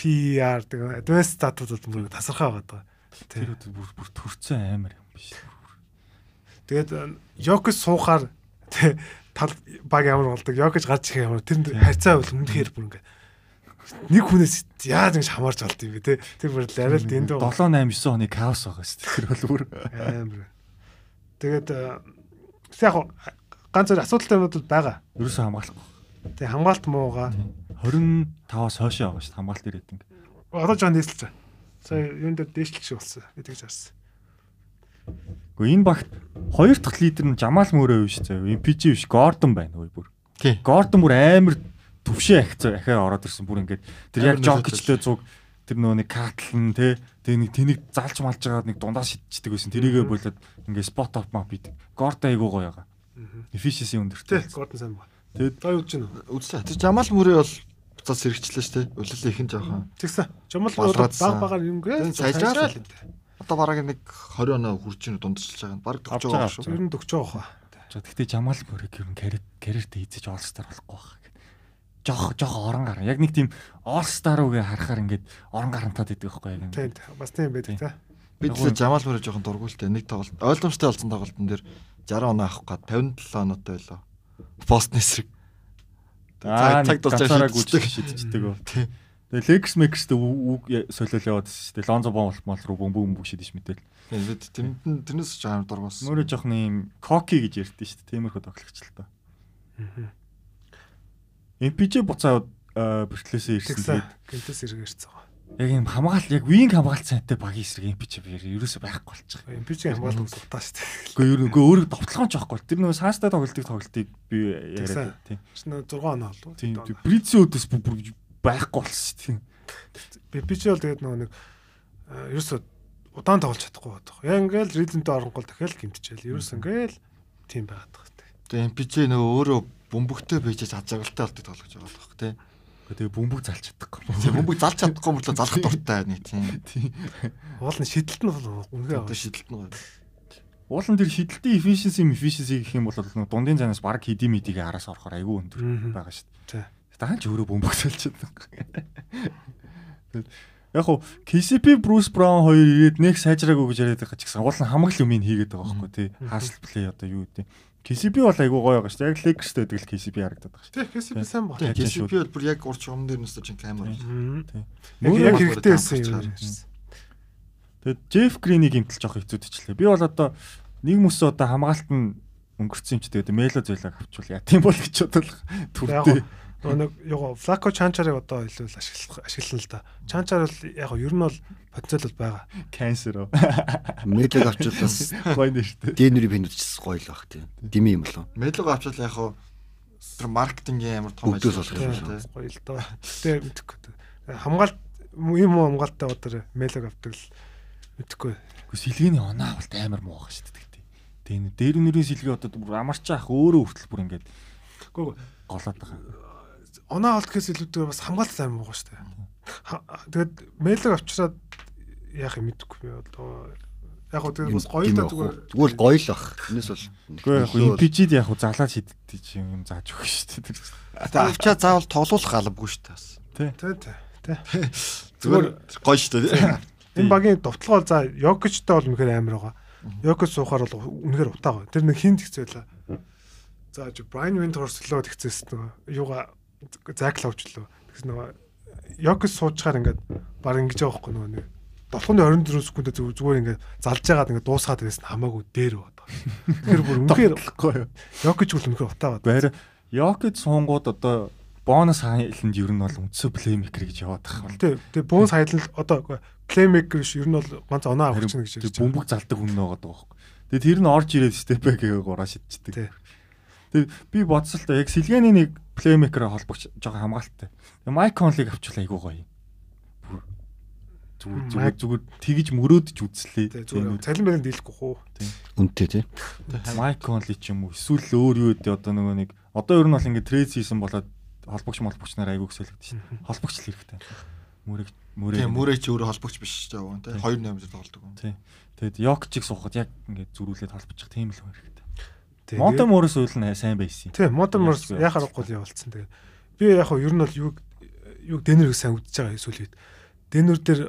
PR гэдэг advanced статус бол мөр тасархаа байгаа даа. Тий. Тэр өдөр бүр бүр төрцөн амар юм биш. Тэгээд Йокич суухаар тий тал баг ямар болдог Йокич гарч ирэх ямар тэр хайцаа бол үнэхээр бүр ингээд нэг хүнээс яаж ингэж хамаарч болд юм бэ те тэр бүр л арай л 7 дэндүү 8 9 оны хаос байгаа шүү дээ. Тэр бол бүр амар тэгээд э, яг хуу, ганц зөв асуудалтай юм бол байгаа ерөөсөө хамгаалахгүй. тэг хамгаалт муугаа 25-аас хойш байгаа шүү дээ хамгаалт ирээдинг. одоо жоон нээслэж байгаа сая юм дээр дээшлэл шиг болсон гэдэг ч харсан Гэхдээ энэ багт хоёр дахь лидер нь Жамал Мөрөө биш заяа. MPG биш, Гордон байна уу бүр. Тий. Гордон бүр амар төвшөө ахицаа ахаа ороод ирсэн бүр ингээд тэр яг Амар жокчлөө зуг тэр нөгөө нэг катлан те тэр нэг тэнийг залж малж байгаа нэг дундаас шидчихдэг байсан. Тэрийгэ болоод ингээд спот оп мап бит. Гордон айгуу гоё байгаа. Efficiency тий өндөртэй. Гордон сайн байна Тэгээд одоо юу гэж байна вэ? Үзлээ. Тэр Жамал мөрөө бол буцаас сэргчлээ шүү дээ. Үлэл их нь жоохон. тэгсэн чамл баг Балраадсан. багаар юм гээ Тэн сайжраа л Одоо бараг нэг 20 оноо хүрч ийн дундчилж байгаа. Бараг Авч 40 байгаа байгаа, шүү. ер нь дөгч байгаа хаа За тэгтээ Жамал Мөрөг ер нь карьер карьертэй эзэж олстар болохгүй байх гэд. Жох жох орон гарна. Яг нэг тийм олстар үгээ харахаар ингээд орон гарантаад идэх байхгүй яг. тий ингээд. тий. бас тийм байдаг тий Бид л Жамал мөрөө жоохон дургуултай. Нэг тоглолт ойлгомжтой болсон тоглолтын дээр 60 оноо авах гээд 57 оноотой байлаа. Пост нэсрэг. Аа, Цаг- цаг нэг дуусаад ганцаараа шийдчихдэг. гүйж шидчихдэг. өө. Тэгээ Лекс Мекстэй үг солиол яваад байсан шүү дээ. Лонзо бомлмал руу бөмбөг бөмбөг шидэж мэтэл. Тийм бид тэнд тэрнээс жоохон дургуулсан. Мөрөө жоох юм коки гэж ярьдээ шүү дээ. Тиймэрхүү тоглогч л та. MPJ буцаад э, бэртлээсээ ирсэн. тэгсэн Тэгээд гинтэс эргээрцээ байгаа яг юм хамгаалт яг винг хамгаалт сайтай багийн эсрэг MPJ бэр ерөөсөй байхгүй болчих. эмпич хамгаалт нь сутаа шүү дээ Гэхдээ ер нь үгүй, өөрөө тоглоом ч байхгүй. бол. Тэр нөгөө саастай тоглолтыг тоглолтыг би Тэгсэн. яриад тийм. Шинэ 6 оноо болов. Тийм. Брицийн өдөөс бүр- бүр байхгүй болсон шүү дээ. Бипич бол тэгээд нөгөө нэг э, ерөөсөө удаан тоглож чадахгүй байдаг. Яг ингээл ритмтэй оронгол дахиад гимтчихэл. Ерөөс ингээл тийм байгаад байгаа юм. Тэгээ MPJ нөгөө өөрөө бөмбөгтэй бийжэж аз жаргалтай болдог тоглож байгаа болох тий. Тэгээ бөмбөг залж чадахгүй. Тэгээ бөмбөг залж чадахгүй мөрлөө залах дуртай нэг тийм. Уул нь шидэлт нь бол үнгээ Одоо аваад. шидэлт нь гоё. Уулын тэр хидэлтийн efficiency efficiency гэх юм бол нөгөө дундын занаас баг хэдий мэдигээ араас орохоор айгүй өндөр Мгм. байгаа шүү Тий. дээ. Дахан ч өөрөө бөмбөгсөлч чаддаг. Яг хо KCP Bruce Brown хоёр ирээд нэг сайжраагүй гэж яриад байгаа ч гэсэн уулын хамаг л өмнө хийгээд байгаа байхгүй тий. Hustle play одоо юу гэдэг. KCP бол айгүй гоё байгаа шүү дээ. Яг Lakers-тэй дэглэл KCP харагдаад байгаа шүү. Тий, хэсэг сайн баг. Тэгээ Тийм, шүүд. GCP бол бүр яг урч юм дээр нэсэж чинь камер. Мм. Яг Мөн яг яг хэрэгтэй байсан юм. Гарч Тэгэд Jeff Green-ийг имтэл жоох хэцүүдчихлээ. Би бол одоо нэг мөсөө одоо хамгаалт нь өнгөрцөн юм чи тэгээд Melo зөйлөг авчвал яа тийм бол гэж бодлоо Яг түрдээ. нөгөө нэг яг Флако Чанчарыг одоо илүү л ашиглах ашиглана л да. Чанчар бол яг гоо, ер нь бол потенциал бол байгаа. Cancer. Мэдлэг авчвал бас Гоё нэртэй. Дэнүри пиндчс гоё л баг тийм. Дими юм болов. Мэлэг авчвал яг хуу тэр маркетингийн амар том Бүгдөөс болох байна, юм тий. Гоё л доо. Тэ мэдэхгүй. Хамгаалт юм уу хамгаалттай одоо мэлэг авдаг л мэдэхгүй. Гэхдээ сэлгээний оноо бол амар муу байгаа шүү дээ. Тэгээ энэ дээр нэрийн сэлгээ одоо бүр амарч ах өөрөө хүртэл бүр ингээд Гүү голоод байгаа. оноо олдхоос илүүтэйгээр бас хамгаалт сайн байгаа шүү дээ. Ха- Тэгэд мэйлэг авчираад яах юм мэдэхгүй би одоо яг гоо тэгээд бас гоё л да зүгээр Тэгвэл гоё л баг. Энэс бол Гэхдээ яг хөө импижид яг хөө залаад шидэж юм зааж өгөх шүү дээ. Тэгээ авчаа заавал тоглох галбгүй шүү дээ. бас. тий тий. тий. Зүгээр гоё шүү дээ. тий. Энэ багийн довтлогоо за Йокичтэй бол үнэхээр амар байгаа. Йокич суухаар бол үнэхээр утаа гоё. Тэр нэг хин тэгцээлээ. За Брайан Винторс лөө тэгцээс нөгөө юугаа Зак ловч лөө тэгс нөгөө Йокич суучгаар ингээд баг ингэж байгаа байхгүй нөгөө нэг Долхоны 24 секундэд зүг- зүгээр ингээд залж байгаад ингээд дуусгаад байсан хамаагүй дээр бодоо. Тэр бүр үнэхээр Тэгэхгүй юу. Йокич бол үнэхээр утаа бат. Баяр Йокич суунгууд одоо бонус хайланд ер нь бол үндсээ плеймейкер гэж яваад байгаа бол. Тэ тэ бүүн саялал одоо плеймейкер биш ер нь бол ганц оноо авах чинь гэж Тэр ярьж байгаа. бөмбөг залдаг хүн нэгэд байгаа байхгүй. Тэгээ тэр нь орж ирээд степэк гэгээ гураа шидчихдэг. Тий. Тэг би бодсон л та яг сэлгээний нэг плеймейкер холбогч жоохон хамгаалттай. Тэг Майк Конлиг авчвал айгүй гоё. Бүр Зүгээр зүгээр Майк- зүгээр тэгж мөрөөдж үзлээ. Тэ зүгээр цалин байранд дийлэхгүй хөө. үнтэй тий. Майк Конли ч юм уу эсвэл өөр юу гэдэг одоо нөгөө нэг одоо ер нь бол ингээд трейд хийсэн болоод холбогч молбогч нараа айгүй хөсөлөгдөж шин. Холбогч л хэрэгтэй. Мөрөг мөрөг. Тэгээ мөрөө чи өөрөө холбогч биш шүү дээ. уг нь, тий. Хоёр нэмж тоглолдог. юм. Тий. Тэгэд Йокчиг суухад яг ингээд зөрүүлээд холбогчих тийм л хүн хэрэгтэй. Тэ, Модом өөрөөс үйл нь сайн байсан юм. Тий, модон морс Ярьж яхаар гол явуулсан. Тэгээ би яг хав ер нь бол юг юг дэнэрийг сайн үдчихэж байгаа эсвэл үед. Дэнэр дээр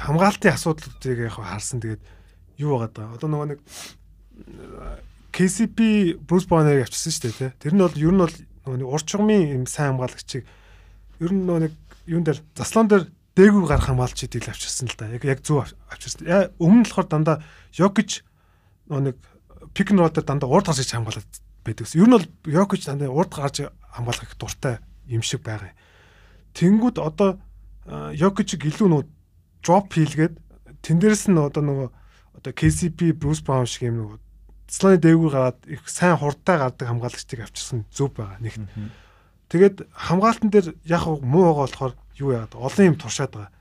хамгаалтын асуудлуудыг яг хав харсан. Тэгээд юу байгаа даа. Одоо нөгөө нэг KCP Bruce Banner-ыг авчирсан шүү дээ, тий. Тэр нь бол ер нь бол нөгөө нэг урт чугмын юм сайн хамгаалагчийг ер нь нөгөө нэг юун дээр заслан дээр дээгүүр гарах хамгаалчид ил авчирсан л да. Яг яг зөв ав- авчирсан. Яа, Өмнө нь болохоор дандаа Jokic нөгөө нэг pick and roll дээр дандаа урд гарч иж хамгаалаад байдаг гэсэн. Ер нь бол Jokic дандаа урд гарч хамгаалах их дуртай юм шиг байгаа юм. Тэнгүүд одоо а, Jokic-ийг илүү нөгөө drop хийлгээд тэн дээрээс нь одоо нөгөө одоо KCP Bruce Brown шиг юм нөгөө Слоны дээгүүр гараад их сайн хурдтай гардаг хамгаалагчдыг авчирсан зөв байгаа нэгт. Тэгээд хамгаалтан дээр яг хав муу байгаа болохоор юу яагаад олон юм туршаад байгаа.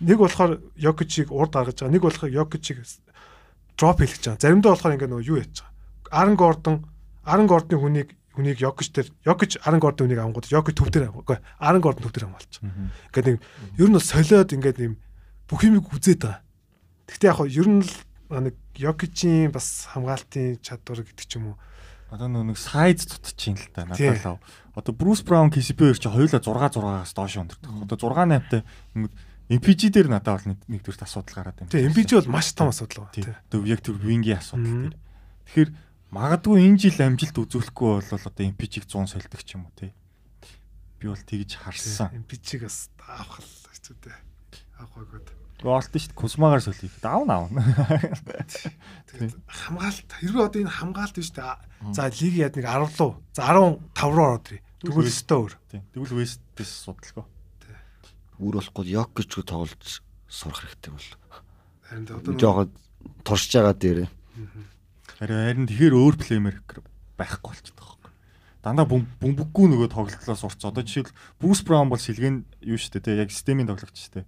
Нэг болохоор Йокичийг урд гаргаж байгаа, нэг болохоор Йокичийг дроп хийлгэж байгаа. Заримдаа болохоор ингээ нөгөө юу яж байгаа. Арн Гордон, Арн Гордны хүнийг хүнийг Йокич дээр Йокич Арн Гордны хүнийг авангууд Йокич төв дээр авахгүй. Арн Гордон төв дээр хамгаалж байгаа. Ингээ нэг ер нь бол солиод ингээ юм бүх юмыг үзээд байгаа. Гэхдээ яг хав ер нь л нэг Йокичийн бас хамгаалтын чадвар гэдэг ч юм уу. Одоо нөө нэг сайз тутчихин л та Тий. надад л. Одоо Bruce Brown KCP хоёр чи хоёулаа 6 6-аас доош өндөртөх. Одоо 6 8-тай MPG дээр надад бол нэг- нэгдүгürt асуудал гараад байна. Тэгээ MBG бол маш том асуудал Тий. байна. Одоо вектор вингийн асуудал Мгм. дээр. Тэгэхээр магадгүй энэ жил амжилт үзүүлэхгүй бол одоо импичиг 100 солидог ч юм уу тий. Би бол тэгж харсан. Эмпичиг бас авах л хэцүүтэй. Авахгүйд. Болт нь шүү дээ Кузмагаар солих. Давн аавна. Тэгээд хамгаалт хэрвээ одоо энэ хамгаалт биш үү? За лиг яд нэг 10 лу. За 15 руу ороод ирье. Тэгвэл Тэгвэл- өстөө өөр. Тий. Тэгвэл West-с судалгаа. Үр болохгүй Йокич руу тоглож сурах хэрэгтэй бол. Харин тэ одоо нөгөө- Жохон туршиж байгаа дээр Харин харин тэгэхээр өөр плеймеркер байхгүй болчихдог байхгүй. Дандаа бүм- бөмбөггүй нөгөө тоглолтлоо сурц. Одоо жишээл Bruce Brown бол сэлгэн юу шүү дээ тий. Яг системийн тоглогч шүү дээ.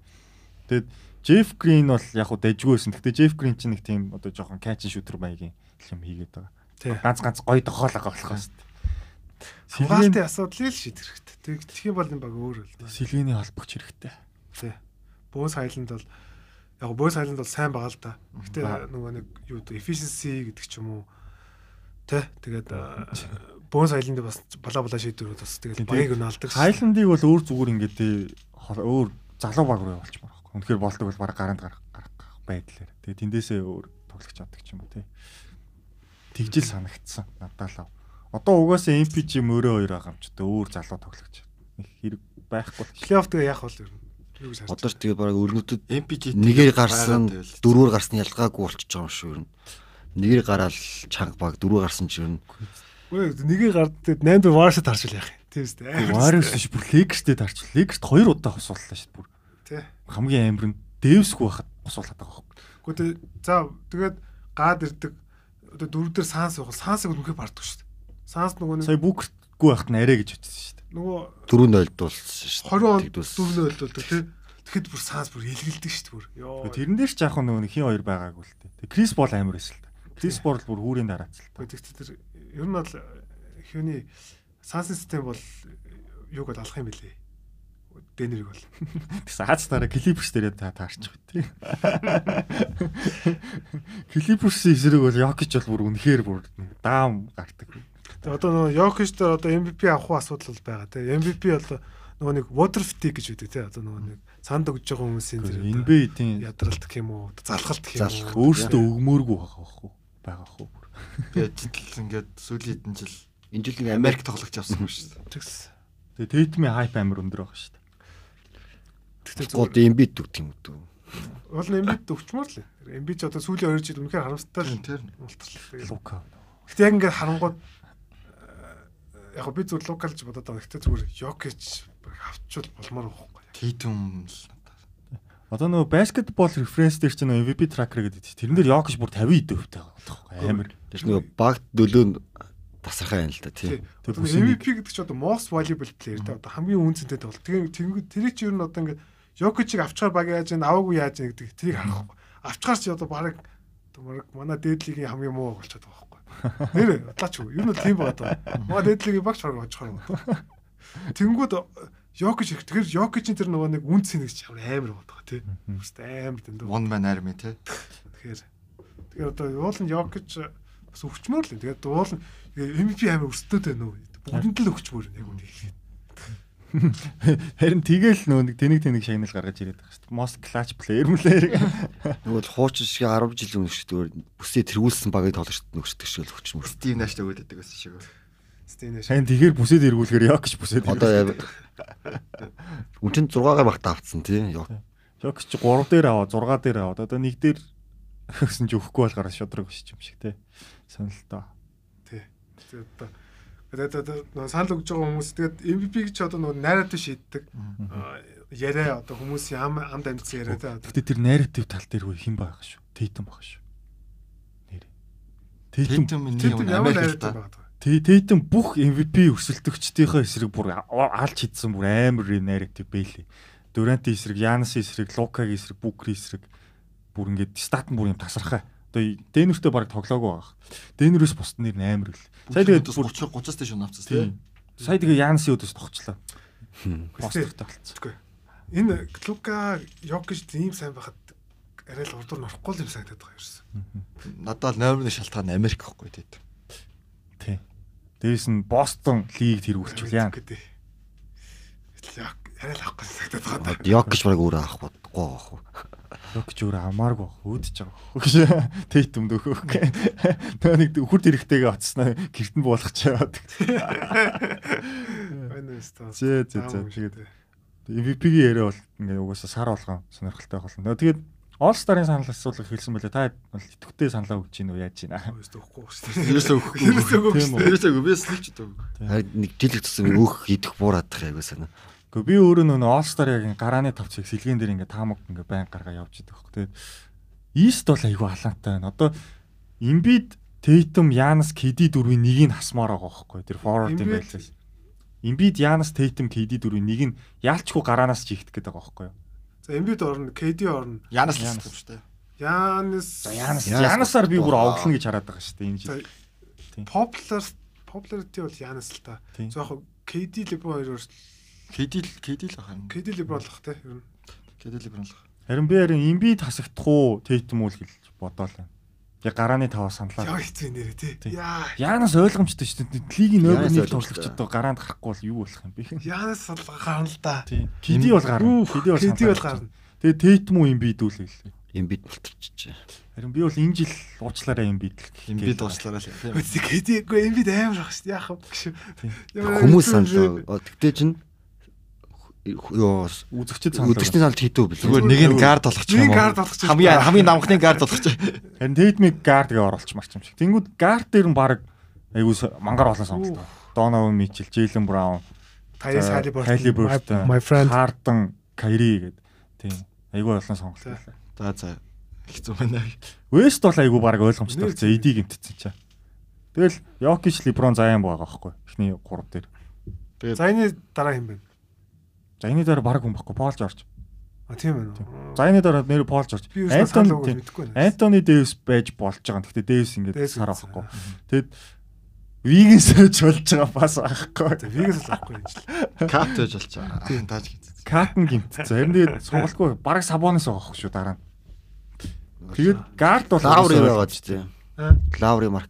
Тэгээд Jeff Green бол яг хуу дэжгүйсэн. Гэхдээ Jeff Green чинь нэг тийм одоо жоохон catch and shooter маягийн юм хийгээд байгаа. Тий. Ганц ганц гоё тохиолого болохоос шүү дээ. Хамгаалтын асуудлыг л шийдэх хэрэгтэй. Тэг- Тэгэх юм бол энэ баг өөр л дээ. Сэлгэний холбогч хэрэгтэй. Тий. Бөөс хайланд бол яг бөөс хайланд бол сайн байгаа л да. Аа. Гэтэ нөгөө нэг юу дээ efficiency гэдэг ч юм уу. Тэ тэгээд бөөс хайланд бас бала бала шийдвэрүүд бас Тий, тэгээд багийг тэгээд унаалдаг. Хайландыг бол өөр зүгээр ингээд тий, хол- өөр залуу баг руу явуулчихмаар байхгүй. Үнэхээр болдог бол баг гаранд гарах гарах байдлаар. Тэгээ тэндээсээ өөр тоглож чаддаг ч юм уу тий. Тэгжил санагдсан надад л. Одоо угаасаа MPG мөрөө хоёр байгаа юм ч гэдэг өөр залуу тоглож нэг хэрэг байхгүй л шүү. Плейофф тэгээ яах бол ер нь. Юу гэж одоо ч тэгээ бараг өрнөдөд MPG нэгээр гарсан дөрвөр гарсны ялгаагүй болчихж байгаа юм шүү юу. Нэгээр гараал чанга баг дөрвөр гарсан ч юу. Үгүй нэгийг гарддаг 8 дэх варшд харшил яах юм. Тийм үстэ. Warriors шүү бүр Lakers-тэй тарч. Lakers-т хоёр удаа хосууллаа шүү бүр. Тэ. Хамгийн амар нь Дэвсгүй байхад хосуулаад байгаа байхгүй. Үгүй тэ за тэгээд гад ирдэг одоо дөрөв дээр санс явах. Сансыг үнхээр барддаг шүү дээ. Санс нөгөө нэг Сая Booker-гүй байхад нэрэ гэж утсан шүү дээ. нөгөө 4-0 дуулсан шүү. 20 он Тэгдүүлсэн. дөрвнөө өлдөлдөг тий. Тэгэхэд бүр санс бүр илгэлдэг шүү дээ бүр. Йоо. Тэгвэл Тэрэн дээр ч яг хөө нөгөө нэг хин хоёр байгаагүй л дээ. Тэгээ Крис Бол амар эсэл та. Крис Бол бүр хүүрийн дараац л та. Тэгт тэр ер нь бол хөөний санс систем бол юуг бол алах юм бэлээ. Дэнэрэг бол. Тэгсэн хаач дараа Клиперс дээр та таарчих бай тээ. Клиперсийн эсрэг бол Йокич бол бүр үнэхээр бүр нэг даам гардаг. Тэгээ одоо нөгөө Йокич дээр одоо MVP авах уу асуудал бол байгаа тий. MVP бол нөгөө нэг water fatigue гэж үүдэг тий. Одоо нөгөө нэг санд өгж байгаа хүмүүсийн тэр одоо- NBA-ийн ядралт гэх юм уу залхалт гэх юм Залхах. уу өөртөө өгмөөргүй байгаа байхгүй байгаа хөө. Би ажилтал ингээд сүүлийн хэдэн жил Энэ жил нэг Америк Америк тоглож явсан юм шүү дээ. тэгс Тэгээ Тэйтмийн хайп амар өндөр байгаа шүү дээ. тэгтээ гол зүгээр эмбид дүгт юм дүү. уул эмбид өвчмөр л эмбид ч одоо сүүлийн 2 жил үнэхээр харамстай л Тэр ултарлаа Лука. гэхдээ яг ингээд харангууд э, яг би зүгээр локал гэж бодоод байгаа гэхдээ зүгээр ёкич авчвал болмоор байхгүй Титум л надад. Одоо нөгөө баскетбол референс дээр чинь нөгөө MVP tracker гэдэг чинь тэрэн дээр Йокич бүр 50 идэв хөвтэй байгаа байхгүй амар. Тэр чинь нөгөө багт дөлөөнд тасархаа юм л да тий. Тэр одоо бүсийн нэг. MVP гэдэг чи одоо most valuable player тэ одоо хамгийн үнцэнтэй бол тэгээ тэнгүү- тэрийг чи ер нь одоо ингээд ёкичийг авчгаар баг яаж ийн аваагүй яаж ийн гэдэг тэрийг харахгүй авчгаар чи одоо баг манай дээдлийн хамгийн муу болчиход байгаа байхгүй Нэр удлаач юу? Юу нь бол тийм байгаа даа. Мага дээдлэгийн багч хорог очихор байна. Тэнгүүд Йокич ирэх. Тэгэхээр Йокичийн тэр нөгөө нэг үн цэнэ гэж амар амар болдог тий. Үстэ амар дэндүү. One man army те. Тэгэхээр тэгэхээр одоо юул нь Йокич бас өвчмөр л юм. Тэгээд дуул нь MVP амар өрсөлдөд байна уу? Бүгдэнд л өвчмөр нэг юм хэлээ. Харин тэгэл нөгөө нэг тэнэг тэнэг шагнал гаргаж ирээд байгаа шүү. Most clutch player мөлий. Нөгөө л хуучин шиг 10 жил өмнө шүү дээ бүсээ тэргүүлсэн багыг тоглож нөхсдөг шиг л хүч мөр. Steam Dash төгөөд байдаг гэсэн шиг. Стэнэ шиг. Шайн тэгэхэр бүсэд эргүүлэхээр Йокч бүсэд Одоо эргүүлсэн. яв. Үнэн 6-гаар багтаа авцсан тий. Йо. Йокч 3 дээр аваа, 6 дээр аваа. Одоо 1 дээр гэсэн чи өгөхгүй болохоор шодрог биш юм шиг те. Сонирхолтой. Тий. Тэгээд одоо тэгээд одоо нөгөө санал өгж байгаа хүмүүс тэгээд MVP гэж одоо нөгөө найраад шийддэг. Аа, Яриа одоо хүмүүсийн ам амд амьдсан яриа та одоо. Гэтэ тэр narrative тал дээр хөө хин байх шүү. Тейтэн байх шүү. Нэр. Тейтэн Тэйтэн миний Тэр юм ямар амар найраад л та. байгаа даа. Тэ- Тейтэн бүх MVP өрсөлдөгчдийнхээ эсрэг бүр а- алж хийдсэн бүр амар юм narrative бэлээ. Дүрэнтийн эсрэг, Янасын эсрэг, Лукагийн эсрэг, Бүкри эсрэг бүр ингээд стат нь бүр юм тасархаа. Одоо Дэнүртэ баг тоглоагүй баг. Дэнүрээс бусд нэр нь амар л. Сая тэгээд бүр 30 30-аас дэш унавцсан тий. тийм. Сая тэгээд Янасын өдөөс тогчлаа. Гэхдээ- Постыг тогтолцсон. Тэгэхгүй. Энэ Лука Йокич ийм сайн байхад арай л урд нь орохгүй л юм санагдаад байгаа юм ерөөс. Надад номер нэг шалтгаан Америк гэхгүй тий. Тийм. Дээрээс нь Бостон лиг тэргүүлчихвэл яа. Гэдэг. Лок арай л авахгүй санагдаад байгаа даа. Йокч баг өөрөө авах бодохгүй байгаа хөө. Локч өөр амааргүй өөдөж байгаа. Тейтэн дөхөх. Тэгээ нэг үхэр дэрэгтэйгээ оцсноо гэрт нь буулгах чаад. Байна уу стаа. Зээ, зээ, зээ. Тэгээд MVP-ийн яриа бол ингээ угаасаа сар болгон сонирхолтой болно. Нөгөө Тэгээд All Star-ын санал асуулга хэлсэн байлээ. Та бол идэвхтэй саналаа өгч гин үү яаж гин аа. Өөстө өгөхгүй багш. Ерөөсөө өгөхгүй. Ерөөсөө Тийм үү. өгөхгүй. Ерөөсөө би слич гэдэг. Харин нэг жилэг тусам өөх идэх буураадах яг санаа. Гэхдээ би өөрөө нөгөө All Star-ыг ингээ гарааны тавцыг сэлгэн дээр ингээ таамаг ингээ байн гаргаа явж идэх хөөх. Тэгээд East бол айгүй халаантай байна. Одоо Embiid, Tatum, Giannis, KD дөрвийн нэг нь хасмаар байгаа хөөхгүй. Тэр forward юм Embiid- байлээ. Embiid, Giannis, Tatum, KD дөрвийн нэг нь яалчгүй гараанаас ч ихтэх гэдэг байгаа хөөхгүй. За Эмбид орно, КД орно. Янас л Янас. юм шүү дээ. Янис. За Giannis, Giannis Giannis-аар би бүр болоо. овглоно гэж хараад байгаа шүү дээ энэ жил. Popular popularity бол Янис л та. Тийм. За яг КД либо хоёр өөр Кэдил кэдил ах юм. КД либо болох те ер нь. Кэдил бранлах. Харин би харин Embiid хасагдах уу, Tatum уу л гэж бодоол байна. Яг гарааны таваа саналаа. Яа хэцүү нэрэ те. Тийм. Яа. Яанас ойлгомжтой шүү дээ. Лигийн номер 1 Giannis ойлгомжтой. туршлагч одоо гараанд гарахгүй бол юу болох юм бэ? Янис бол гарна л да. Тийм. KD бол гарна. Үх, KD бол KD бол саналаа. гарна. Тэгээ Tatum уу Embiid үү л гэлээ. Эмбид болтчихжээ. Харин би бол энэ жил уучлаарай Embiid л. гэх Имбид гээд туслараа л юм. Үгүй КД гоо Эмбид амар ах шүү. Яах вэ? Тийм. Ямар Хүмүүс хэцүү санал нэрэ. байгаа. тэгтээ чинь ёо үзэгчд санал. өдөртний өгнө. санал хийдүү бэл. Зүгээр нэг нь гард болгочих юм. Нэг уу? гард болгочих. Хамгийн хамгийн намхны гард болгочих. Харин Tatum-ыг guard гээ оруулчмаар ч юм шиг. Тэнгүүд guard дээр нь баг айгуу со- мангар олон сонголт байна. Donovan Mitchell, Jalen Brown, Таяс Halliburton, Halliburton. My my friend. Harden, Kyrie гэдэг. Тийм. Айгуу олон сонголт байна. За за. Хэцүү байна. Вест бол айгүй баг ойлгомжтой Нэр болсон. AD гимтсэн чаа. Тэгэл Йокич, Леброн, Зайн байгаа байхгүй. Эхний 3 дээр. Тэгээд Зайны дараа хэм бэ? Зайны дараа баг хүн байхгүй. Пол Жорж. А тийм байна. Зайны дараа нэр Пол Жорж. Би өөрөө санал өгөх тийм. мэдэхгүй байна. Антони Дэвис байж болж байгаа. Гэхдээ Дэвис ингээд Дэвис сар гимтсэн. авахгүй. Тэгэд Вигэн сойж болж байгаа бас За авахгүй. вигас л авахгүй юм жил. кат гэж болчихоо. Тийм тааж гинцээ. Катн гимтсэн. Харин тэгээд суулгахгүй баг Сабонис байгаа хөх шүү дараа нь. Тэгэд Гард бол лаври өөрөө байгаа ч тийм. Аа. Лаври марк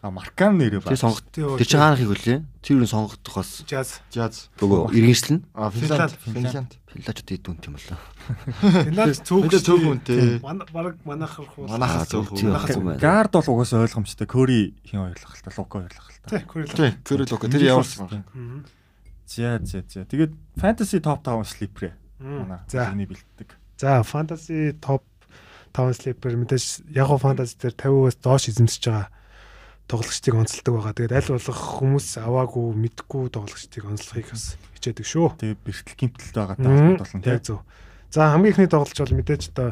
А Маркан нэрээ баг. тий сонгох. Тий, Тэр чинь хаанах их үлээ. Тэр нь сонгохдох бас Jazz. Жаз. нөгөө иргэншилнэ. А Финланд. Финланд. Финланд. Пилачд идүүнт юм болоо. Финланд цөөх. Финланд цөөх үнтэй. Манай баг манайхрах уу? Манайх. Ахаа, зөв. тийм Ахаа, зөв. юм байна. Гард бол угаасаа ойлгомжтой. Кори хин хоёрлах л та, Лука хоёрлах л та. Тий, Курил. Тийм. Тэр л окей. Тэр явуулсан. Мгм. За за за. Тэгээд fantasy top 5 sleeper Мм. манай За. миний бэлддэг. За, fantasy top 5 sleeper мэдээж яг гоо fantasy дээр 50%-аас доош эзэмсэж байгаа тоглогчдыг онцолдог байгаа. Тэгээд аль болох хүмүүс аваагүй, мэдгүй тоглогчдыг онцлохыг бас хичээдэг шүү. Тэгээд бэртэл гимтэлт байгаа та Мм, холбогд болно Яг тийм. зөв. За хамгийн ихний тоглолч бол мэдээж одоо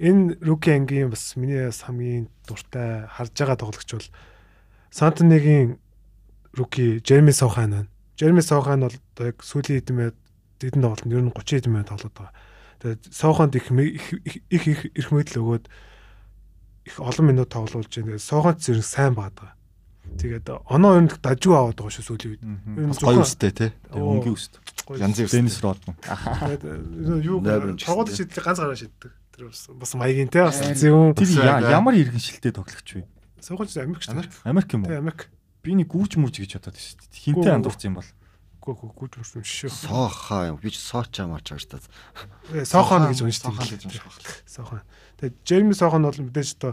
энэ руки ангийн бас миний бас хамгийн дуртай харж байгаа тоглолч бол Сантныгийн руки Жерми Сохан байна. Жерми Сохан бол одоо яг сүүлийн хэдэн хэдэн тоглолтод ер нь 30 хэдэн минут тоглоод байгаа. Тэгээд Соханд их мэ- их их- их их эрх мэдэл өгөөд их олон минут тоглуулж байгаа. Тэгээд Соханд зэрэг сайн байгаа. Тэгээд оноо ер нь дажгүй аваад байгаа шүү сүүлийн үед. Мгм. Ер нь Бас гоё зөвхөн- үстэй те. Тэгээд өнгийн үст. Гоё үстэй. Янзын үстэй. Денис Родман. Аха. Тэгээд, э, юу Найбар ч чагууд гэсэн. шийдэл ганц гараа шийддэг. Тэр бас бас маягийн те бас зөв. Тэр Бас я- байгаа. ямар иргэншилтэй тоглогч вэ? Сойгоч Америк шүү. Америк. Америк юм Тэ уу? Америк. Би нэг гүүч мүрж гэж бодоод байсан шүү дээ. Гүү. Хинтээ андуурсан юм бол. Гүү хөө гүйж юм шүү. Сохоо юм. Би ч соочаа марч байгаа шүү дээ. Э, Сохон гэж уншдаг. Сохон гэж уншдаг. Сохон. Тэгээд Джейми Сохон бол мэдээж одоо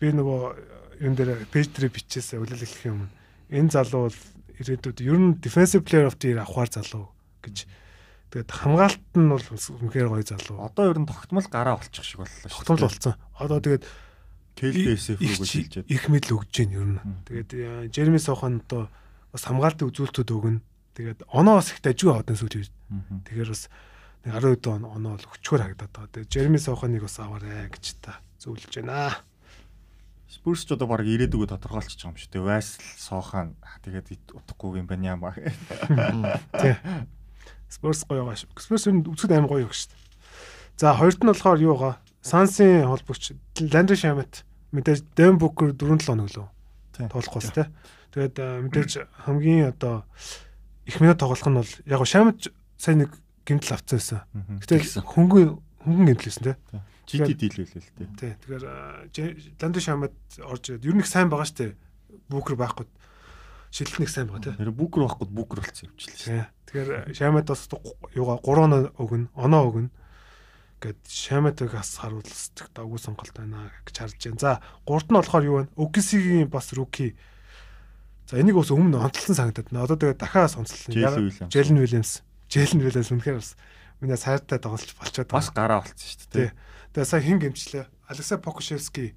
би нөгөө э, юм дээр пэйж дээр бичээсээ үлэлэх юм. Энэ залуу бол ирээдүйд ер нь defensive player of the year авахар залуу гэж. Тэгээд хамгаалалт нь бол үнэхээр гоё залуу. Одоо ер нь тогтмол гараа олчих шиг боллоо шүү. Тогтмол болсон. Одоо тэгээд KDS-ийг их гэж чи- хэлж байна. их мэдл өгж гин ер нь. Тэгээд э, Jeremy Sohan одоо бас хамгаалтын үзүүлэлтүүд өгнө. Тэгээд оноо бас их дажгүй хатан сүйт ирд. Тэгэхээр бас нэг 12 доо оноо л өчгөр хагдаад байгаа. Тэгээд Jeremy Sohan-ыг бас аваарэ гэж та зөвлөж байна. Spurs ч одоо баг ирээдүгөө тодорхойлчих юм шүү. Тэгээ Вайсл Сохан тэгээд ит- утахгүй юм байна ямаа. Тий. Spurs гоё байгаа шүү. Spurs ер нь үзэхэд амар гоё юм шүү. За хоёрт нь болохоор юу вэ? Сансын холбогч Landry Shamet мэдээж Dan Booker 4-7 хоног лөө Тий. тоглох бас тий. Тэгээд э, мэдээж хамгийн одоо их минут тоглох нь бол яг нь Shamet ч сайн нэг гэмтэл авцсан байсан. Мгм. Тэгсэн. Гэтэл хөнгөн хөнгөн гэмтэлсэн тий. GD дийлвэлээ л тээ. Тий. Тэгэхээр э, J- Landry Shamet орж ирээд ер нь их сайн байгаа шүү дээ. Booker байхгүй шилдэх нэг сайн байгаа тий. Тэр бүкр байхгүй бүкр болсон явчихлаа. Тий. Э, Тэгэхээр Шамад бас гу- юугаа 3 оноо өгнө, оноо өгнө. Гэт Шамадаг бас харуулцдаг давгүй сонголт байна гэж харж байна. За, гурт нь болохоор юу вэ? Окисигийн бас руки. За, энийг бас өмнө онцлсан санагдаад байна. Одоо тэгээ дахиад онцлсан. Jalen Яг- Williams. Jalen Williams. Jalen Williams үнэхээр бас миний сайртай тоглолч болчиход Бас байгаа. гараа олцсон шүү Тий. дээ. Тэгээ сая хин гэмчлээ. Алексей Покушевский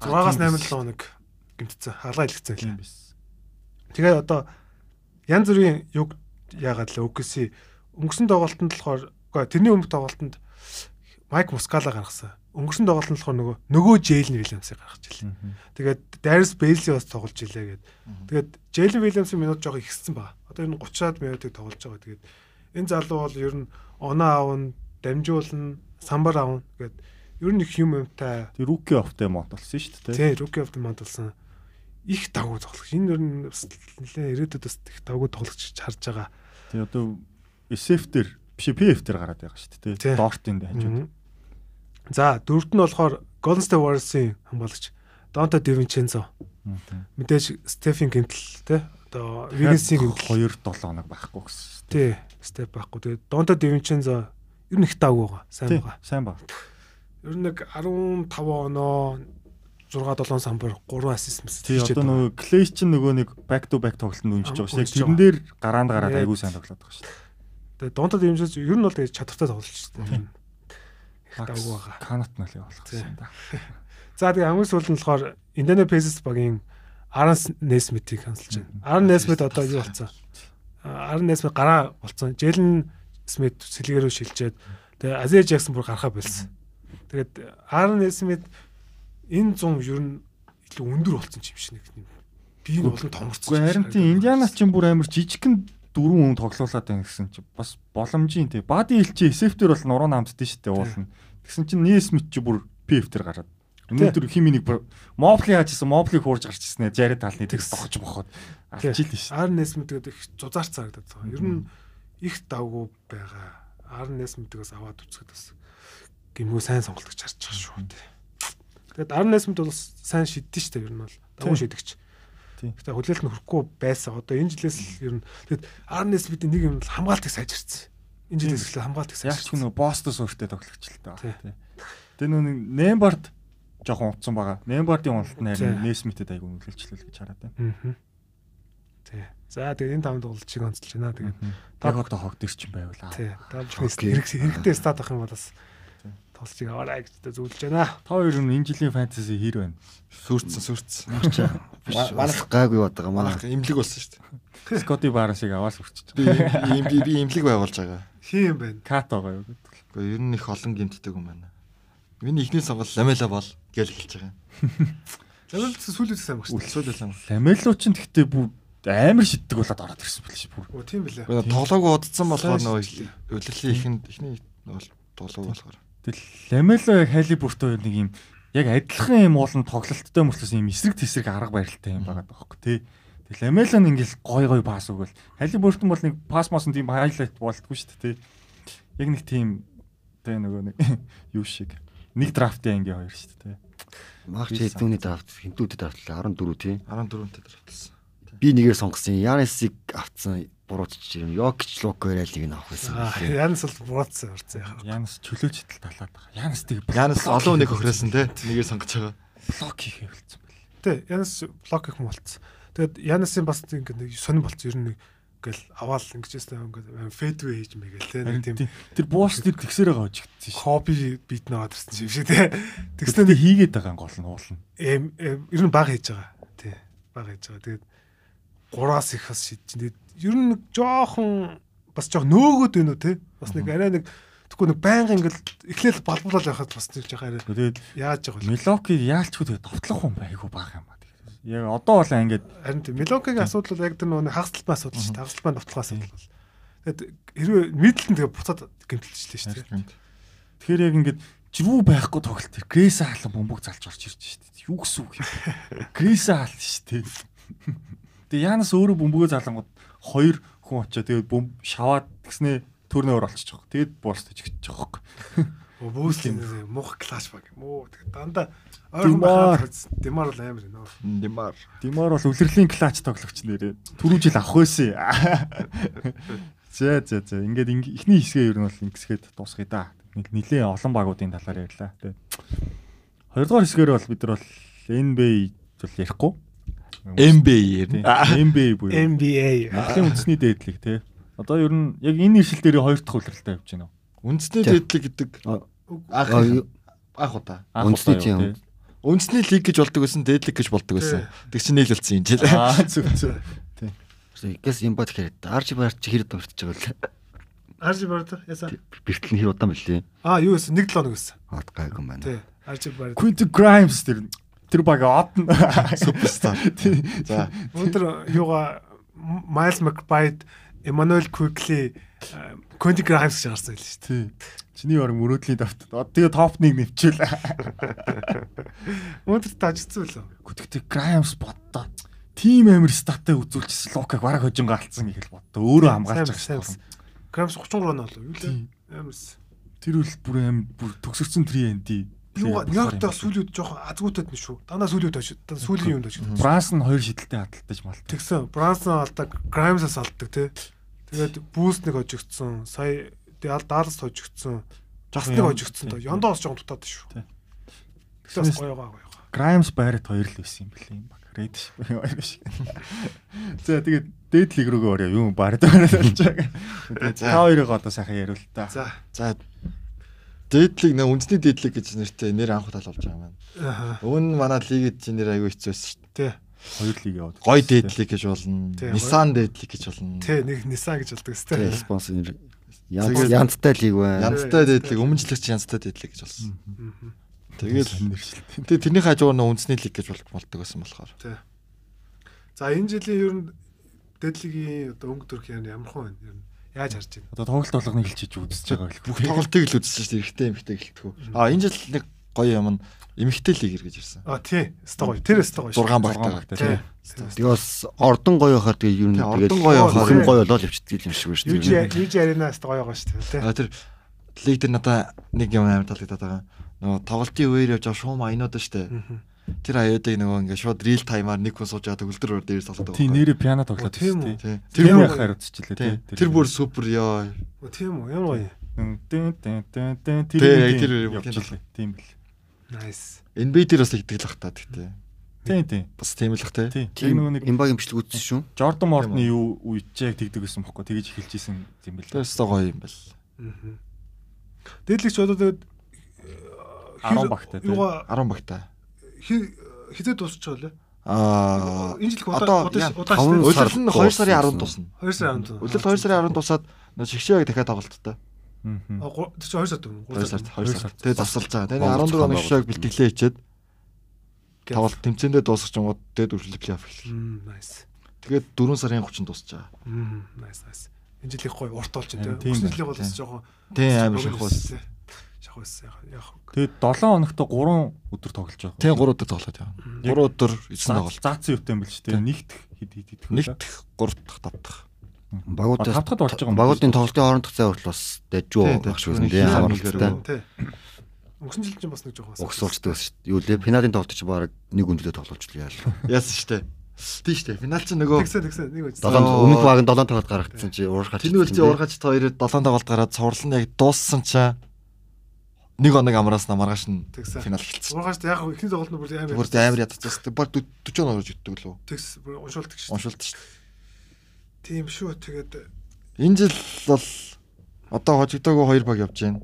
А, 6-аас тийм 8 биз. хоног гэмтсэн. Халаа илгэсэн Тийм хэлээ. биз. Тэгээ одоо янз бүрийн юг яагаад л өнгөсөн өнгөрсөн тоглолтод болохоор үгүй ээ, тэрний өмнөх тоглолтод Майк Мускала гаргасан. Өнгөрсөн тоглолтод болохоор нөгөө нөгөө Джейлен Вильямсыг гаргаж ирлээ. Мгм. Тэгээд Дайрс Бейли бас тоглож илээ гэд. Тэгээд Джейлен Вильямсын минут жоохон ихссэн баг. Одоо ер нь 30-аад минутыг тоглож байгаа. Тэгээд энэ залуу бол ер нь оноо аавн, дамжуулна, самбар аавн гэд ер нь их юм юмтай Тэр rookie of the month болсон шүү дээ. Тий, Rookie of the Month болсон их давгүй тоглох. Энэ ер нь бас нэлээ ирээдүйд бас их давгүй тоглогч харж байгаа. Тэгээ одоо SF дээр биш PF дээр гараад байгаа шүү Тий. дээ. Дортинд хажууд. Мгм. За, дөрөвт нь болохоор Golden State Warriors-ийн хамгаалагч Donta DiVincenzo. Мэдээж Stephen Gimtel те одоо Wiggins-ийн гэмтэл. 2 7 хоног байхгүй гэсэн. Тий, step байхгүй. Тэгээд Donta DiVincenzo ер нь их давгүй байгаа. Сайн Тийм байгаа. сайн баг. Ер нь нэг 15 оноо 6 7 самбар 3 ассист мэс Тий одоо нөгөө Clay чинь нөгөө нэг back to back тоглолтод үнжиж байгаа шүү Үнэлж дээ. Тэрэн байгаа. дээр гараанд гараад Ээ. айгүй сайн тоглоод байгаа шүү дээ. Тэгээ Donta DiVincenzo ер нь бол тэгээд чадвартай тоглолч шүү дээ. Их Bucks давгүй байгаа. Канат нь л явуулах гэсэн да. За тэгээ хамгийн сүүлд нь болохоор Indiana Pacers багийн Aaron Nesmith-ийг хандлж байна. Aaron Nesmith одоо юу болсон? А, Aaron Nesmith гараа болсон. Jalen Smith сэлгээрөө шилжээд тэгээ Isaiah Jackson бүр гарахаа болсон. Тэгээд Aaron Nesmith энэ зам ер нь илүү өндөр болсон ч юм шиг нэг юм. Би энэ болон томорцсон. Гэхдээ харин тийм Индиана чинь бүр амар жижигхэн дөрвөн хүн тоглоулаад байна гэсэн чинь бас боломжийн тий. Бади хилчээ SF дээр бол нуруу намддээ шүү дээ уулна. Тэгсэн чинь Нисмит чи бүр PF дээр гараад Өнөөдөр химиник мобли хаажсан мобли хуурж гарч ирсэн ээ жари талны тэгс тогч бохоод алчилсэн шүү. Аарн Несмит гэдэг их зузаарч цаагдаад байгаа. Ер нь их давгүй байгаа. Аарн Несмитгээс аваад үцгэд бас гимгүү сайн сонголт гэж харж байгаа шүү дээ. Тэгээд Аарн Несмит бол бас сайн шидэж штэ ер нь бол давгүй Тийм. шидэгч. Тийм. Гэтэ хүлээлт нь хүрхгүй байсан. Одоо энэ жилээс л ер нь тэгээд Аарн Несмитийн нэг юм бол хамгаалтыг сайжирцсан. Энэ жилээс эхлээ хамгаалтыг Яг ч сайжирцсан. нөө Бостос өөртөө тоглогч л таа. Тий. Тэр нөө Нэмбард жоохон унтсан байгаа. Нэмбардын уналт нь харин Тий. Нисмитэд айгүй нөлөөлчлөл гэж хараад байна. Аа. Тий. За тэгээд энэ таван тоглолчийг онцолж байна. Тэгээд Тэр одоо хогд ирчин байвал аа. тий. Давж Окей. хэрэгтэй стат авах юм бол бас тоглолчийг аваарай гэж зөвлөж байна. Та хоёр нь энэ жилийн фэнтези хэр байна? Сүрцэн сүрцэн. Биш. Манайх гайгүй бод байгаа. Манайх Манайх имлэг болсон шүү дээ. Скоти Барнсыг аваад өрчөж. Би им- би би имлэг байгуулж байгаа. Хин юм байна. Кат байгаа юу гэдэг. Гэхдээ ер нь их олон гимтдэг юм байна. Миний ихний сонголт ламела бол гэж хэлж байгаа. Лавл сүүлүүд сайн багш. Үлсэл юм. Ламело ч гэхдээ бүр амар шиддэг болоод ороод ирсэн байл ш. Бүр Оо тийм билээ. Гэхдээ тоглоогүй удсан болохоор Сайн нөгөө шүү дээ. өлөрлийн ихэнд ихний нөгөө тоглоогүй болохоор. тэгэл Ламело яг Халибуртоо нэг юм яг адилхан юм уулын тоглолттой мөрчлөөс юм эсрэг тесрэг арга барилтай юм байгаа даахгүй тий. Тэгэл Ламело нь ингээл гой гой пас өгвөл Халибурт нь бол нэг пас мас нь тийм хайлайт болтгүй шүү дээ тий. Яг нэг тийм тий нөгөө нэг юу шиг нэг драфтын анги хоёр шүү дээ тий. Мах чи хэдүүний давт хинтүүдэд давтлаа 14 тий. 14-нд дээр автлсан. Би нэгээр сонгосон. Янисыг автсан. буруутч юм. Йокч Лукералиг нь авах байсан Аа, билээ. Янс л буруутсан урцсан яхаа. Янс чөлөөч хэтл талаад байгаа. Янс тийг Янас олон хүнийг хөхрөөсөн те. Нэгээр сонгож байгаа. блок хийх хэвэлцэн байна. Тэ Янс блок их юм болцсон. Тэгэд Янасын бас ингэ нэг сонирн болцсон. Ер нь нэг ингээл аваал ингэж ястай ингээ фэдвэ хийж мэгээл те нэг Харин тийм тий- Тэр буус тэр тэгсээр байгаа очигдсэн шүү. копи бит нэг аваарсан юм шиг те. Тэгснэ Тэгснээр хийгээд байгаа гол нь уулна. эм эм, ер нь баг хийж байгаа. Тий. Баг хийж байгаа. Тэгээд гураас их бас шидчих. Тэгээд ер нь нэг жоохон бас жоох нөөгөөд байна уу те. Бас нэг арай нэг тэггүй нэг байнга ингээл эхлээл балбуулаад байхад бас нэг жоох арай Тэгээд яаж байгаа бол. Милоки яалчгүй тэгээд товтлох хүн байгүй баг юм ба. Тэгээд Яг одоо бол ингээд Харин тийм мелокигийн асуудал бол яг тэр нөгөө нэг хагсалтай асуудал шүү дээ. Хагсалтай нутлах асуудал бол. Тэгэд хэрвээ мэдэлтэн тэгээ буцаад гэмтэлчихлээ шүү дээ. тэгэхээр яг ингээд жирүү байхгүй тоглолт. Грэйс хаалан бөмбөг залж орж ирж шүү дээ. Юу гэсэн үг юм. Грэйс хаалт шүү дээ. Тэгээд Янас өөрөө бөмбөгөө залангууд хоёр хүн очоо тэгээд бөм шаваад гиснээ төрнөөр олчихчих. Тэгээд буус төчгчих واخ. Оо бөөслэн мух клаш баг юм уу. Тэгээ дандаа ойрхон Димар. байхад үзсэн. Димар бол амар юм. Димар. Димар бол үлрэлийн клач тоглогч нэрээ. Түрүү жил авах байсан. За за за. Ингээд ингээ- эхний хэсгээ ер нь бол ингэсгээд дуусгая да. Нэг нилээн олон багуудын талаар ярьлаа. Тэ. Хоёрдугаар хэсгээр бол бид нар бол NBA бол ярихгүй. NBA Тэ. ярина. NBA буюу NBA. Монголын үндэсний дээдлэг тэ. Одоо ер нь яг энэ иршил дээр хоёр дахь хөлрэлтэй явж байна уу? Үндэсний Тий. дэдлэг гэдэг ах Аа, юу- ах удаа. Анх Үндэсний удаа тийм. явна, тэ. Үндэсний лиг гэж болдог байсан, дэдлэг гэж болдог байсан. Тэг чи нийлэлцсэн юм жил. Аа зүг зүг. Гэс юм ба тэгэхээр арч барч хэр дуртаж байгаа л Арж бард яса. бэртэл нь хэр удаан бэлээ. Аа юу гэсэн нэг 7 хоног гэсэн. Ат гайг юм байна. Тий. Арж бард. Quentin Grimes тэр тэр баг одн Суперстар. За. Өнөөдөр юугаа Майл Макбайд Эммануэл Квикли Конди Граймс э, гэж гарсан хэлсэн шүү дээ. Тий. Чиний баруун мөрөөдлийн давт. Тэгээ топ 1 нэвчээл. Өнөөдөр тажигдсан үлээ. Гүтгтэй Grimes боддоо. Тим амир статтай үзүүлчихсэн Лукаг бараг хожингаа алдсан гэх л боддоо. Өөрөө хамгаалж байгаа. Сайн, сайн. Грамс 33 оноо болов юу лээ. Тий. Амарс. Тэр бол бүр амир бүр төгсөрсөн триэнди. Юу Нью-Йорктөө сүүлүүд жоохон азгуутад нь шүү. Дандаа сүүлүүд очиж, дандаа сүүлийн юмд очиж. Франс нь хоёр шидэлтэй хадталтаж малт. Тэгсэн Брансон алдаг, Граймсас алдаг тий. Тэгээд Бүүс нэг очигдсон. Сая Дэл Даллас очигдсон. Жас нэг Ян- очигдсон доо. тий. Яндоос жоохон дутаад шүү. Тий. Тэгсэн бас гоёгаа гоёгаа. Grimes байрат хоёр л байсан юм бэлээ юм баг. Red ш- хоёр ш. За тэгээд дээд лиг рүүгээ орё. Юу бард бард болж байгаа. Тэгээд За. Та хоёрыг одоо сайхан яриул та. За. За. Дэдлэг нэ үндэсний дэдлэг гэж нэртэй нэр анх удаа л болж байгаа юм байна. Аха. Өмнө нь манай лигэд чи нэр аягүй хэцүүс шүү дээ. Тий. Хоёр лиг яваад. Гой дэдлэг гэж болно. Тий, Nissan дэдлэг гэж болно. Тий нэг Nissan гэж алдаг Тэгээ сте. спонсор нэр янз Тэгээд- янзтай лиг байна. Янцтай дэдлэг, өмнө жилч янцтай дэдлэг гэж болсон. Тэгэл Тэгэл нэршилтэй. тэгээ тэрний хажуугаар нөө үндэсний лиг гэж бол- болдог байсан болохоор. Тий. За энэ жилийн ер нь дэдлэгийн одоо өнгө төрх яа ямар хон байна ер нь. Яаж харж байна? Одоо тоглолт болгоныг хэлчихэж үзэж байгаа гэх Бүх тоглолтыг л үзсэн шүү дээ. Эрэгтэй эмэгтэй гэлтгүү. А энэ жил нэг гоё юм нь эмэгтэй лиг иргэж ирсэн. А тий. Өстө гоё. Тэр өстө гоё. 6 Зургаан багтаа. багтай. Тий. Тэгээ бас ордон гоё хахаар тэгээ юу Тэгээ, нэг ордон гоё явахаар хахаар тий. гоё болол явчихдаг юм шиг байна шүү Юж дээ. юж арена өстө гоё гоё шүү дээ. тий. А тэр лиг дээр надаа нэг юм амар таалагдаад байгаа. Нөгөө тоглолтын үеэр явж байгаа шуум аянууд шүү дээ. Мгм. Тэр аяадаг нөгөө ингээд шууд real time-аар нэг хүн сууж байгаа төгөлдөр өөр дээрээс тоглоод Тий байгаа. нэрэ пиано тоглоод Оо, тийм байсан тий. Тий. Тэр Тэр бүр бүр хайр үзчихлээ тий. тий. Тэр бүр супер ёо. Оо, Тийм үү? Ямар гоё. Дүн, дүн, дүн, дүн, дүн, Тий, үеийн тэр үеийн явчихлаа. Тийм бэл. Nice. NBA дээр бас игдэл бах та гэхдээ. Тий, тий. Бас тийм л бах те. Тий. Яг Тийм нөгөө нэг эмбагийн бичлэг үзсэн шүү. Jordan Morton-ы юу үечээ тэгдэг гэсэн бохоо тэгэж эхэлжсэн юм Тэр бэл. өстой гоё юм байна. Мгм. Дээдлэгч одоо тэгээд э, 10 багтай тий. Юугаа 10 багтаа. хэ- хизээ дуусчихвал Аа. энэ жил одоо удаа яа, удаа таван шүү дээ. сар Улирал нь 2 сарын 10 дуусна. дуусна. 2 сар амт. Улирал 2 сарын 10 дуусаад нөгөө шгшээг дахиад тоглолттой. Мгм. 2 сард өмнө. 2 сард 2 сард. сард. Тэгээ завсалж байгаа. Тэгээ Монгол 14 оны шгшээг цохон байгуулалт. бэлтгэлээ хийчээд тоглолт тэмцээндээ дуусгах юм гот дээд үржил плей-офф эхэллээ. Nice. Тэгээд 4 сарын 30-нд дуусчаа. Мгм. Nice, nice. Энэ жилийн гоё урт болж байна Харин тийм. тийм Өнгөрсөн байна. жилийн бол бас жоохон Тий амар шах бас. байсан. Шах байсан. Яг яг. Тэгээд 7 хоногт 3 өдөр тоглож байгаа. Тий 3 өдөр тоглоод явна. 3 өдөр 9 тоглолт. Заацсан юутай юм бэл ч тий. Тий. Нэгт хэд хэд хэд. Нэг дэх, 3 дэх, 5 дэх. Багуудаас А, тавтахад болж байгаа юм байна. Багуудын тоглолтын хоорондох цай хүртэл бас дэжүү Тий, багш дэжүү. байсан Тий, тийм хамааралтай. амжилттай. Тий. Өнгөрсөн жилд чинь бас нэг жоохон Угсуулчдаг байсан шүү. дээ. Юу лээ финалийн тоглолт чи баг нэг өндөдөө тоглолч л яа. Яасан штэ. Тийм шүү дээ. Финал чинь нөгөө Тэгсэн тэгсэн нэг үз. Долоон өмнөх баг нь 7 тоглолт гаргацсан чи уурхаж. Тэнүүл чи ургаж та хоёрыг 7 тоглолт гараад цуврал нь яг дууссан чи нэг оног амраас на маргааш нь Тэгсэн. финал эхэлсэн. Ургаж яг хөө ихний тоглолт нь бүр амар. Бүр амар ядцсан. Тэг баг 40 оног орж өгдөг лөө. Тэгс бүр уншуулдаг шүү. Уншилт шүү. Тийм шүү. Тэгээд Энэ жил бол одоо хожигдоогүй хоёр баг явж байна.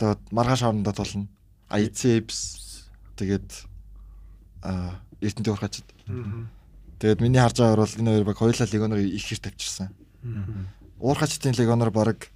Одоо маргааш хоорондоо толно. ICBS тэгээд а Эрдэнэ ургачд. Тэгээд миний харж байгаагаар бол энэ хоёр баг хоёулаа легоноор их хэр тавьчихсан. Уурхачдын легоноор баг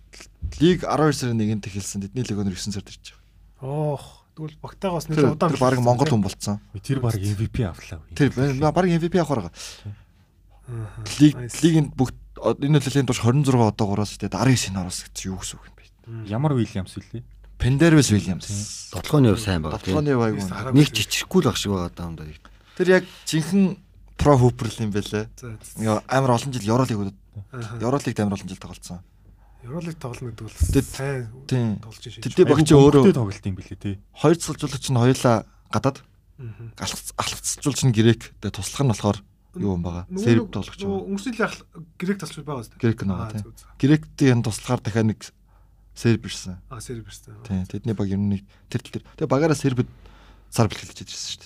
лиг 12 сарын 1-нд эхэлсэн. Тэдний легоноор 9 сард ирж байгаа. оох тэгвэл багтайгаа бас нэг Тэр удаан тэр баг Монгол хүн болсон. Тэр баг MVP авлаа. Тэр баг MVP авах арга. Аха. Лиг Nice. лигэнд бүгд о- энэ нөлөөлийн турш 26 одоогоороос тэгээд 19-ийн араас гэсэн юу гэсэн үг юм бэ? Ямар Уильямс вэ? Пендервис Уильямс. Дотлооны юу сайн байгаа. тийм. Дотлооны байг. Нэг Нэг жичрэхгүй л баг шиг байгаа даа. юм даа. Тэр яг жинхэнэ про хүүпрэл юм бэлээ. За, за. Яа амар олон жил Евролиг Аха. Евролигт амар олон жил тоглолцсон. Евролиг тоглоно гэдэг бол Тэд- сайн тийм. тоглож шээ. Тэдний багч өөрөө тоглолт юм бэлээ тий. хоёр цэлжуулагч нь хоёулаа гадаад Мгм. алхацжуулч нь грек тэгээ туслах нь болохоор юу юм байгаа. Нөгөө Серб нэг- тоглогч нөгөө байгаа. Өнгөрсөн жил ахл- грек талч байгаа зү. Грек нэг тийм. зү, зү. Гректийн энэ туслахаар дахиад нэг серб ирсэн. А серб шүү. Тийм тэдний баг ер нь нэг тэр тал тэр. Тэгээ багаараа сербэд сар бэлгэлж ирсэн шүү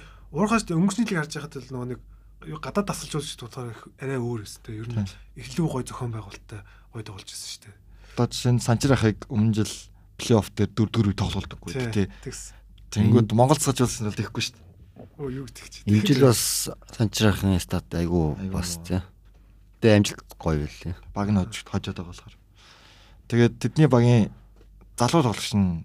Тэ уурхаж өнгөрсний лиг харж байхад л нөгөө нэг юу гадаад тасалжуулагч туутаар их арай өөр эс тэ. Ер нь Тийм. эхлүү гой зохион байгуулалттай гой тоглож байсан шүү дээ. Одоо жишээ нь Санчирахыг өмнө жил плей-офф дээр дөрөвдүгээр үе тоглолтоггүй Тий. тийм. Тэгс. Тэнгүүд Монгол цаж болсон бол тэгэхгүй шүү дээ. Оо юу гэдэг чи. Энэ жил бас санчраахын стат айгүй Айгүй бас муу. тий. Тэгээ амжилт гоё байлээ. баг нь хож- хожоод байгаа болохоор. Тэгээд тэдний багийн залуу тоглогч нь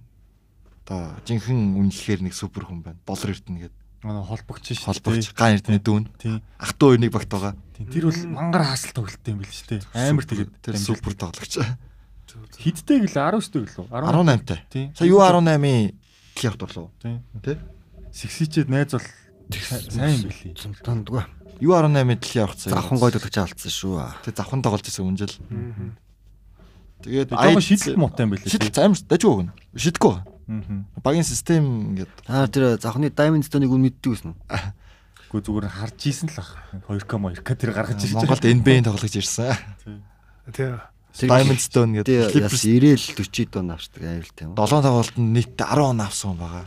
одоо жинхэнэ үнэлэхээр нэг супер хүн байна. Болор Эрдэнэ гэдэг Манай холбогч шээ. холбогч Ган Эрдэнэ дүүн. Тий. Ах トゥ хоёрыг багт байгаа. тий. Тэр бол мангар хаасал тоглолт юм бэлээ тий. Амар Супер- тэгээд тэр амжилт. супер тоглогч. Хидтэй гэлээ 19-тэй гэлөө. 18-тай. Тий. Сая юу 18-ийн плей-офф дурлуу. Тий. Тэ? Сексичэд найз бол сайн юм бэлээ. Цунтандгүй. Юу 18-ийн плей-офф явахсан. Завхан гоё тоглож алдсан шүү. Тэг завхан тоглож байсан өмнө жил. Тэгээд Жохон шидэлт муутай юм бэлээ. Шидэл амар дажгүй гэнэ. Шидэхгүй. Аа. Багийн систем ингээд Аа тэр завхны Diamond Stone-ыг үн мэддэг гэсэн үү? Гэхдээ зүгээр нь харж ийсэн л ах. 2К 2К тэр гаргаж ирж Монголд NBA-ийн тоглож ирсэн. Тэ. Diamond Stone гэдэг. Тэ Clippers яс 90-д 40-д он авчдаг аюултай юм. 7 тоглолтод нийт 10 он авсан хүн байгаа.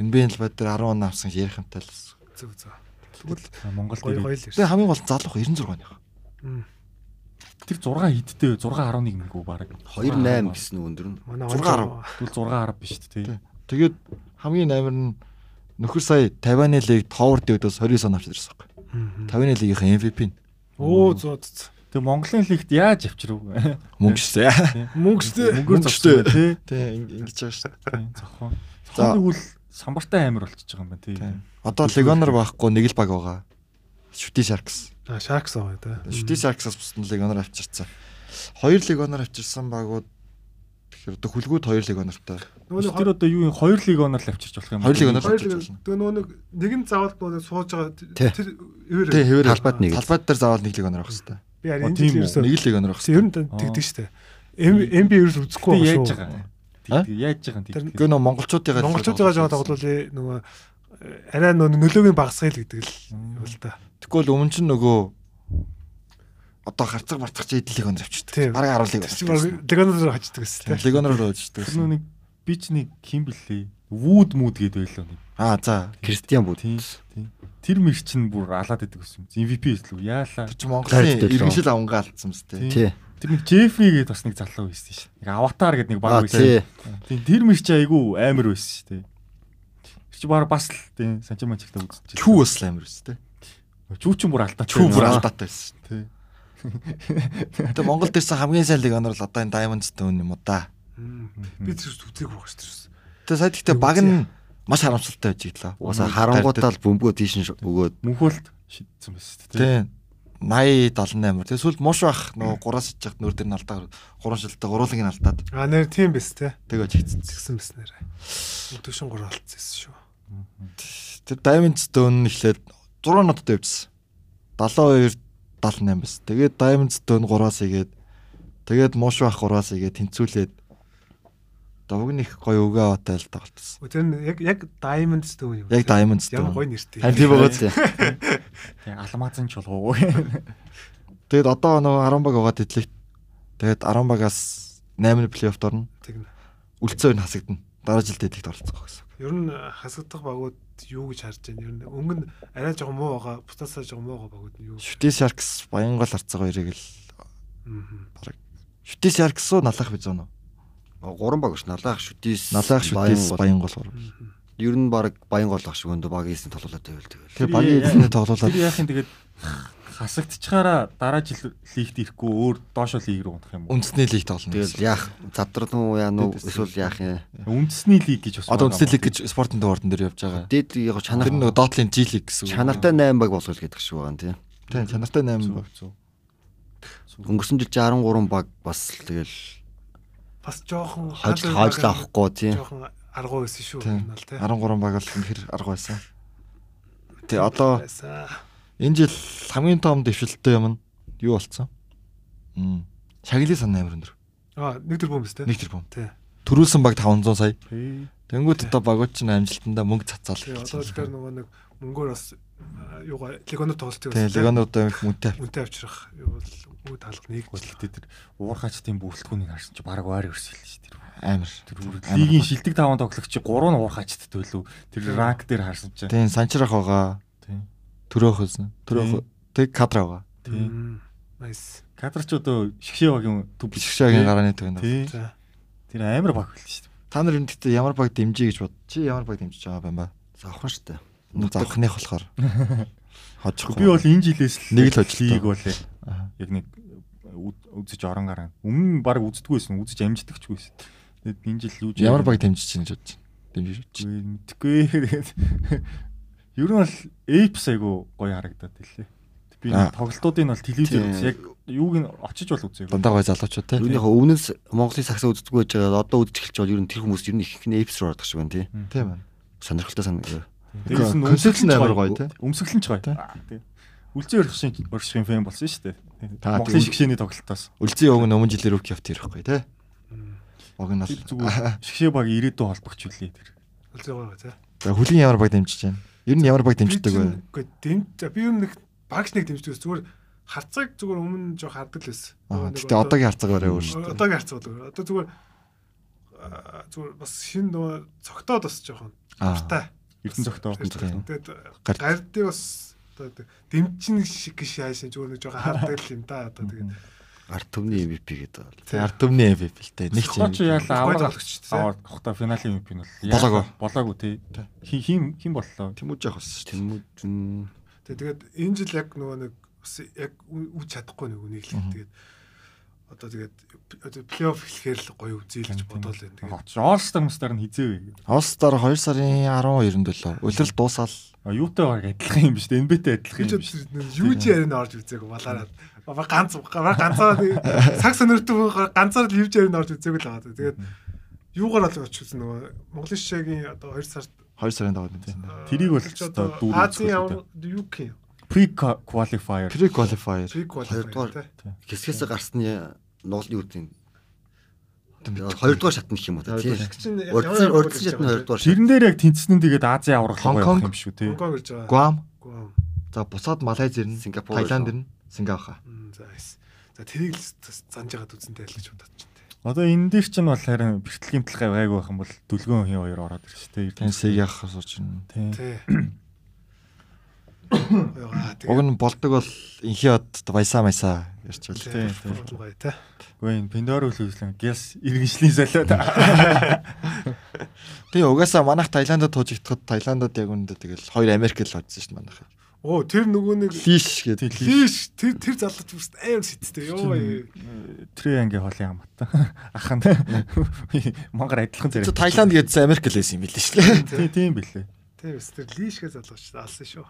NBA-ийн талбай дээр 10 он авсан ярих юмтай л бас. Зөв зөв. Тэгвэл байгаа. Монголд гой гой ирээд. л ирсэн. Тэгээ хамгийн гол нь залуух 96 оных. тэр 6 хидтэй 6.11 мэг үү баг. 28 гэсэн үг өндөр нь. Манай 6-10. Тэгвэл 6.10 биш тий. Тий. Тэгээд хамгийн наймар нь нөхөр сая 50-ны лиг Tower дэвдээс 29 он авчиж ирсэн байхгүй. 50-ны лигийнхэн MVP нь Оо зөө. зөө. Тэгээ Монголын лигт яаж авчрав? мөнгө шээ. Мөнгөстэй. Мөнгөөр Мөнгөтэй. зогссон тий. Тэг ингэж байгаа шүү дээ. Тий, Зохион. За. Зохион тэгвэл самбартай амар болчихж байгаа юм байна тий. Тий. Одоо Legoner байхгүй нэг л баг байгаа. Shooting Sharks. А шаркс аваа тэ. Shooting Sharks-аас бусдын Legoner авчирсан. Хоёр Legoner авчирсан багууд тэгэхээр одоо хүлгүүд хоёр Legoner-тай. Нөгөө нэг Тэр одоо юу юм 2 лиг оноор л авчирч болох юм. Хоёр лиг оноор л Хоёр авчирч л болно. тэгээ нөгөө нэг нэг нь заавал нөгөө нэг сууж байгаа Тий. тэр хэвээр Тий, хэвээр Талбайд нэг л. талбайд дээр заавал нэг Legoner авах хэрэгтэй. би харин Оо, энэ тийм жил үү. ерөөсөө Нэг л Legoner авах ер нь хэрэгтэй. тэгдэг штэ. М би ерөөс Тэг үзэхгүй яаж шүү. байгаа. Тэг яаж байгаа юм тий. Тэр Гэхдээ нөө монголчуудын гал- Монголчууд байгаа жоо тоглол нөгөө э, арай нөгөө нөлөөгийн багсгай л гэдэг л юу л та. Тэгвэл өмнө чинь нөгөө одоо харцаг барцах чи эдлийг өндөр Тийм. авчдаг. Бараг харуулыг Чи баг авчдаг. легоноор хаждаг гэсэн тий. Легонор л авчдаг. Тэр нүг би ч нэг хим блээ. Вуд мууд гэдэг байлаа нэг. Аа за. Кристиан бүгд. Тий. Тий. Тэр мэрч нь бүр алаад идэг гэсэн юм. MVP эслүү яалаа. Тэр чи Монголын Тайлбар дээр иргэншил авангаа алдсан биз дээ. Тийм. Тий. Тэр нэг Джеффи гэдэг бас нэг залуу байсан шин. Нэг аватар гэдэг нэг баг Аа тий. байсан. Тий. Тэр мэрч айгүй амар байсан шүү дээ. Тэр чи баг бас л тий санчин манчигтай үзчихсэн. Чүү бас л амар биз дээ. Чүү ч бүр алдаа. Чүү бүр Аа. алдаатай байсан. Тий. Тэгээ Монгол дээрсэн хамгийн сайн легонор л одоо энэ Diamond Stone юм уу да. Би зэрс үзээг байх штэ. Тэгээ сая тэгтээ баг нь маш харамсалтай байж иглээ. Угаасаа харангуудаа л бөмбөгөө тийш нь ш- өгөөд Мөнхөлд шидсэн байсан шүү дээ. Тийм. 80 78. Тэгээ сүүлд мууш бах нөгөө 3-аас ичжих нөр дээр нь алдаа. 3 шилдэг уруулыг нь алдаад А нэр тийм биз тий. тэгээ жигцэн. Згсэн биз нэрэ. Өдөгшин гур алдсан шүү. Тэр Diamond Stone эхлээд 6 нотод явжсан. 72 78 бас. Тэгээд Diamond Stone 3-аас игээд тэгээд Mosh Bach 3-аас игээд тэнцүүлээд Довг нэг гоё өгөө аваатай л тоглолцсон. Тэр нь яг яг Diamond Stone юм. Яг Diamond Stone. Ямар гоё нэртэй. Тань тийм өгөөд. Тийм алмазын чулуу. Мгм. Тэгэд одоо нөгөө 10 баг угаад итлээ. Тэгэд 10 багаас 8-ны плей-оффт орно. Тэгнэ. Үлцээ өн хасагдана. Дараа жилд итлэгт оролцох гэсэн. үг. Ер нь хасагдах багууд юу гэж харж байна? Ер нь өнгөнд арай жоохон муу байгаа, бутаасаа жоохон муу байгаа багууд нь юу? Шүти Sharks Баянгол арцгаа хоёрыг л Мгм. Шүти Sharks уу налах биз үнэ? Гурван баг ш налаах шүтээс Налах шүтээс Баянгол. Баянгол. Мгм. Ер нь баг Баянгол ах шиг өндө баг ийсэн тоглолоод байвал тэгэл. Тэгээ багийн яа- эзэнтэй тоглоулаад Тэр яах юм тэгээд хасагдчихаараа дараа жил лигт ирэхгүй өөр доошо лиг рүү унах юм уу? үндэсний лигт олно. Тэгэл яах задрал нуу яа нуу Дээдээс. эсвэл яах юм. Үндэсний лиг гэж бас Одоо байгаа үндэсний юм лиг гэж спортын дуурдан дээр явж байгаа. Дээд яг чанар Тэр нөгөө доотлын G лиг гэсэн. үг. чанартай 8 баг болгох гэдэг шиг байгаа юм тий. Тийм, чанартай 8 баг. Зүү, зүү. Өнгөрсөн жил 63 баг бас л тэгэл Бас жоохон хожил хаалга хожил байгаа- авахгүй тий. Жоохон аргуу байсан шүү. Тийм. ер нь бол, тий. 13 баг л үнэхэр арга байсан. Тэгээ одоо Байсан. энэ жил хамгийн том дэвшилттэй юм нь юу болсон? Мм. Шагли сан 8 өндөр. Аа, нэг төр бөмбөс тий. Нэг тэрбум. Тий. Төрүүлсэн баг 500 сая. Хээ. Тэнгүүд одоо багууд чинь амжилтандаа мөнгө цацаал Тэгээ одоо тэгэхээр эхэлсэн. нөгөө нэг мөнгөөр бас аа, юугаа легоноор тоглолт юу Тэгээ легонуудаа их мөнтэй. үнтэй авчрах юу бол үе таалах нэг Бол гэтээ тэр уурхаачдын бүрэлдэхүүнийг харсан чи баг вари өрсөл л шүү дээ. Амар. Тэр бүр Амар. лигийн шилдэг таван тоглогч 3 нь уурхаачд төлөө. Тэр ранк дээр харсан чи. Тэгээ санчрах байгаа. Тийм. Төрөөх үзэн. Төрөөх. Тэг кадр байгаа. Тийм. Найс. Кадр ч одоо шгшээвагийн төв Шгшагийн гарааны төгнө. Тийм. За. Тэр амар баг байл шүү дээ. Та нар энэ гэдэгт ямар баг дэмжиж гэж бод. Чи ямар баг дэмжиж байгаа юм ба? Завхан штэ. Завхных болохоор. Хожихгүй. Би бол энэ жилээс л Нэг л ажилтаа. лиг болээ. Аха. Яг нэг үд- үзэж орон гараа. Өмнө нь баг үздэггүй байсан, үзэж амждагчгүй байсан. Тэгэд энэ жил юу ч ямар баг дэмжиж чинь гэж бодож байна. Дэмжиж бодож. Үгүй, мэдхгүй. Тэгээд ер нь бол Apes айгу гоё харагдаад хэлээ. Би Аа. нэг тоглолтуудын бол телевизээр Тийм. үз. Яг юуг нь очиж бол үзээгүй. Дандаа гой залуучууд те. Юуных өвнөс Монголын сагсаа үздэггүй байж байгаа одоо үздэж эхэлж бол ер нь тэр хүмүүс ер нь их их нэпс руу ордог шиг байна тий. Тийм байна. Сонирхолтой э, санаг. Дээрээс нь Концепт нь амар гоё те. Өмсгөл нь ч гоё. Тийм. Аа, тийм. Үлзий орхишын орхишын фэн болсон шүү дээ. Та Монголын тийм. шгшээний тоглолтоос. Үлзий өвг өмнө жилээр өвк явт ирэхгүй те. Мм. Уг нь бол. Тэр зүгээр шгшээ баг ирээдүй холбогч үлээ тэр. Үлзээ гоё тий. За хүлийн ямар баг дэмжиж байна? Ер нь ямар баг дэмждэг вэ? Гэхдээ дэм за, би юм нэг багш нэг дэмждэг байсан. зүгээр харцаг зүгээр өмнө жоох хардаг л байсан. Аа, Нөгөө нэг Гэтэ одоогийн харцаг барай өөр шүү дээ. одоогийн харцаг зүгээр. Одоо зүгээр аа, зүгээр бас шин нөгөө цогтоод бас жоохон Аа. гартай. Эрдэн цогтоо. Эрдэнэ цогтоо. Тэгээд Гарт. гардыг бас одоо тэг- дэмчин шиг гэж яашаа зүгээр нэг жоохон хардаг л юм да одоо тэгээд Арт төвний MVP гэдэг бол. Тэ ард түмний MVP л те. Нэг Скоч яалаа Гоё аваад тоглогч тий. аваад хохта финалийн юм бий нь бол Болоогүй. болоогүй тий. Тий. Хи- Хим хим боллоо. Тэмүүж явах бас шүү дээ. Тэмүүжин Тэг- Тэгээд энэ жил яг нөгөө нэг бас яг ү- үж чадахгүй нэг үнийг л тэгээд одоо тэгээд одоо плей-офф эхлэхээр л гоё үзээл гэж бодоол энэ тэгээд Оч Олстар мстар нь хизээ вэ? Олстар 2 сарын 12-нд лөө. Улирал дуусаал. А юутай баг адилхан юм биш үү? NBA-тэй би адилхан ч юм биш. өдөр юуж ярина орж үзээг балаараад бага ганц бага ганцаараа тэгээд цаг сонирхдаг хүн ганцаар л юуж ярина орж үзээг л байгаа даа. тэгээд юугаар л очиж үзсэн нөгөө Монголын шишээгийн одоо 2 сард 2 сарын даваад энэ. аа, Тэрийг бол хөтлөж ч одоо одоо дүүрэн Азийн үзэх ямар UK Pre qualifier. Pre qualifier. pre Хоёрдугаар. qualifier хэсгээс гарсны э, нуулын үүдийн хоёрдугаар шат нэг юм уу та, тий. чинь ямар Урдсан гол гэж урдсан шат нь байгаа хоёрдугаар шат. Тэрэн дээр яг тэнцсэн нь тэгээд Азийн авралгаа Hong байх Kong. юм биш үү тий. Гонконг гэж байгаа. Гуам. Гуам. За буцаад Малайз ирнэ. Сингапур Таиланд ирнэ. ирнэ. Сингапур. Мм, За эс. За тэрийг л бас занж ягаад үзэнтэй л гэж бодож байна. те. Одоо энэ дээр чинь бол харин бэрхтлийн талхай гайгүй байх юм бол дүлгөн хин хоёр ороод ирж тий. Тэн сэг явах сууч ирнэ. Тий. Тий. Яа, Уг тэгээд нь болдог бол инхий од баясаа маясаа ярьчвал. тий, тий. Бүрэн гоё те. Гүй энэ Pandora үлээсэн гэлс иргэншлийн солиод. Тэгээ угаасаа манайх Таиландд туужигдхад Таиландд яг үндэ тэгэл хоёр Америк л одсон шүү дээ манайх. Оо тэр нөгөө нэг Лиш гэдэг. лиш тэр тэр залгач бас амар сэттэй ёо. ээ. Triangle-ийн холын хамаатан. Ахын. Монгол адилхан Тэгээ зэрэг. Таиланд гэдсэн Америк л байсан юм билээ шүү Тий, дээ. тийм билээ. Тэр бас тэр лишгээ залгач алсан шүү.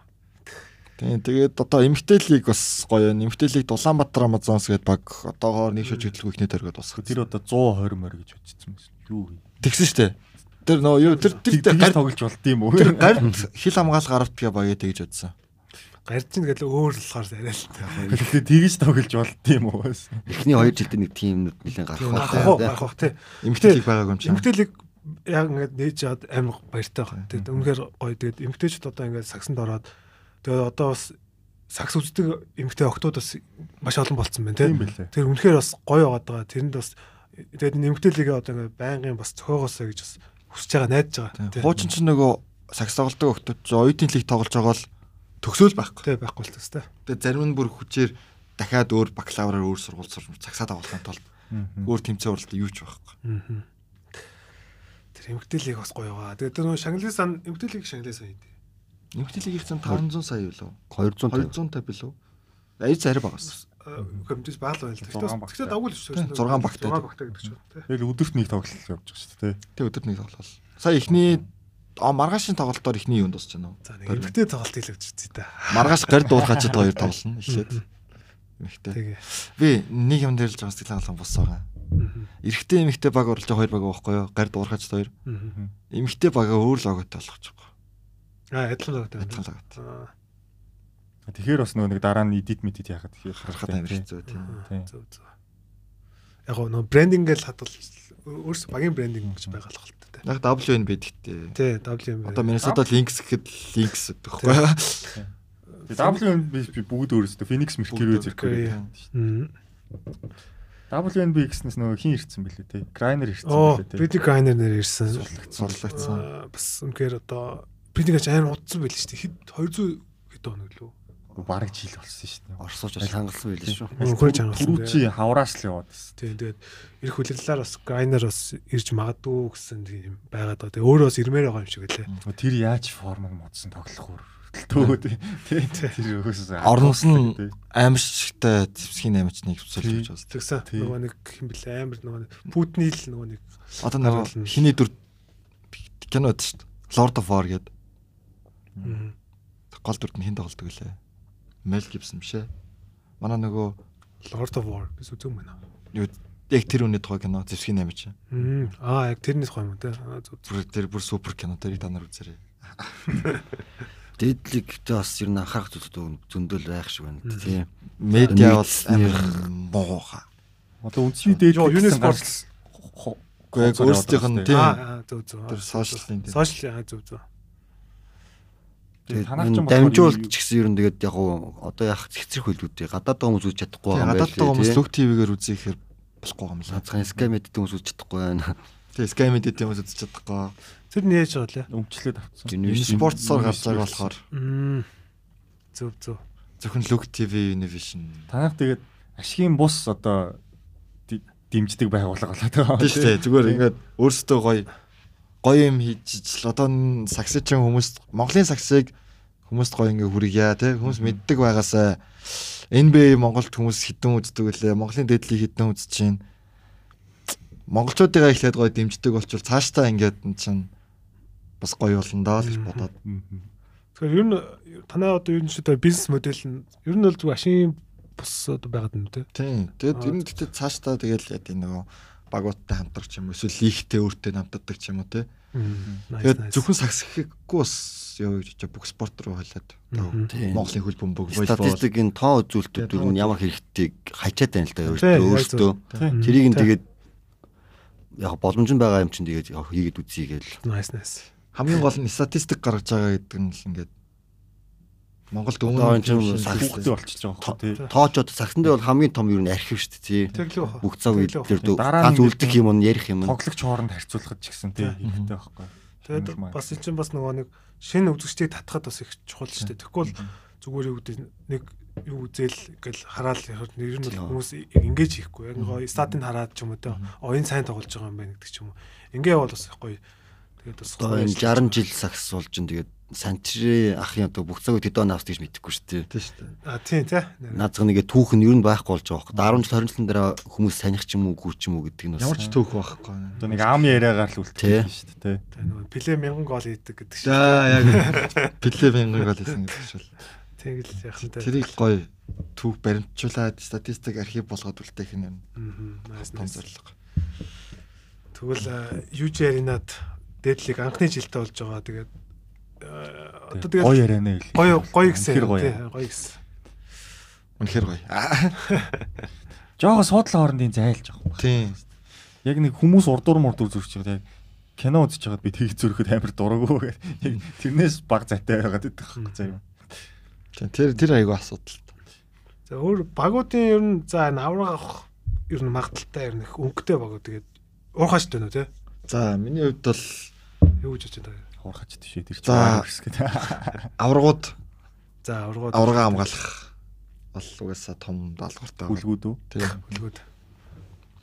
Тийм тэгээд одоо эмхтэлийг бас гоё. Эмхтэлийг Улаанбаатар Амазонс гэдэг баг одоогоор нэг шиж хөдөлгөөн ихний төргөд босгоо. Тэр одоо 120 морь гэж бодчихсон байсан. Юу вэ? тэгсэн шүү дээ. Тэр нөө юу тэр тэр Тэр тэр тэгж гарт тоглож болд юм уу? гарт хил хамгаал гаравт гэ багийг тэгж бодсон. гарч ин гэдэг өөр л болохоор арай л таа. Гэхдээ тгийж тоглож болд юм уу? Эхний хоёр жилдээ нэг тимнүүд нэлээд гарах Гарах уу, байна. гарах уу, тий. Эмгтэлэг байгаагүй юм чинь. Эмгтээлэг яг ингээд нээж чад амар баяртай байна. Тэгээд үнэхээр гоё. Тэгээд эмгтээчд одоо ингээд сагсанд ороод тэгээд одоо бас сагс үздэг эмгтээ октод бас маш олон болцсон байна Тийм тийм. билээ. Тэр үнэхээр бас гоё байгаад байгаа. Тэрэнд бас тэгээд эмгтээлэгээ одоо ингээд байнгын бас цохоогоосоо гэж бас хүсэж байгаа найдаж байгаа. Тийм. Тийм. Хуучин ч нөгөө сакс тоглолтог өгтөд чи оюутын лиг тоглож байгаа л төгсөөл байхгүй. Тэг байхгүй л төстэй. Тэгээ зарим нь бүр хүчээр дахиад өөр бакалавраар өөр сургууль сурч цагсаад авахын тулд өөр тэмцээн уралдаа юу ч байхгүй. Аа. Тэр эмгтээлэг бас гоё байгаа. Тэгээд тэр нөгөө шанглын сан эмгтээлэг шанглын сан хийдэг. Эмгтэлэг их зэн 500 сая юу лөө? 250. 250 билүү? Аяз зарим багас. хэмжиж Э, баал байл. Зургаан Тэгтээ багтай. тэгтээ давгүй л шүү. Тийм, зургаан багтай. 6 багтай гэдэг чинь тийм. Тэгэл өдөрт нэг тоглолт явж байгаа шүү дээ. Тэг өдөр нэг тоглол. Сая эхний а маргаашийн тоглолтоор эхний юунд дуусах юм За нэг уу? эмгтэй тоглолт хийлгэж үзье та. Маргааш гэр дуурхаж чад хоёр тоглоно. Эхлээд. Эхтэй. Тэгээ. Би нэг юм дээр л жоо сэтгэл хангалуун бус байгаа. Эрэгтэй эмэгтэй баг оролж байгаа хоёр баг байхгүй юу? Гар дуурхаж хоёр. Эмэгтэй багаа өөр логотой болгож байгаа. Аа адилхан тоглолт Адилхан байна. логотой. Аа, Тэгэхээр бас нөгөө нэг дараа нь edit мэдит яхад Харахад амар хэцүү тийм. Тийм. Зөв зөв. Яг гоо нөө брендингээл хадвал өөрөөс багийн брендинг гэж байгаа л хэлтэй. Яг WN бид гэдэг. Тий, WM. э, Одоо Minnesota Lynx гэхэд Lynx гэхгүй юу? WNBA бүгд өөрөөсөө Phoenix Mercury Бүгд зэрэг. Mercury. Мм. WNBA гэснээс нөгөө хин ирсэн бэлээ те. Griner ирсэн Оо, бэлээ те. Brady Griner нэр ирсэн. Аа, Сурлагдсан. Бас үнээр одоо Brady-гач амар удсан байл шүү дээ. Хэд 200 хэд хоног лөө. бараг жил болсон шүү дээ. Орсооч шангалсан байлээ шүү. Өнгөрч ангалсан. Түрүүчи хавраас л яваад байна. Тийм тэгээд эх хүлээллээр бас гайнер бас ирж магадгүй гэсэн тийм байгаад байгаа. Тэгээ өөрөө бас ирмээр байгаа юм шиг лээ. Нөгөө Тэр яаж формыг модсон тоглох үр хөдөлтөө те. Тэ, Тэр өөрөөсөө Орноос нь Тий. аимшигтай зэвсгийн амичныг Тий. цэцэлж байна. Тэгсэн Тийм. нөгөө нэг хэм бэл амар нөгөө нэг Путний л нөгөө нэг Одоо нөгөө хиний дүр кинод шүү дээ. Lord of War гэдэг Мм. гол дүрд нь хин тоглолдог лээ. Mel Gibson биш ээ. Манай нөгөө Lord of War гэсэн үг юм байна. юу яг тэр үний тухай кино зэвсгийн амич. Мм. Аа яг тэрнийх юм те. Аа зүг. зүг. Бүр тэр бүр супер кино тэрийг та нар үзээрэй. Дэдлэгтэй бас ер нь анхаарах зүйлүүд зөндөл байх шиг байна тийм. Медиа бол Мэдсний- амар муухай. Одоо үндсний дээд Йоо, гэсэн Юнес гарч- Гэхдээ яг Хоцор өөрсдийнх нь яваад тийм Аа аа, зүг зүг. тэр сошиалын тийм. Сошиал аа зүг зүг. Тэгээ, Тэгээд танаач юм энэ болохоор дамжуулт юу- ч гэсэн ер нь тэгээд яг уу одоо яг хэцрэх хөлбүүдээ гадаад байгаа хүмүүс үзэж чадахгүй байгаа юм Гадаад байгаа хүмүүс тийм. лүг ТV-гээр үзээхээр болохгүй юм лээ. Хацхан скамэдтэй хүмүүс үзэж чадахгүй байна. Тэгээ скамэд гэдэг хүмүүс үзэж чадахгүй. Тэр нээж байгаа лээ. өмчлөөд авцсан. Юни- Юни спорт цар гарч Юни- байгаа болохоор Мм. Зүг зүг. зөвхөн лүг ТV Univision. Танах тэгээд ашигын бус одоо ди- дэмждэг байгууллага болоод байгаа. Тийм шүү дээ. Зүгээр ингээд өөрсдөө гоё гоё юм хийж ижил. одоо н- саксичэн хүмүүс Монголын саксыг хүмүүст гоё ингээ хүргье те хүмүүс мэддэг байгаасаа NBA Монголд хүмүүс хідэн үздэг лээ. Монголын дэдлийг хідэн үзэж чинь монголчуудыг эхлээд гоё дэмждэг болчвол цаашдаа ингээд н чинь бас гоё болно даа гэж бодоод Мгм. Тэгэхээр ер нь танай одоо ер нь шүү дээ бизнес модель нь ер нь бол зүг ашийн бус одоо байгаад байна те. Тийм. Аа. Тэгэд ер нь гэдэг цаашдаа тэгэл яг энэ нөгөө багуудтай хамтрах ч юм уу эсвэл лигтэй өөртөө хамтдаг ч юм уу те. Мм. Тэгээд зөвхөн сагсахгүй бас явж очиж бүх спорт руу хойлоод Мгм. Тийм. Монголын хөл бөмбөг волейбол Статистик энэ тоо үзүүлэлтүүд ер нь ямар хэрэгтэйг хачаад байна л да Тий, яг өөртөө өөртөө. Тий. Тэрийг нь Тий. тэгээд яг боломж нь байгаа юм чинь тэгээд яг хийгээд үзье гээл. Nice nice. хамгийн гол нь статистик гаргаж байгаа гэдэг нь л ингээд Монголд Одоо энэ чинь юм шиг сагс- Хүүхдээ болчихж байгаа юм тий. Тоочод сагсанд бол хамгийн том юу н архив шүү дээ тий. Тэг л үү. Бүх цаг Тэг л үү. үедээр дөө- Дараа нь ганц үлдэх юм нь ярих юм нь. Тоглогч хооронд харьцуулахад ч гэсэн тий хэрэгтэй байхгүй. Тэгээд Шаналмай. бас энэ чинь бас нөгөө нэг шинэ үзэгчдийг татхад бас их чухал шүү дээ. Тэгэхгүй бол зүгээр юу гэдэг нь нэг юу үзэл гэл хараал яхад нэр нь Тийм. бол хүмүүс яг ингэж хийхгүй. Яг нөгөө статын хараад ч юм уу те оюун сайн тоглож байгаа юм байна гэдэг ч юм уу. Ингээ бол бас их гоё. Тэгээд бас Одоо энэ 60 жил сагс болж ин тэгээд санчри ахын одоо бүх цаг үед хэдэн навс гэж мэдэхгүй шүү дээ. тийм шүү дээ. А тийм те. Наазах нэгэ түүх нь ер нь байхгүй болж байгаа юм. 10 жил 20 жилийн дараа хүмүүс саних ч юм уу гүр ч юм уу гэдэг нь Ямар бас ч төөх байхгүй. Одоо нэг ам яриагаар л үлдчихсэн шүү дээ тий. Тэ нөгөө плей 1000 гол хийдэг гэдэг шиг. За яг Пиле мянган гол хийсэн гэж шүүл. Тэг л яхан те. Тэрийг гоё түүх баримтжуулаад статистик архив болгоод үлдээх нь юм. том зорилго. Тэгвэл UJ Arena-д дээдлийг анхны жилдээ болж байгаа. Тэгээд э, Одоо Тэг, Гоё ярианаа хэл. гоё гоё гэсэн. Үнэхээр тий, гоё. Гоё гэсэн. Үнэхээр гоё. Аа, Жохо суудлын хоорондын зайлж байгаа. Тийм. Яг нэг хүмүүс урдуур мурдуур зүрч байгаа. Яг кино үзэж байгаад би тэг их зүрэхэд амар дураггүй. Яг тэрнээс баг зайтай байгаад байгаа хэрэг заяа. Тийм, Тэр тэр айгүй асуудал. За өөр багуудын ер нь за навраг авах ер нь магадaltaй ер нь их өнгөтэй багууд тэгээд уурхаж тэнэ үү тий. За, миний хувьд бол Юу гэж бодож байгаа. Хуурхач тийшээ тэр чинь За. амар хэсгээд. аврагууд За аврагууд аврагаа хамгаалах бол угаасаа том даалгавартай. байна. Бүлгүүд үү? Тийм. хөлгөөд. Тэр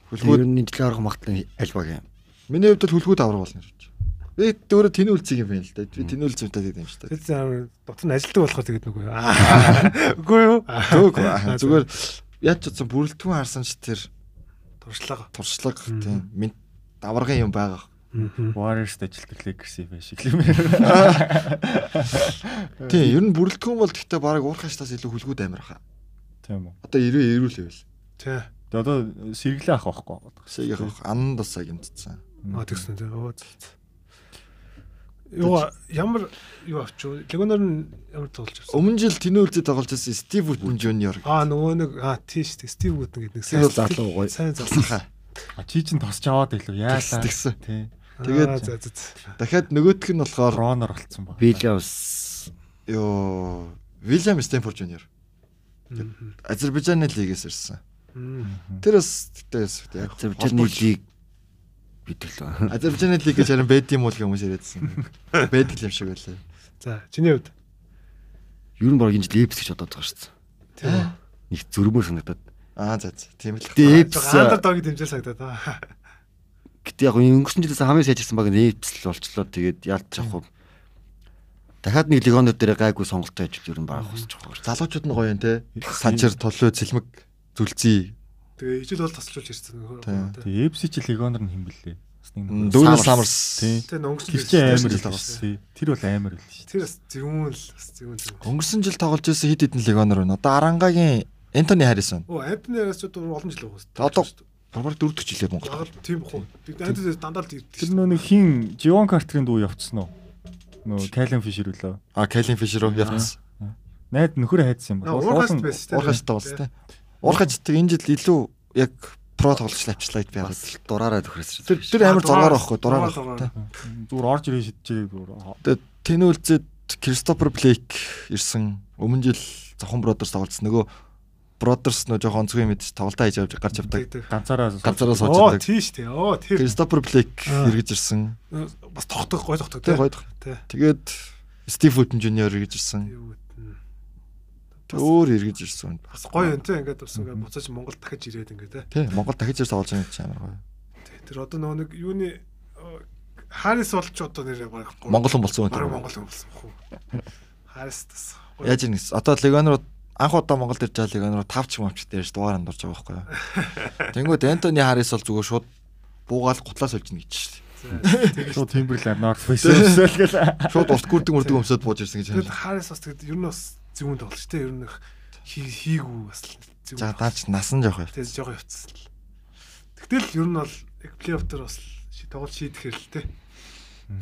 Хүлгүүд нь жилийн арга магадлан аль баг юм. миний хувьд бол хүлгүүд авраг болно гэж. Би өөрөө тэнэ үлцгийг юм байна л да. Би тэнэ үлцэмтэй гэдэг юм шүү дээ. Тэгээд за дотор нь ажилтдаг болохоор тэгээд нүгөө. Аа. Үгүй юу? Төөгөө. Зүгээр яаж ч утсан бүрэлдэхүүн харсан ч тэр Туршлага. туршлага Мм. тийм минь даваргын юм байгаа. Warriors-д ажилтдаг Lakers-ийн байх шиг л юм байна. Тийм, ер нь бүрэлдэхүүн бол гэхдээ бараг уурхаштаас илүү хүлгүүд амар хаа. Тийм үү. Одоо ирээ ирүүл байвал. Тий. Тэ одоо сэргэлээ авах байхгүй. Сэгийг авах ананд усаа гимтцсэн. Аа тэгсэн тий. Оо за. за. Юу ямар юу авчив? Легонор нь ямар тоглож авсан? Өмнө жил тэнэ үлцэд тоглож байсан Стив Вудман Жуниор. Аа нөгөө нэг аа тийш тий. Стив Гуд гэдэг нэг Тэр бол залуу гоё. Сайн залуу. Хаа. А чи чинь тосч аваад илүү яалаа. Тэгсэн. Тий. Тэгээд- Аа, за за. за. Дахиад нөгөөх нь болохоор Ронор болцсон баг. Williams ёо Вильям Стэнфорд Жуниор. Мгм. Азербайджаны лигээс ирсэн. Мм. Тэр бас тэгтээ яг Азербайджаны лиг битэл ба. Азербайджаны лиг гэж харин байд юм уу гэх хүмүүс яриадсан. Байдаг юм шиг байлаа. За чиний хувьд Ер нь баг энэ жил Эпс гэж бодоод байгаа шүү дээ. тийм үү? Нэг зөрмөр санагдаад. Аа за за тийм л. Гэтэ Эпс Андер дог дэмжэл сагдаад аа. гэтээ яг энэ өнгөрсөн жилээс хамгийн сайн ажилласан баг нь Эпс л болчлоо. Тэгээд яалтчих уу. Дахиад нэг легонод дээр гайгүй сонголттой ажил ер нь баг хусчих уу. залуучууд нь гоё юм те. Санчир, толлоо, цэлмэг, зүлцээ. Тэгээ ижил бол тасчулж ирсэн. нөхөр. Тийм. Тэ. Тэгээ FC чи легонор нь химбэлээ. Бас нэг нэг. Дүүнэ Summers. самарс. Тий. Тэгээ өнгөрсөн Тэр чинь амар л жил тоглосон. болсон. Тэр бол амар л шүү. Тэр бас зэвүүн л бас зэвүүн зэвүүн. Өнгөрсөн жил тоглож байсан хэд хэдэн легонор байна. Одоо Арангагийн Энтони Харрисон. Оо Антонераас ч дуу олон жил өгсөн. Одоо бараг дөрөвдөг жилээ Монголд. Ягал тийм бохоо. Би Антонераас дандаа л Тэр ирдэг. нөө нэг хин Живон Картерын дүү явцсан уу? Нөө Кайлен Фишер үлээ. А Кайлин Фишер уу явсан. Найд нөхөр хайдсан юм Аа, бол. уурхаст байсан тийм. Уурхаж тавс те. Уурхаж тэг энэ жил илүү яг про тоглож авчлаа гэж би хараад. Бас л дураараа төхрөөс. Тэр тэр амар зургаар байхгүй дураар байхгүй. те. Зүгээр орж ирээ шидчихээ зүгээр. Тэгээд тэнүүлзэд Кристофер Блейк ирсэн. Өмнө жил Зохон Бродерс тоглосон. Нөгөө Бродерс нөө жоохон онцгой мэдж тоглолтоо хийж явж гарч явдаг. Ганцаараа Ганцаараа сууж Оо явдаг. тийш тий. Оо тэр Кристофер Блейк Аа. эргэж ирсэн. бас тогтох гой тогтох Тэ тий. гойдох. Тэ. Тэгээд Стив Вуден Жуниор эргэж ирсэн. Юу гэдэг нь. Тэг өөр эргэж ирсэн. Бас гоё юм тий. Ингээд бас ингээд буцаж Монгол дахиж ирээд ингээд тий. Тий, Монгол дахиж ирж тоглож байгаа ч амар гоё. Тэр одоо нөгөө нэг юуны оо, Харис болч одоо нэрээ баг. Монгол хүн болсон Бараг үү? Монгол юм болсон хөө. Харис тас. гоё. Яаж ирнэ? Одоо Легонруу анх удаа Монгол ирж байгаа Легонруу 5 ч юм авч дээрж дугаар андуурж байгаа байхгүй юу? Тэнгүүд Антони Харрис бол зүгээр шууд буугаал гутлаа сольж нэ гэж шээ. Шууд Timberland North Face өсөл гэл. Шууд урт гүрдэг мөрдөг өмсөд бууж ирсэн гэж Тэгэл хэлсэн. Харис бас тэгэд ер нь бас зүүн тоглож тий. Ер нь их хий- хийгүү бас л зүүн. За даач насан жоох байв. Тэгээс жоохон явцсан л. Тэгтэл ер нь бол яг плей-офф дээр бас ши- тоглолт шийдэх хэрэгтэй.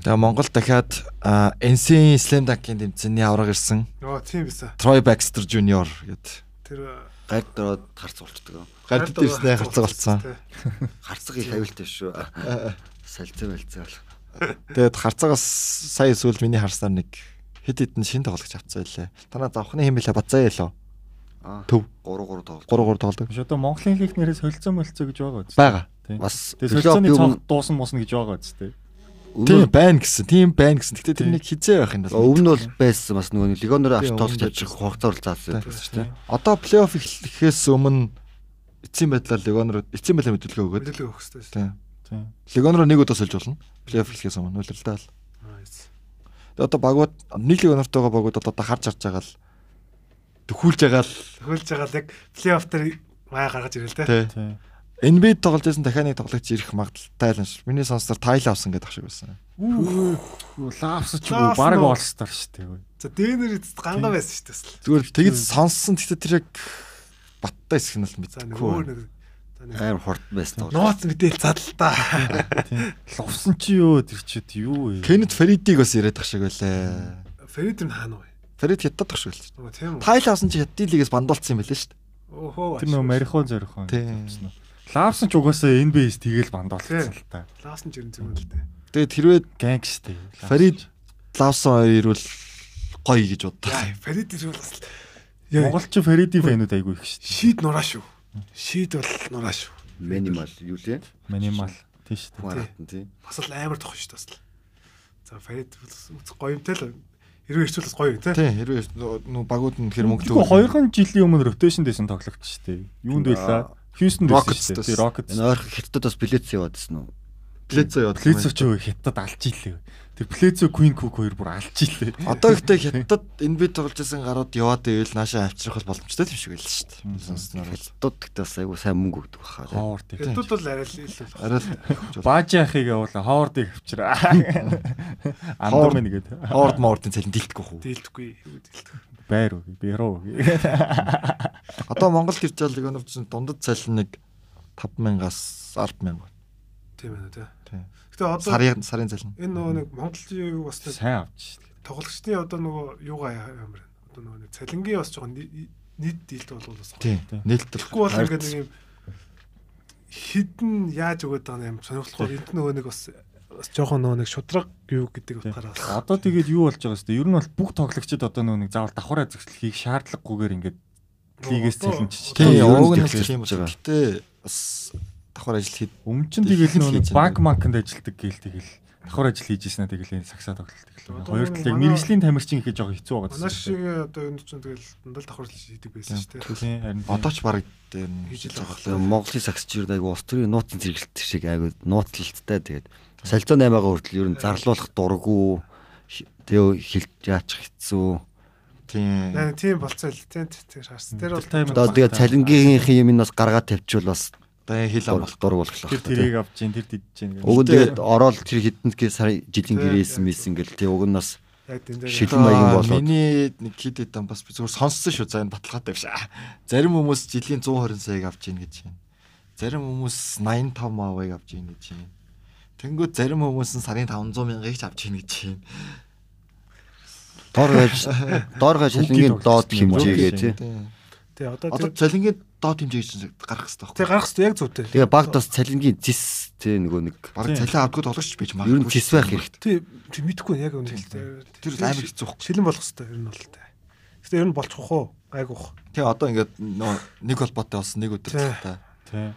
Тэгээ Монгол дахиад а, NC Slam Dunk-ийн тэмцээний авраг ирсэн. Нөгөө тийм байсан. Troy Baxter Jr. гэд Тэр Гайд дороод харц болчдөг. гард ирсэн харцаг болсон. Харцаг их хавилтай шүү. Салцаа байлцаа. Тэгээд харцагаас сая эсвэл миний харсаар нэг хэд хэдэн шин тоглогч авцсан байлээ. Танаа завхны хэм билээ бацаа ялаа. Аа. Төв 3 3 тоглолт. 3 3 тоглодог. Шод Монголын лиг нэрээ солилцоо мөлцөө гэж байгаа үст. Бага. Тий. Бас Тэгээ солилцооны плей-офф цонх юм- дуусан муусна гэж байгаа үст. Тий. Тийм өмнө байна гэсэн. Тийм байна гэсэн. Гэтэ тэр Тийм. нэг хизээ байх юм бол. өмнө нь бол байсан бас нөгөө нэг легоноор авч Тийм, тоглож өмнө авчих хугацаа бол заасан байсан шүү дээ. Одоо плей-офф эхлэхээс өмнө эцсийн байдлаар легонор эцсийн байдлаа мэдлэгээ өгөөд. хөдөлгөө өгөх хэрэгтэй шүү. Тийм. Тий. Легонор нэг удаа сольж болно. Плей-офф эхлэхээс өмнө үлрэлдэл. Nice. Тэгээ одоо багууд нэг легонортойгоо багууд одоо харж харж байгаа л төхүүлж байгаа л Төхөлж байгаа л яг плей-офф дээр маяг гаргаж ирэл те. тий. Тий. NBA тоглож байсан дахиад нэг тоглогч ирэх магадaltaй л юм шиг. Миний сонсноор тайл авсан гэдэг ах шиг байсан. Лавс ч Лавс үгүй баг нь уу. олстар шүү дээ. За Дэнер эцэст ганга байсан шүү дээ. бас л. Зүгээр тэгэд сонссон гэхдээ тэр яг баттай хэсэг нь л За нөгөө нэг мэдгүй. за нэг Амар хурдан байсан тоглож. нууц мэдээл задалтаа. Тий. Лувсан чи юу тэр чид юу вэ? Кенет Фридиг бас яриад ах шиг байлаа. Фрид нь хаана вэ? Фред хятад тах шүү л. Нөгөө тийм үү? Тайлаасан чи хятадын лигээс бандуулсан юм билээ шүү дээ. Өхөө. Тэр нөө марихуан зорихон. Тийм. явцсан уу? Лавсан ч угаасаа NBS тэгэл бандуулсан Тийм. л та. Лаас нь жирэн зүйл л дээ. Тэгээд хэрвээ Гэнгстэй. Фред лавсан хоёр ирвэл гоё гэж боддог. Яа, Фрид ирвэл бас л- Яа, Монголч Фредди фэнүүд айгүй их шүү шийд нураа шүү. Шийд бол нураа шүү. минимал юу лээ дээ. Минимал тийм шүү дээ. хуаратан тий Бас л амар тох шүү дээ бас л. За Фрид бас үзэх гоё юм те л. Хэрвээ ирчихвэл бас гоё юм те. Тийм хэрвээ нөө- нөө багууд нь тэр мөнгө Тэгвэл 2 жилийн өмнө rotation дэсэн тоглогдсон шүү дээ. Юунд байлаа? Houston Rockets дэсэн шүү дээ. дэсэн. Rockets. энэ ойрхон хятад бас билетс яваадсэн үү плецо яваад. Плецо ч өө хятад алж илээ. Тэр Плецо Queen Cook хоёр бүр алж илээ. Одоо ихтэй хятад NBA тоглож байсан гарууд яваад ивэл наашаа авчрах бол боломжтой юм шиг байл шүү Мм. дээ. Сонсноор бол. хятадд бас айгу сайн мөнгө өгдөг баха тий Ховор тийм. Хэдүүд бол арай л илүү л. Арай л Баажи ахыг явуулаа. Ховордыг авчираа. Андам нэгэд. Орд мордын цалин дилдэхгүй хүү. Дийлдэхгүй. Дийлдэх. Байр уу? Бэрүү. Одоо Монголд ирж байгаа лиг өнөвч чинь дундад цалин нэг 5000-аас 10000 байна. Тийм байна те. Тийм. Гэтэ одоо Сарын сарын цалин. энэ нөгөө нэг Монголын юу бас нэг Сайн авч шүү дээ. тоглогчдын одоо нөгөө юугаа ямар байна? Одоо нөгөө нэг цалингийн бас жоохон ни- нийт дийлт бол бас гоё. Тийм. Нээлттэй. Тэгэхгүй бол ингээд нэг юм хідэн яаж өгöd байгаа юм сонирхолтой. Энд нөгөө нэг бас бас жоохон нөгөө нэг шудраг юу гэдэг утгаараа бас Одоо тэгээд юу болж байгаа юм бэ? Ер нь бол бүх тоглогчид одоо нөө нэг заавал давхараа зөксөл хийх шаардлагагүйгээр ингээд лигээс Одоо- цалин чич. Тийм, Ер нь уг нь дэлгэрч хэлэх юм бол байгаа. гэхдээ бас давхар ажил хийд. Өмнө чинь тэгэл нөө нэг Дэлхийд хийж баг байгаа. макнд ажилдаг гээл тэгэл давхар ажил хийж ийснэ тэгэл энэ сагсаа тоглолт тэгэл. Одоо Хоёр нэг талыг манай- мэрэгжлийн тамирчин ихэж жоохон хэцүү байгаа Манай гэсэн. шиг одоо энэ ч тэгэл дандаа давхарлж хийдэг байсан шүү дээ. Тийм харин тийм. Одоо ч баг дээр Хийж л байгаа. Тэгээ Монголын сагсчид айгу Австрийн нууцын зэрэгэлт шиг айгу нууцлалттай тэгээд солилцоо 8-аа хүртэл ер нь зарлуулах дурггүй хи- тэгээ хилж яачих хэцүү. тийм. Наа тийм болцоо л тийм тийм шаарсан. Тэр бол Тайм Одоо тэгээ цалингийнхийнх юм нь бас гаргаад тавьчихвал бас Одоо хэл ам бол. дург- дургуулах тэр л тэрийг авч जैन тэр дидж जैन. Уг нь тэгээд ороод тэр хэдэн гээ сарын жилийн гэрээс мэс ингээл тий уг нь бас яг энэ дээр шил- Хилэн маягийн болоод. Миний нэг хид хэд ам бас би зүгээр сонссон шүү. За энэ баталгаатай биш. аа. Зарим хүмүүс жилийн 120 саяг авч ийн гэж байна. Зарим хүмүүс 85 авыг авч ийн гэж байна. Тэнгүүд зарим хүмүүс нь сарын 500 мянгаыг ч авч ийн гэж байна. дор гаж дор гаж цалингийн Бүгдийг доод тоглосон юм уу? хэмжээгээ тий. Тийм. тий одоо Одоо тэр цалингийн доод хэмжээ гэж гарах хэрэгтэй тий байхгүй. гарах хэрэгтэй яг зүйтэй. Тэгээ багт бас цалингийн зис тий нөгөө нэг Бараг Тийм. цалин авдгүй тоглогч байж ер магадгүй. нь зис байх хэрэгтэй. Тий тий, мэдхгүй яг үнэ хэлтэй. Тэр амар хэцүү. Шилэн болох хэрэгтэй ер нь бол тээ. Гэтэ ер нь болчихох уу? Айгуух. Тий одоо ингээд нөө- нэг холбоотой болсон нэг өдөр Тий. талтай. Тий.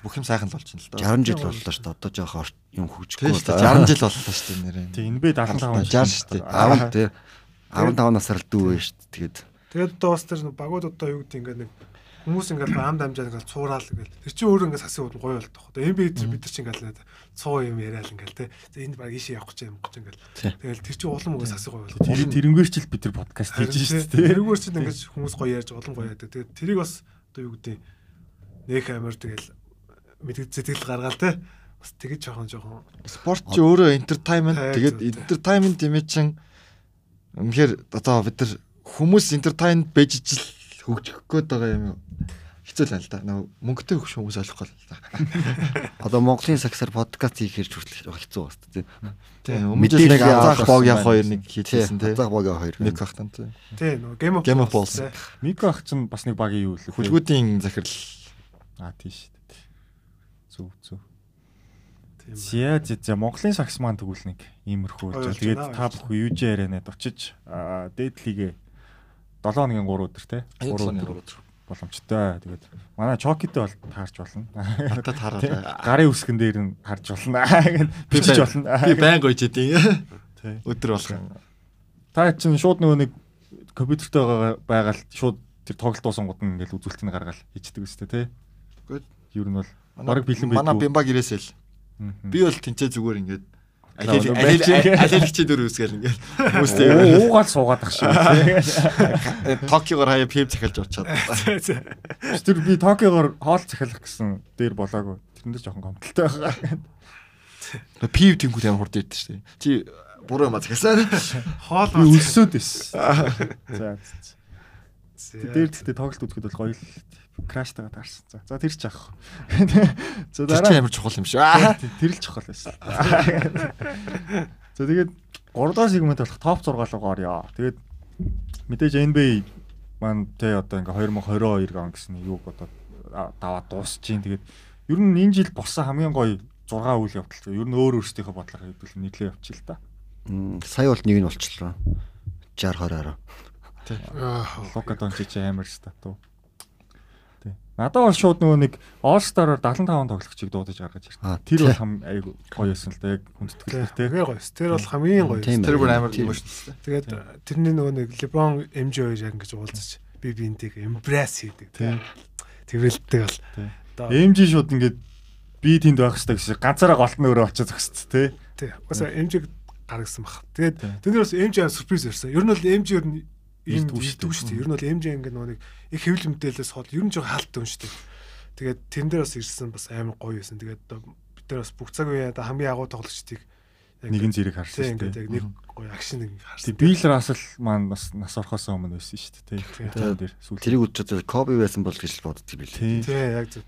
Бүх юм сайхан л болж байна л да. 60 жил боллоо шүү дээ. Одоо жоох орт юм хөгжихгүй Тий шүү дээ. болоо. 60 жил боллоо шүү дээ нэрээ. Тэг энэ бэ 75 60 шүү дээ. 10 тий 15 насаар л дүүвэ шүү дээ. Тэгээд Тэгээд одоо бас тэр багууд одоо юу гэдэг ингээд нэг хүмүүс ингээд ам дамжаа ингээд цуураал ингээд тэр чинь өөр ингээд сасыг гоё болдог. Одоо NBA дээр бид нар чинь ингээд л цуу юм яриад ингээд те. За энд баг ийшээ явах гэж юм гэж ингээд. Тэгэл тэр чинь улам өгөөс сасыг гоё болдог. Тэр тэрнгүүр чил бид тэр подкаст хийж шүү дээ. Тэрүүгээр чинь ингээд хүмүүс гоё ярьж улам гоё яадаг. Тэгээд тэрийг бас одоо юу гэдэг нөх амар тэгэл мэдгэж зэтгэл гаргаал те. Бас тэгэж жоохон жоохон Спорт чи өөрөө entertainment. Тий, Тэгээд тий. entertainment юм чинь үнэхээр одоо бид нар хүмүүс entertainment байж ижил хөгжих гээд байгаа юм юу? Хэцүү л байна л да. Нөө мөнгөтэй хөгжих хүмүүс ойлгохгүй л байна л да. одоо Монголын сагсаар подкаст хийх хэрэг хүртэл хэцүү байна шүү дээ. Тий өмнө жил Мэдээлэл нэг анзаах авах бог болсон яг хоёр нэг Тий. хийжсэн тий. Хазаах багийн хоёр. Нэг ахтан тий. те нөгөө Game of Game of те. Мико ах чинь бас нэг багийн юу лээ. Хүлгүүдийн захирал А тийм шүү дээ. Зүг зүг. Тийм Зя байна. зя зя Монголын сагс маань тэгвэл нэг иймэрхүү Ойлж үйлдэл. Тэгээд байна, та ойлж бүхэн UJ аренад очиж аа, дээд лигээ 7 хоногийн 3 өдөр те 3 өдөр боломжтой. Тэгээд манай Чокитэй бол таарч болно. Хатад Тэ? хараа. Гарын үсгэн дээр нь харж болно. Гэд бичиж болно. Би байн гойж идэв. Тэ. Өдөр болох. Та чинь шууд нөгөө нэг компьютертэй байгаа- байгаал шууд тэр тоглолт уусан гот нь ингээл үзүүлэлтийг гаргаал хийдэг өстэй те. Good. Юу нь бол Бараг бэлэн Манай байдгүй. бимбаг ирээсэл. би Би бол тэнцээ зүгээр ингээд Алаа алил- өнөө алил байж. алил хичээ дөр үсгээл ингээд хүмүүстэй уугаал суугаад ах шиг. те. Токиогоор хаяа пив цахилж уучаад. Тэр би Токиогоор хоол захиалах гэсэн дээр болоогүй. Тэрэндээ жоохон гомдолтой байгаа. Пив тэнгуут амар хурд ирдэ штэ. Чи буруу юм а захиасаа. Хоол Би мас. өлсөд эс. За. Зэ. Дээр тэгтээ тоглолт үзэхэд бол гоё л краштайгаа таарсан. За. За тэр ч яах. За Тэр чи амар чухал юм шиг. Аа. Тэр л чухал байсан. За тэгээд 3 дахь сегмент болох топ 6 руу орё. Тэгээд мэдээж NBA маань тэ одоо ингээ 2022 он гэсэн юуг одоо а- даваад дуусчихин. Тэгээд ер нь энэ жил болсон хамгийн гоё 6 үйл явдал. Ер нь өөр өөрсдийнхөө бодлого хэвдэл нийлээ явчих л да. Мм, Сая бол нэг нь болчихлоо. 60 20. Лука Дончич амар стату. Тий. Надад бол шууд нөгөө нэг All Star-аар 75 тоглогчийг дуудаж гаргаж Аа, ирсэн. Тэр бол тий. хам айгу гоё байсан л да. Яг Тэгээ хүндэтгэлтэй тий. хамгийн гоё. Тэр бол хамгийн гоё. Тийм Тэр бүр байна. амар Тийм. юм шүү дээ. Тэгээд тэрний нөгөө нэг LeBron MJ хоёр яг ингэж уулзаж би бинтийг embrace хийдэг. Тий. Тэрвэлтэй бол. Тий. Одоо МЖ шууд ингээд би тэнд байх хэрэгтэй гэсэн ганцаараа голт нь өөрөө очиж зогсчих тий. тий. Угаасаа MJ-г гаргасан баг. Тэгээд Тий. тэндээс MJ сюрприз ирсэн. Ер нь бол MJ ер нь юм Ирдгүй шүү дээ. дүүшдэг шүү дээ. Ер нь бол MJ ингээд нөгөө нэг их хэвлэл мэдээлэлээс хол ер нь жоо хаалттай юм шүү дээ. Тэгээд тэн дээр бас ирсэн бас амар гоё байсан. Тэгээд одоо бид нар бас бүх цаг үе одоо хамгийн агуу тоглогчдыг яг Нэгэн зэрэг тий харсан шүү ингээд яг дээ. нэг гоё акшн нэг харсан. Тэг Бил Рассел маань бас нас орохоос өмнө байсан шүү дээ тий. Тий. Тэр дээр сүүл. Тэрийг үзчихээ Коби байсан бол гэж л боддог билээ. Тий. Тий яг зөв.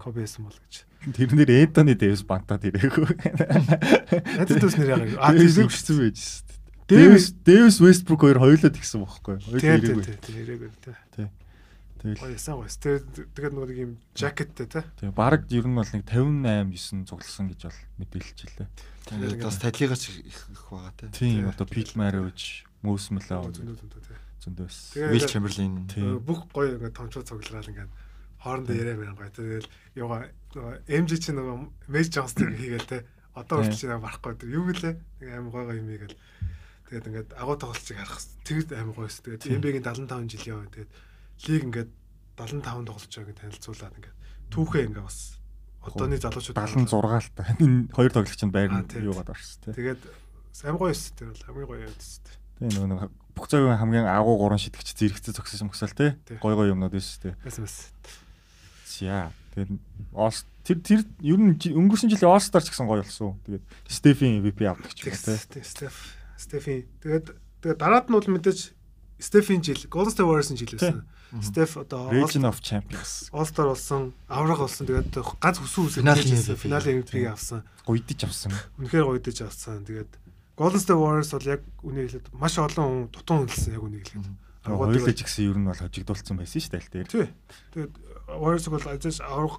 Кобисэн бол гэж. Тэр нэр Эдоны Дэвис бантаад ирээгүй. Надад бас нэр яг А аа тийм гэсэн тийм байж шүү дээ. Дэвис- Дэвис Дэвис Вестбрук хоёр хоёулаа тэгсэн бохоггүй. Хоёулаа тийм ирээгүй. тийм хэрэггүй тийм. Тэгэл Гоё сайн гоё. Тэгээд тэгээд нөгөө нэг юм жакеттэй тийм. Тэгээ баг ер нь бол нэг 58 9 цугласан гэж бол мэдээлж илээ. Тэгээд бас талигаач их их байгаа те. Тийм Тий. одоо Пилмэр өвч Мөөсмөлөө Зөндөө зөндөө тийм. зөндөс. Тэгээ- Will Chamberlain. Тий. Э, бүх гоё ингээд томчууд цуглараад ингээд хоорондоо яриа байна гоё. Тэгээд яга нөгөө MJ чи нөгөө Мэйж Джонстыг хийгээл те. Одоо Тий. хүртэл чи намайг барахгүй тэр юм лээ. Нэг аим гоё гоё юм ийгээл. Тэгээд ингээд агуу тоглолцыг харах тэгэд аим гоёс. Тэгээд Тий. NBA-гийн 75 жил яваа. Тэгээд лиг ингээд 75 тоглолч байгааг танилцуулаад ингээд түүхээ ингээд бас одооны залуучууд 76 л та. Энэ хоёр тоглогч нь Аа, байрны тий. юугаар орсон тий. Тэгээд сайн гоё юус тэр бол хамгийн гоё юм тест. Тэгээ нөгөө нэг бүх цагийн хамгийн агуу гурван шидэгч зэрэгцээ зөксөн мөксөл тий. Тий. Гой гой юмнууд биш тий. Бас бас. Зя. Тэгээд Олс тэр тэр ер нь жи- өнгөрсөн жилийн Олстар ч гэсэн гой болсон. Тэгээд Стефин MVP авдаг ч юм уу тий. Тэгс тий, Стеф Стефи. Тэгээд тэгээд дараад нь бол мэдээж Стефин жил Golden State Warriors-ын жил байсан. Стеф одоо Region of Champions All-Star болсон, авраг болсон. Тэгээд ганц хүсүү хүсээ Финалын хийжсэн. MVP. Финалын MVP авсан. гуйдж авсан. Үнэхээр гоёдэж авсан. Тэгээд Golden State Warriors бол яг үнийг хэлээд маш олон хүн тутун хүлсэн яг үнийг хэлээд. Аргууд Хоёулаа дээр- ч гэсэн ер нь бол хожигдуулсан байсан шүү дээ аль дээр. Тий. Тэгээд Warriors бол ажиж авраг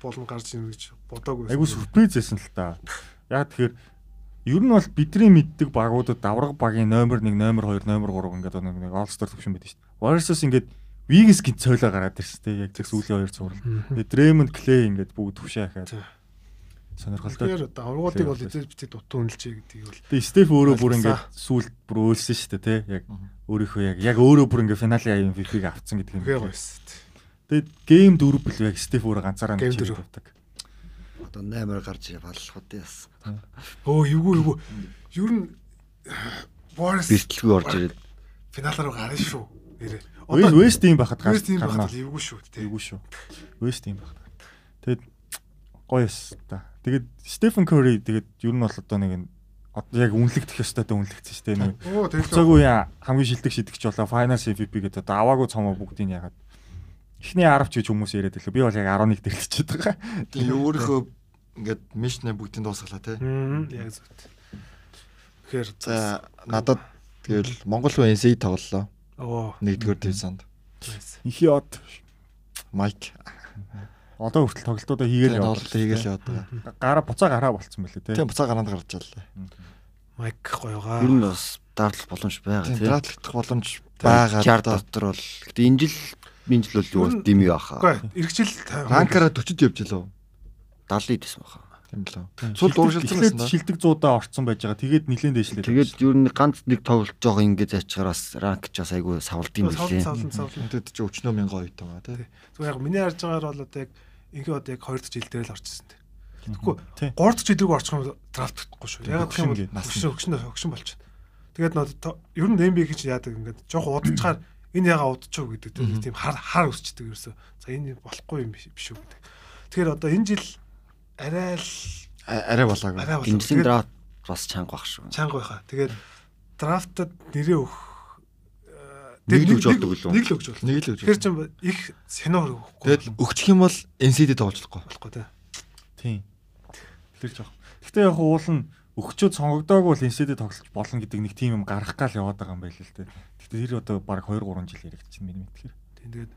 болон гарч ирнэ гэж бодоагүй. байсан. Айгу сюрприз байсан л та. Яа тэгэхээр ер нь бол бидний мэддэг багуудад давраг багийн номер 1, номер 2, номер 3 ингээд нэг нэг All-Star төвшин байдаг шүү дээ. Warriors ингээд Wiggins гинт цойлоо гараад ирсэн тийм яг зэрэг сүүлийн хоёр цуврал. Тэгээ Draymond Clay ингээд бүгд төвшөө ахаад Тий. сонирхолтой. Тэгэхээр одоо аврагуудыг бол Playoff эзэл битээ дутуу үнэлжээ гэдгийг бол Тэгээ Steph өөрөө бүр Алгасаа. ингээд сүүл бүр өөлсөн шүү дээ тийм яг өөрийнхөө яг яг өөрөө бүр ингээд финалийн MVP-г авцсан гэдэг юм. үнэхээр гоё шүү дээ. Тэгээ game 4 бэл яг Steph өөрөө ганцаараа Game нэг чиг дөрөв. авдаг. Одоо 8-аар гарч баллахуд яасан. Өө эвгүй эвгүй. Ер нь Борис Бэлтэлгүй орж ирээд финалаар гарна шүү. Нэрээ. West West юм байхад Вест юм гарна. багт л эвгүй шүү дээ. Эйгүү шүү. Вест юм байна. Тэгэд гоё эс та. Тэгэд Стефен Кори тэгэд ер нь бол одоо нэг нь одоо яг үнэлэгдэх ёстойтой үнэлэгдсэн шүү дээ. Нэг Оо буцааг тэгэлгүй. үе хамгийн шилдэг шидэгч болоо Finals MVP гэдэг одоо аваагүй цомоо бүгдийг нь ягаад. Эхний 10 ч гэж хүмүүс яриад байлаа. Би бол яг 11 дэрлчихэд байгаа. Тэгээ өөрийнхөө ингээд мишнэ бүгдийг дуусгалаа те. Мм яг зөв. Тэгэхээр За надад тэгэл Монгол хүн NC тоглолоо. оо Нэгдүгээр дивизионд. nice. Их яд. Майк Одоо хүртэл тоглолтуудаа хийгээл тэгэл тоглолт хийгээл яваад. Гараа буцаа гараа болцсон байлээ тий. Тийм буцаа гаранд гарч жаллаа. майк ер нь гоёгаа. бас дарлах боломж байгаа Тийм тийм. дратлах боломж Бага байгаа. 60 дотор бол гэтээ энэ жил энэ жил бол юу бол дими баха. Гэхдээ эргэжил Анкара 40-д явж лөө. 70 дэсэн баха. Тийм лөө. Цул Цул дууршилсан байсан дууршилсан да. шилдэг зуудаа орцсон байж байгаа. Тэгээд нилэн дэшлээ. Тэгээд ер нь ганц нэг тоглож байгаа ингээд зайчгаар бас ранк ч бас айгүй савлдсан савлан билээ. савлан савлан. Тэд чи өчнөө мянган ойт байгаа тий. Зүгээр яг миний харж байгаагаар бол одоо яг ингээ одоо яг 2 дахь жил дээр л орчихсон дээ. Тэгэхгүй Тий. 3 дахь жилдээ орчих юм бол драфт гэхгүй шүү. Яг гэх юм бол Хөгшин гээд нас хөгшин хөгшин хөгшин болчих. Тэгээд нөө то- ер нь NBA гэж яадаг ингээд жоох удацчаар энэ яга удачаа гэдэг тийм тийм хар хар өсчдөг ерөөсөө. За энэ болохгүй юм биш биш үү гэдэг. Тэгэхээр одоо энэ жил арай л А- Арай болоогүй. арай болов. Гинжлийн Тэгээд драфт бас чанга бах шүү. чанга байха. Тэгээд драфтад нэрээ өг э, тэр Нэг л өгж болдог үлээ. Нэг л өгж болдог. Нэг л өгж. Тэгэхээр ч юм их сэниор өгөхгүй Тэгэл өгчих юм бол NC-д тоглохгүй. болохгүй Тийм. тийм. Тэр жоох. Гэхдээ яг уулна өгчөөд сонгогдоогүй бол инстэд тоглож болно гэдэг нэг тийм юм гарах гал яваад байгаа юм байл л дээ. Гэхдээ тэр одоо баг 2 3 жил яригдчихсэн миний мэдхээр. Тэгээд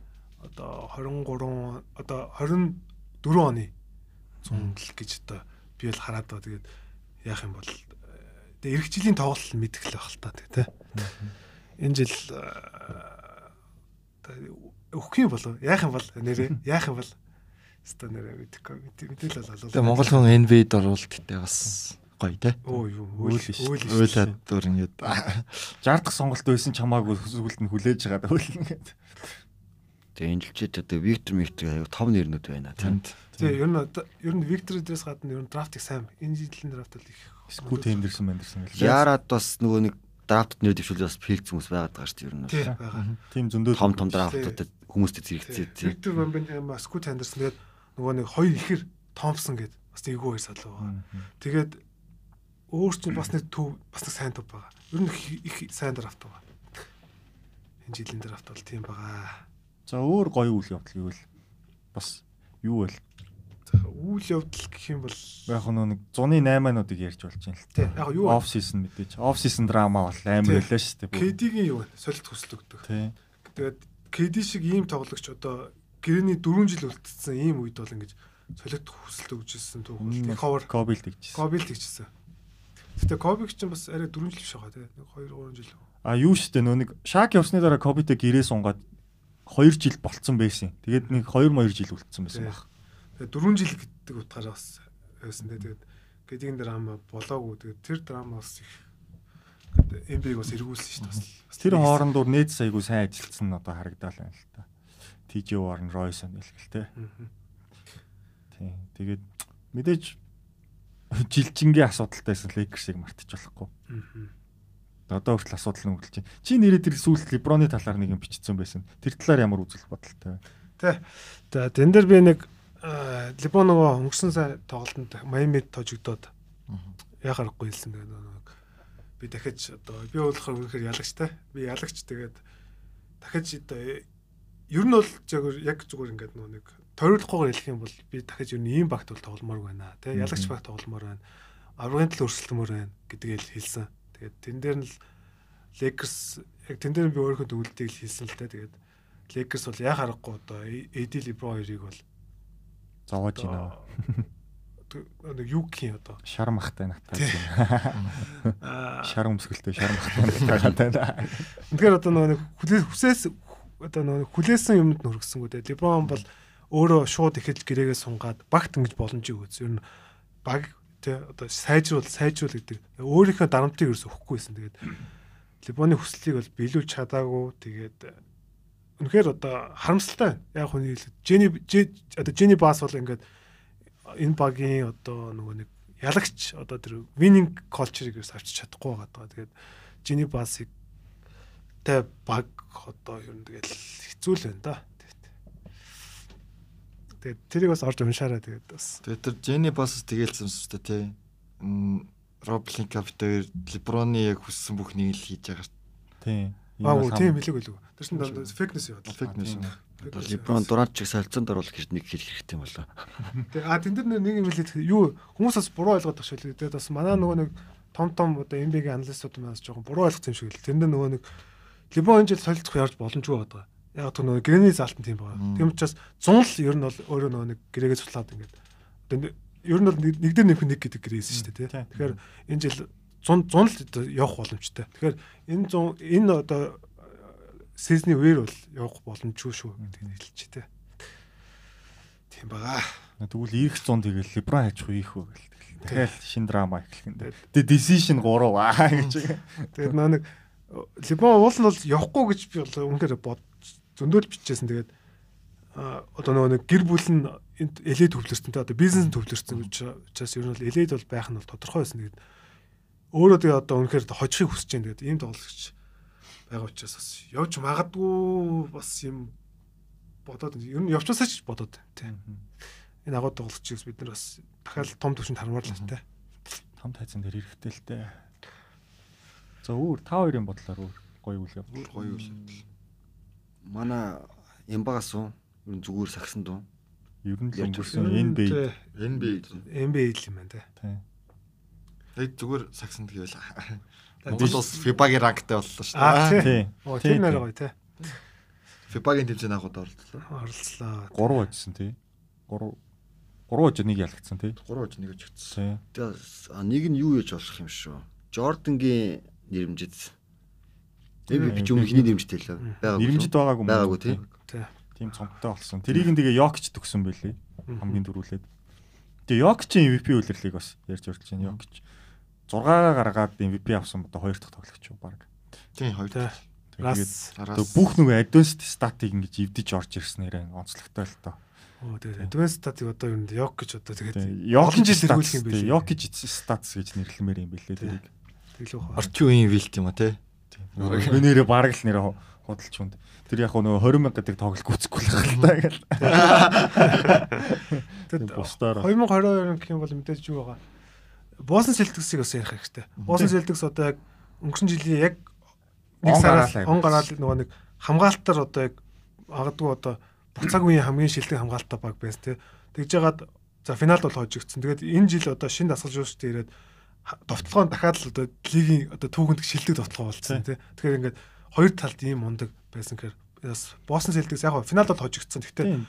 одоо 23 одоо 24 оны цундл гэж одоо би л хараад байгаа. Тэгээд яах юм бол э, тэгээд эх жилийн тоглол мэдгэл байх л та тий, тий. Энэ жил э, одоо өгөх юм болов яах юм бол нэрээ яах юм бол өстө нэрээ мэдэхгүй мэдээ- мэдээл бол олоо. Тэгээ Монгол хүн NVD оруулт гэдэг бас гоё те. Оо юу Үйл үйл биш. үйл биш. Уйлаад дөр ингээд 60 дахь сонголт байсан ч хамаагүй сүгэлд нь хүлээж байгаа даа ингээд. Тэгээ энэ л чид одоо Виктор Миктер аяг том нэрнүүд байна тийм. танд Тэгээ ер нь одоо- ер нь Виктор Идрээс гадна ер нь драфтыг сайн. Энэ жилийн драфт бол их Скут хэмдэрсэн мэндэрсэн гэлээ. Яраад бас нөгөө нэг драфт нэр дэвшүүлээ бас филц хүмүүс байгаад байгаа шүү дээ ер нь тий бол. байгаа. Тийм зөндөө Том том драфтуудад хүмүүстэй зэрэгцээ тийм. Виктор Вамбен Скут Хандерсон тэгээд нөгөө нэг хоёр ихэр Томпсон гээд бас нэггүй хоёр салуу байгаа. Тэгээд өөр чинь бас нэг төв бас нэг сайн төв байгаа. Ер нь их- их сайн драфт байгаа. Энэ жилийн драфт бол тийм байгаа. За өөр гоё үйл явдал гэвэл бас юу вэ? За, Үйл явдал гэх юм бол Яг нь нэг 108-уудыг ярьж болж байна л тий яг юу Оф сизон мэдээч. Оф сизон драма бол амар Тий. хэлээ шүү дээ. KD-гийн юу вэ? Солилт хүслэгдэх. Тий. Тэгээд KD шиг ийм тоглогч одоо гэрээний 4 жил үлдсэн ийм үед бол ингэж солилт хүсэлт өгжсэн түүх. Их ховор Кобил тэгчихсэн. Кобил тэгчихсэн. Гэтэ Кобиг чинь бас арай 4 жил биш байгаа тийм 2 3 жил. А юу шүү дээ нөө нэг Шак явсны дараа Кобитэй гэрээ сунгаад 2 жил болцсон байсан. Тэгээд нэг 2 2 жил үлдсэн байсан Тий. баг. Тэгээ 4 жил гэдэг утгаараа бас байсан тийм тэгээд гэдгийн драма болоогүй тэгээд тэр драма бас их эмбиг бас эргүүлсэн шүү дээ. бас. Тэр хоорондоор нээд сайгүй сайн ажилтсан нь одоо харагдал байна л та. TJ Warren, Royce нэлгэлтэй. Мгм. Тий. Тэгээд мэдээж жилчингийн асуудалтайсэн Lakers-ыг мартаж болохгүй. Мгм. Одоо хүртэл асуудал нь үргэлж байна. Чи нэрээ тэр сүүлд LeBron-ы талаар нэг юм бичсэн байсан. Тэр талаар ямар үзэл бодолтой вэ? Тэ. За тэн дээр би нэг Либоногоо өнгөрсөн сар тоглолтод Майамид тожигдоод яа харахгүй хэлсэн тэгээд нэг би дахиж одоо би болохоор үнэхээр ялагчтай. Би ялагч тэгээд дахиж одоо ер нь бол зөвхөн яг зүгээр ингээд нөө нэг тойруулахгүйгээр хэлэх юм бол би дахиж ер нь ийм багт бол тогломоор байна. Тэ ялагч багт тогломоор байна. Аврагын төл өрсөлдөмөр байна гэдгийг л хэлсэн. Тэгээд тэн дээр нь л Lakers яг тэн дээр нь би өөрөө төгөлтийг л хэлсэн л тэ тэгээд Lakers бол яа харахгүй одоо AD LeBron хоёрыг бол Зовоож байна. одоо одоо нэг юу гэх юм одоо Шармахтай наттай. Тий. аа Шар өмсгөлтэй шармахтай наттай. Үнэхээр одоо нөгөө нэг хүлээс хүсээс одоо нөгөө хүлээсэн юмд нүргэсэнгүү дээ. Либрон бол өөрөө шууд ихэл гэрээгээ сунгаад багт ингэж боломжийг өгөөс. Ер нь баг тий одоо сайжруул сайжруул гэдэг. Өөрийнхөө дарамтыг ерөөс өгөхгүйсэн. Тэгээд Либоны хүслийг бол биелүүлж чадаагүй. Тэгээд э, үнэхээр одоо харамсалтай байна. Яг хүний хэлээд Жени Же- одоо Жени Бас бол ингээд энэ багийн одоо нөгөө нэг ялагч одоо тэр winning culture-ыг ерөөс авчиж чадахгүй байгаа даа. Тэгээд Жени Басыг Тэ баг одоо ер нь тэгэл хэцүү л байна да. Тэгээд тэрийг бас орж уншаарай тэгээд бас. Тэгээ тэр Jenny бас тгээлсэн шүү дээ тий. М, Роблин капитал Либроны яг хүссэн бүх нэг л хийж байгаа. Тий. Аа үгүй тийм билег билег. Тэр чинь дандаа фитнес яваад. л. Фитнес. тийм. Fitness Либрон яваад. дуранч шиг солилцоонд орох гэж нэг хэл хэрэгтэй юм болоо. Тэгээд аа тэн дээр нэг юм хэлээд юу хүмүүс бас буруу ойлгоод тах шүлээ. Тэгээд бас манай нөгөө нэг том том одоо MB-ийн аналистууд манаас жоохон буруу ойлгосон юм шиг л. Тэндээ нөгөө нэг Либон энэ жил солилцох ярьж боломжгүй байгаа. Яг тэр нөгөө грэний залтан тийм байгаа. Мм. Тийм учраас зун л ер нь бол өөрөө нөгөө нэг грэгээ цуслаад ингээд одоо нэг- ер нь бол нэг- нэг дээр нэмэх нэг гэдэг грээсэн шүү дээ Тий. тийм. Тэгэхээр энэ жил 100 100 л одоо явах боломжтой. Тэгэхээр энэ 100 энэ одоо сизний үер бол явах боломжгүй шүү гэдэг нь хэлчих тээ. Тийм байгаа. Тэгвэл ирэх 100 тэгэл либрон хайчих уу ийх үү гэлтэй. Тэгэл шин драма эхлэх энэ. Тэгээ decision 3 аа гэж. Тэгээд нөө нэг Либон уул нь бол явахгүй гэж би бол үнэхээр бод зөндөөл бичижсэн. Тэгээд а, одоо нөгөө нэг гэр бүл нь энд элей төвлөрсөн те одоо бизнес нь төвлөрсөн гэж учраас ер нь бол элейд бол байх нь бол тодорхой байсан. Тэгээд өөрөө тэгээд одоо үнэхээр хожихыг хүсэж байна. Тэгээд ийм тоглогч байгаа учраас бас явж магадгүй бас юм бодоод байна. ер нь явчихсаа ч бодоод байна, те. Энэ агуу тоглогчийг бид нар бас дахиад том төвшөнд хармаар л байна те. Том тайзан дээр хэрэгтэй л дээ. За өөр та хоёрын бодлоор өөр гоё үл яв. Бүр гоё үйл явдал. Манай Эмбагас уу? Ер нь зүгээр сагсан дуу. Ер нь л Яаж өнгөрсөн энэ бий. Тэ, NBA NBA л юм байна те. Тий. Тэгээд зүгээр сагсанд гэвэл диж- Монгол улс FIBA-гийн рангтай боллоо шүү Аа, дээ. тий. Тий. Оо, Тий, тэр нэр тий. гоё те. FIBA-гийн тэмцээний анх удаа оролцлоо. Оролцлоо. 3 ажсан тий. 3 3 аж нэг ялгцсан тий. 3 хожиг нэг өчгдсэн. Тий. Тэгээс, а, Нэг нь юу яж болох юм шүү. Jordan-гийн нэрмжэд Мм. MVP ч өмнө хиний нэрмжтэй л байгаа. Нэрмжид байгаагүй мөн. байгаагүй тий. Тий. тийм цомтой болсон. Тэрийг нь тэгээ Йокч төгсөн байлээ. Мгм. Хамгийн дөрүүлээд. Тэгээ Йокчийн MVP үлрэлгийг бас ярьж урьж чинь Йокч 6-аа гаргаад MVP авсан бодо 2 дахь тоглогч юу баг. Тийм хоёр Тий. дахь. Раз. Араас Тэгээ бүх нөгөө advanced статыг ингэж эвдэж орж ирснээр онцлогтой л тоо. Оо, тэр Advanced статик одоо юу нэ Йок гэж одоо тэгээд олон Йокч жил эргүүлэх юм биш. Йокч статс гэж нэрлэмээр юм бэлээ тэрийг. Тэглүү хаа. орчин үеийн вилт юм а тий. Би нэрээ бараг л нэрээ худалч хүнд. Тэр яг нөгөө 20 мянга гэдэг тоглолт гүцэхгүй л хаалтай гэл. Тэгэд Бусдаар. 2022 гэх юм бол мэдээж юу байгаа. Буусан сэлтгэсийг бас ярих хэрэгтэй. Буусан сэлтгэс одоо яг өнгөрсөн жилийн яг нэг Он сараас гараалаа. он гараал нөгөө нэг хамгаалалтаар одоо яг агадгүй одоо буцааг үеийн хамгийн шилдэг хамгаалалтаа баг байсан тий. Тэгж ягаад за финалд бол хожигдсон. Тэгээд энэ жил одоо шинэ дасгалж юу штэ ирээд ха- довтлогоо нь дахиад л одоо лигийн одоо түүхэнд шилдэг довтлогоо болцсон тий. Тэгэхээр ингээд хоёр талд ийм мундаг байсан гэхээр бас буусан сэлтгэс яг финалд бол хожигдсон. Тэгтээ Тийм.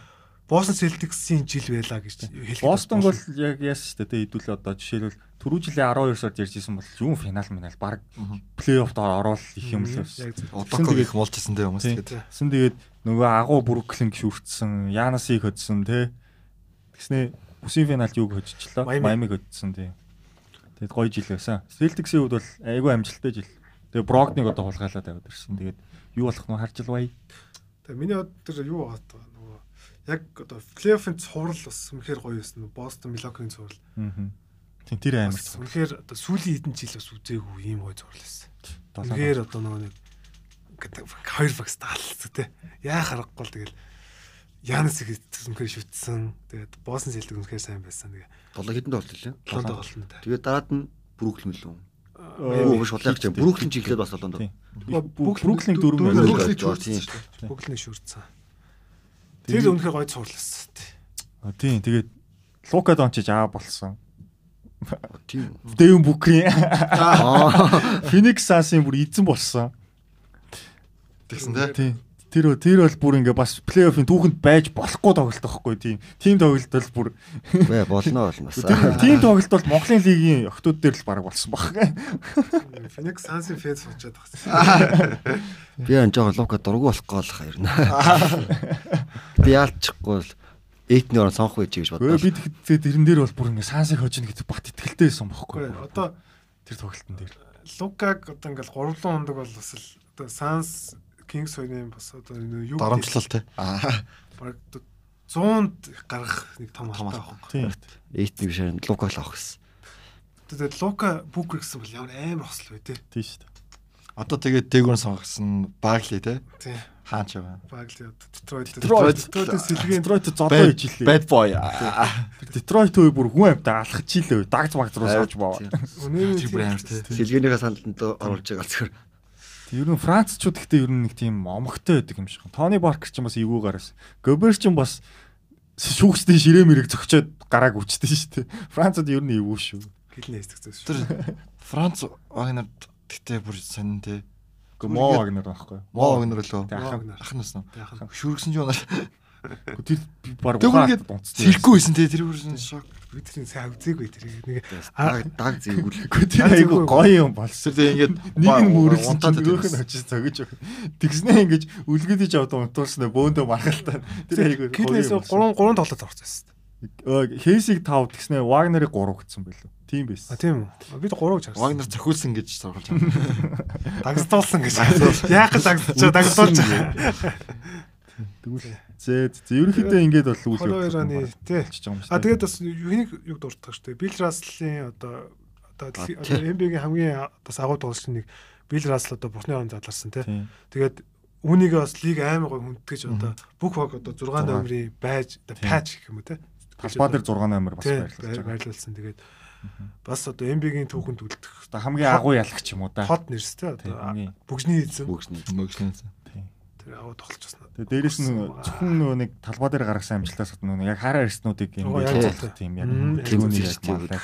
Бостон Селтиксийн жил байлаа гэж хэлэх. Бостон бол яг яасан шүү дээ. Хэдүүлээ одоо жишээлбэл түрүү жилийн 12 сард ярьжсэн бол юм финал минал баг плей-оффд орол их юм л байсан. Одоог Тэгээд- их муулчихсан дээ хүмүүс Тийм. тэгээд. Тэгсэн тэгээд нөгөө агуу Бруклин гүшүүртсэн, Янасыг хөдсөн тий. Тэгснээ үсийн финалд юуг хөдчихлөө? Майами. Майамиг хөдсөн тий. Тэгэд гоё жил байсан. Celtics-ийн хувьд бол айгүй амжилттай жил. Тэгээ Брогныг одоо хулгайлаад аваад ирсэн. Тэгээд юу болох нь харж л бая. Тэгээ миний өдөр юу байгаа тоо нөгөө яг одоо плей-оффын цуврал бас үнэхээр гоё байсан. Бостон Милокийн цуврал. Аа. Тин тэр амар. Бас Үнэхээр одоо сүүлийн хэдэн жил бас үзээгүй ийм гоё цуврал байсан. Долоо Үнэхээр одоо нөгөө нэг гэдэг хоёр багс таалцдаг те. Яа харахгүй л тэгэл Янис их үнэхээр шүтсэн. Тэгээд Бостон Селтик үнэхээр сайн байсан. Тэгээ Долоо хэдэнд оролт хэлээ. Лондон голтон дээ. Тэгээд дараад нь Brooklyn л үү? Майами. Юу биш хулайх гэж. Brooklyn ч ихлээд бас Лондонд. Тий. Бруклин Бруклин дөрөв дөрөв мөрөв. Brooklyn-ийг Brooklyn-ийг шүрдсэн. Бөглөний шүрдсэн. Тэр үнэхээр гоё цуврал байсан. тий. А, Тийм. Тэгээд Лука Дончич аа болсон. Тийм. Дэвэн Бүкрийн Аа. Феникс Сансын бүр эзэн болсон. Тэгсэн дээ. Тийм. Тэр тэр бол бүр ингээ бас плей-оффын түүхэнд байж болохгүй тоглолт байхгүй тийм. Тим тоглолт бол бүр Вэ болно болно. тэр тим тоглолт бол Монголын лигийн охтууд дээр л баг болсон баг. Феникс Сансын фэз болчиход багс. Би энэ жоохон лука дургу болох гол хайр нэ. Би яалчихгүй л эйтний орон сонх байж гэж Өө бодлоо. бид тэгээд тэрэн дээр бол бүр ингээ Сансыг хожно гэдэг бат итгэлтэй байсан байхгүй. Үгүй ээ, Одоо тэр тоглолтын дээр. Лукаг одоо ингээл 3 хоног бол бас л одоо Санс Кингс хоёрын бас одоо энэ юу Дарамтлал тий. Аа. баг 100-д гарах нэг том Том алтай алдаа. байхгүй. Тийм. Эйтний биш харин лука л авах гэсэн. Тэгээд Лука Бүкер гэсэн бол ямар амар хосл бай тээ. Тийм шүү дээ. Одоо тэгээд дээгүүр сонгосон Багли тий. Тий. Хаач яваа. Баг л одоо Детройт Детройт. Детройтын сэлгээн Детройт зодоо иж илээ. boy. Детройт үе бүр хүн амьтаа алхаж илээ. Дагц багц руу савж баваа. өнөөний Тэр бүр амар тий. Сэлгээнийхээ сандалтанд оруулж байгаа зүгээр. Ер нь Францчууд ихтэй ер нь нэг тийм омогтой байдаг юм шиг. Тони Баркер ч юм бас эвгүй гараас. Гобер ч юм бас шүүхсдийн ширээ мэрэг зөгчөөд гарааг үчдэн шүү дээ. Францад ер нь эвгүй шүү. гэлнэ хэсэгцээс шүү. Тэр Франц Вагнерд тэгтээ бүр сонин тий. Гомо Вагнер байхгүй. Мо Вагнер лөө. Тэ Мо ахын. Вагнер. Ах нас нь. Яах нь. Шүргсэн ч юм уу. Тэр би баг Тэгүр ухаад ингээд дунцсан. сэлэхгүй байсан тий. Тэр бүр шок. Бидний сайн үзээгүй тэр нэг Даг даг зээгүүл. Гэхдээ тэр айгүй гоё юм болсон. Тэр тий ингээд Нэг нь мөрөсөн чинь нөгөөх нь тэгээд. очиж цогж өгөх. Тэгснээ ингэж үлгэдэж явд унтуулснаа бөөндөө маргалтай. Тэр айгүй Киднес 3 3 тоглолт орсон шүү. гоё. Хейсиг 5 тэгснээ Вагнерыг 3 гэсэн байлгүй. Тийм А байсан. тийм үү. Бид 3 гэж харсан. Вагнер цохиулсан гэж сургалж байгаа. Дагсдуулсан гэж. Яг л дагсдчихаа дагсдуулж байгаа. Тэгвэл зээд зэ ерөнхийдөө ингэж бол үйл 22 оны тий. болчихж байгаа юм шүү. А тэгээд бас юуник юг дуртай шүү дээ. Бил Раслийн одоо одоо дэлхий- одоо NBA-гийн хамгийн бас агуу тоглогч нэг Бил Расл одоо бурхны орон задларсан тий. Тийм. Тэгээд үүнийг бас лиг аймаг гой хүндэтгэж одоо бүх баг одоо 6 номерын байж одоо Тийм. патч гэх юм уу тий. Талбай дээр 6 номер бас тий байрлуулж байгаа. байрлуулсан. Тэгээд бас одоо NBA-гийн түүхэнд үлдэх Одоо хамгийн агуу ялгач юм уу да. хот нэрс Тийм, тий одоо хамгийн. бүгжний эзэн Бүгсний. Мөглөнсөн. тэр агуу тоглож басна. Тэгээ дээрэс нь зөвхөн нөгөө нэг талбай дээр гаргасан амжилтаас гадна нөгөө яг хараа эрснүүдийг юм Оо, яг хэлцүүлэх тийм яг Мм, тэрүүнийг яг яг маллаж.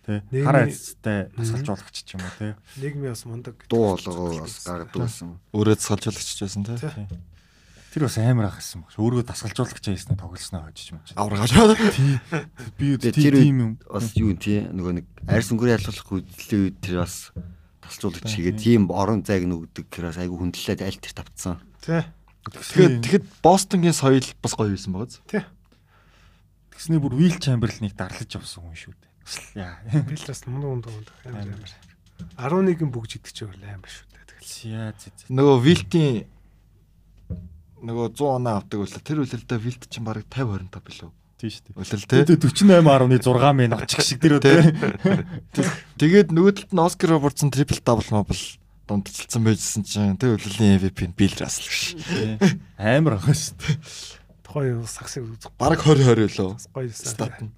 тий Нийгмийн- хараа эцэстэй тасалжуулагч ч юм уу тий Нийгмийн бас мундаг. дуу болгоо бас гардуулсан. Өөрөө засалжуулагч байсан тий. Тий. тэр бас амар ах гэсэн багш өөрөө тасалжуулагч ясна тоглосноо хожиж юм чи Аврагаш. би тий Тэгээ, тэр тийм юм Бас юу тий нөгөө нэг арьс өнгөрийн ялгалах үйлдлийн үед тэр бас тасалжуулагч хийгээ тийм орон зайг нүгдэг тэрээс айгүй хүндлээд аль тэр тавцсан. Тий. Тэгэхээр тэгэхэд Бостонгийн соёл бас гоё байсан багаз. Тий. тэгснээ бүр wheel chamber л нэг дарлаж явсан хүн шүү дээ яа Билдрас мундаг мундаг амар амар. 11-ийн бүгж идэх ч өөр амар шүү дээ. Тэгэл. яа зэ зэ. Нөгөө Вилтийн нөгөө 100 оноо авдаг үлээ. Тэр үлээлдэ Вилт чинь бараг 50 25 билүү. тий шүү дээ Үлээл тий. Тэгээ 48.6 мэн очих шиг дэрөө Тий. тий. Тэгээд нөгөө талд нь Оскар Робертсон трипл дабл мобл дундчилсан байжсэн чинь тэр үлээлийн MVP нь Бил Рассел гэж. Тий. Амар ах шүү дээ. Тухайн үе сагсыг үзэх Бараг 20 20 билүү. гоё юмсан. Стат нь.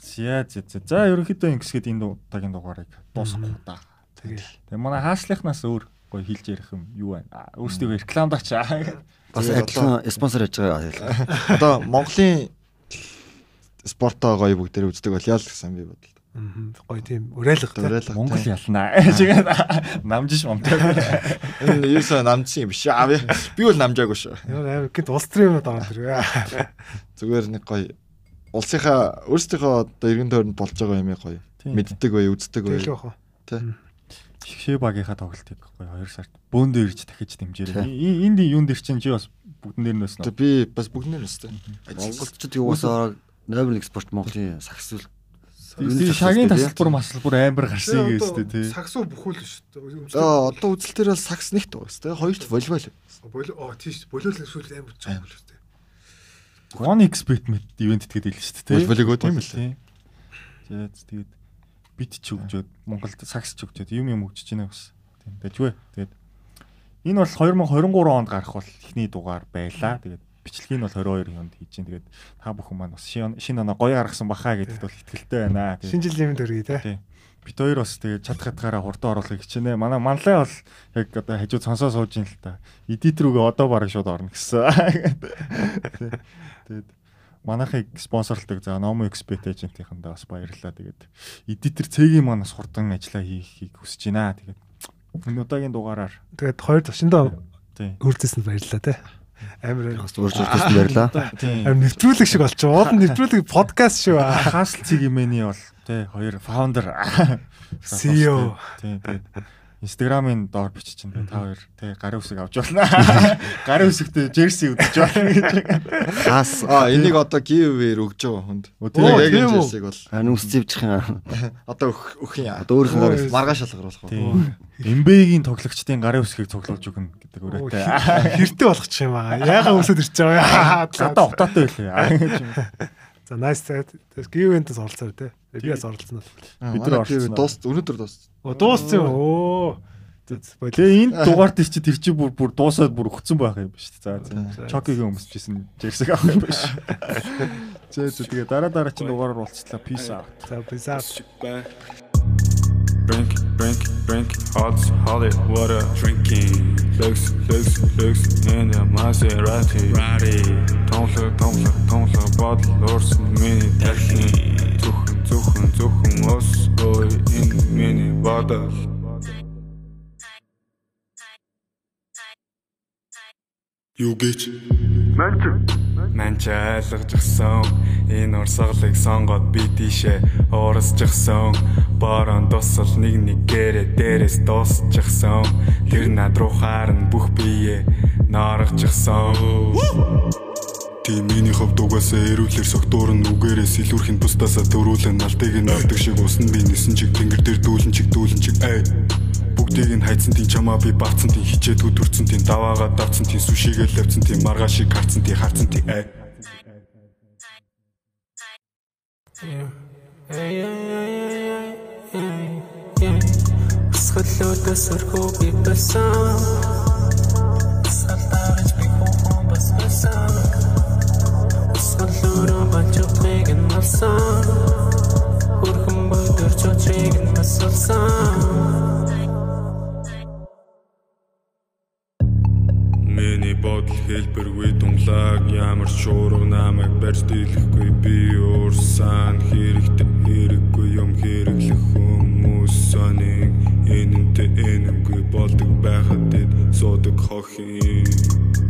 За за за. За ерөнхийдөө ингэсгээд энэ удаагийн дугаарыг дуусгах уу та. Тэгэл. Тэгээ манай хаашлахнаас өөр гоё хэлж ярих юм юу байна? Аа, Өөрсдөө рекламадаач. аа. Бас Тэгээд адилхан спонсор хийж байгаа. Одоо Монголын спортоо гоё бүгдээр үздэг бол ял гэсэн би бодлоо. Мгм. Гоё тийм уриалга. тий. Дуурайлах. Монгол ялнаа. Жигээр намжиж момтой. Энэ юусан намчин юм биш аав. Би бол намжаагүй шүү. Ямар амар гинт улс төрийн юмнууд ороод ирвэ. Зүгээр нэг гоё улсынхаа өөрсдийнхөө одоо иргэн тойронд болж байгаа юм гоё. Тийм. Мэддэг бай, үздэг бай. Тэгэл яах вэ? Шигшээ багийнхаа тоглолтыг гоё 2 сард бөөндөө ирж дахиж дэмжээрэй. Тий. И- Энд юунд ир чинь чи бас бүгдэн дээр нөөс Тэ нь. би бас бүгднээр өстэй. Монголчууд юусаа номер 1 спорт Монголын сагсвал. Тий, шагийн тасалбар масалбар амар гарсан юм шүү дээ тий. Сагсуу бүхүүл шүү За одоо үзэлтээр бол сагс нэгт байгаа шүү дээ. Хоёрт волейбол. Болоо тийш болоолын сүүл амар жоо шүү дээ. One Expert мэд ивент тгээд хэлсэн шүү дээ. Волейбол эгөө тийм л. За за, тэгээд бит ч өгчөөд Монголд сагс ч өгчөөд юм юм өгч чинь бас. Тийм дэжгүй. Тэгээд энэ бол 2023 онд гарах бол эхний дугаар байлаа. Тэгээд бичлэгийг нь бол 22 хонд хийж чинь тэгээд та бүхэн маань бас шин- шинэ оноо гоё гаргасан бахаа гэдэгт бол ихтгэлтэй байна. Тэгээд Шинэ жилийн юмд өргөе те. Тий. Бит хоёр бас тэгээ чад хатгаараа хурдан оруулах хичээнэ. Манай манлай бол яг одоо хажууд сонсоо сууж ин л та. Эдит рүүгээ одоо бараг шууд орно гэсэн. Тий. Тэгээд манайхыг спонсорлдог за Nomo Expert agent-ийнхэндээ бас баярлалаа. Тэгээд эдитер цэгийн маань бас хурдан ажиллаа хийхийг хүсэж байна. Тэгээд энэ удаагийн дугаараар Тэгээд хоёр төвшөндөө тий. хөрцөсөнд баярлаа те. Амар Бас урж уржсэн байрлаа. Тий. амар нэвтрүүлэг шиг болчих. Уул нэвтрүүлэг подкаст шүү. аа. Хасл цэгимэний бол тий хоёр founder CEO. тий тий Instagram-ын доор бичиж чинь та хоёр тий гарын үсэг авч болно. Гарын үсэгтээ jersey үдчих болно гэж. Хаас Аа энийг одоо giveaway-ээр өгж байгаа хүнд. Оо, тийм үү? Тэгээ яг энэ Тийм үү? зүйлсийг бол ань ус зевчихэн. одоо өгөх өгөх юм. Одоо өөрөөр хэлбэл маргааш шалгаруулах уу? Тий. MB-гийн тоглогчдын гарын үсгийг цуглуулж өгнө гэдэг Оо, үрээтэй. хэр- Хэрэгтэй болгочих юм аа. Яага өсөд ирч байгаа юм. Гадаа утаатай байлээ. За nice цайд. Тэгээс гивэнтэс оролцоо те. Би бас оролцсон бол. Бид Бид нар нар орсон. дуус өнөөдөр дуус. Оо дууссан. юм. Оо. За, за, Болоо. Тэгээ энэ дугаар дээр чи тэр чи бүр бүр дуусаад бүр өгцөн байх юм ба шүү дээ. За, За чокигийн өмсчихсэн jersey авах юм ба шүү. Зөө зөө тэгээ дараа дараа чин дугаараар уулзлаа. Peace out. За бизаа. Drink, drink, drink, hot, solid water drinking. Looks, looks, looks in the Maserati. Rari. Тонлог, тонлог, тонлог бодол уурсан миний дахин. Зүхэн, зүхэн, зүхэн ус ой энэ миний бодол. Юу гэж? Манч айлгажсан энэ урсгалыг сонгоод би тийшээ уурсчихсан борон тусал нэг нэгээрээ дээрээс дуусчихсан тэр над руу харан бүх бие ноорчихсан Тийм миний хувьд угаасаа эрүүлэр согтуур нь үгээрээс илүүрхэн тусдаасаа төрүүлэн налтыг нь авдаг шиг усн би нисэн чиг тэнгэр дээр дүүлэн чиг дүүлэн чиг эй бүгдийг нь хайцсан тийм чамаа би бавцсан тийм хичээд хөдөрцөн тийм даваагаа давцсан тийм сүшигээр лавцсан тийм маргаашиг харцсан тийм харцсан тийм эй Схөлөөдөөс өрхөө би болсон Салтаарч би бүхэн бас болсон Схөлөөрөө бачуутыг нь болсон Хөрхөн бөдөр чуучыг нь бас болсон Миний бодол хэлбэргүй дунлаг ямар ч шуурга намайг барьж дийлэхгүй би уурсан хэрэгтэй хэрэггүй юм хэрэглэх хүмүүс сонин энэнтэй энэнгүй болдог байхад дэд суудаг хохин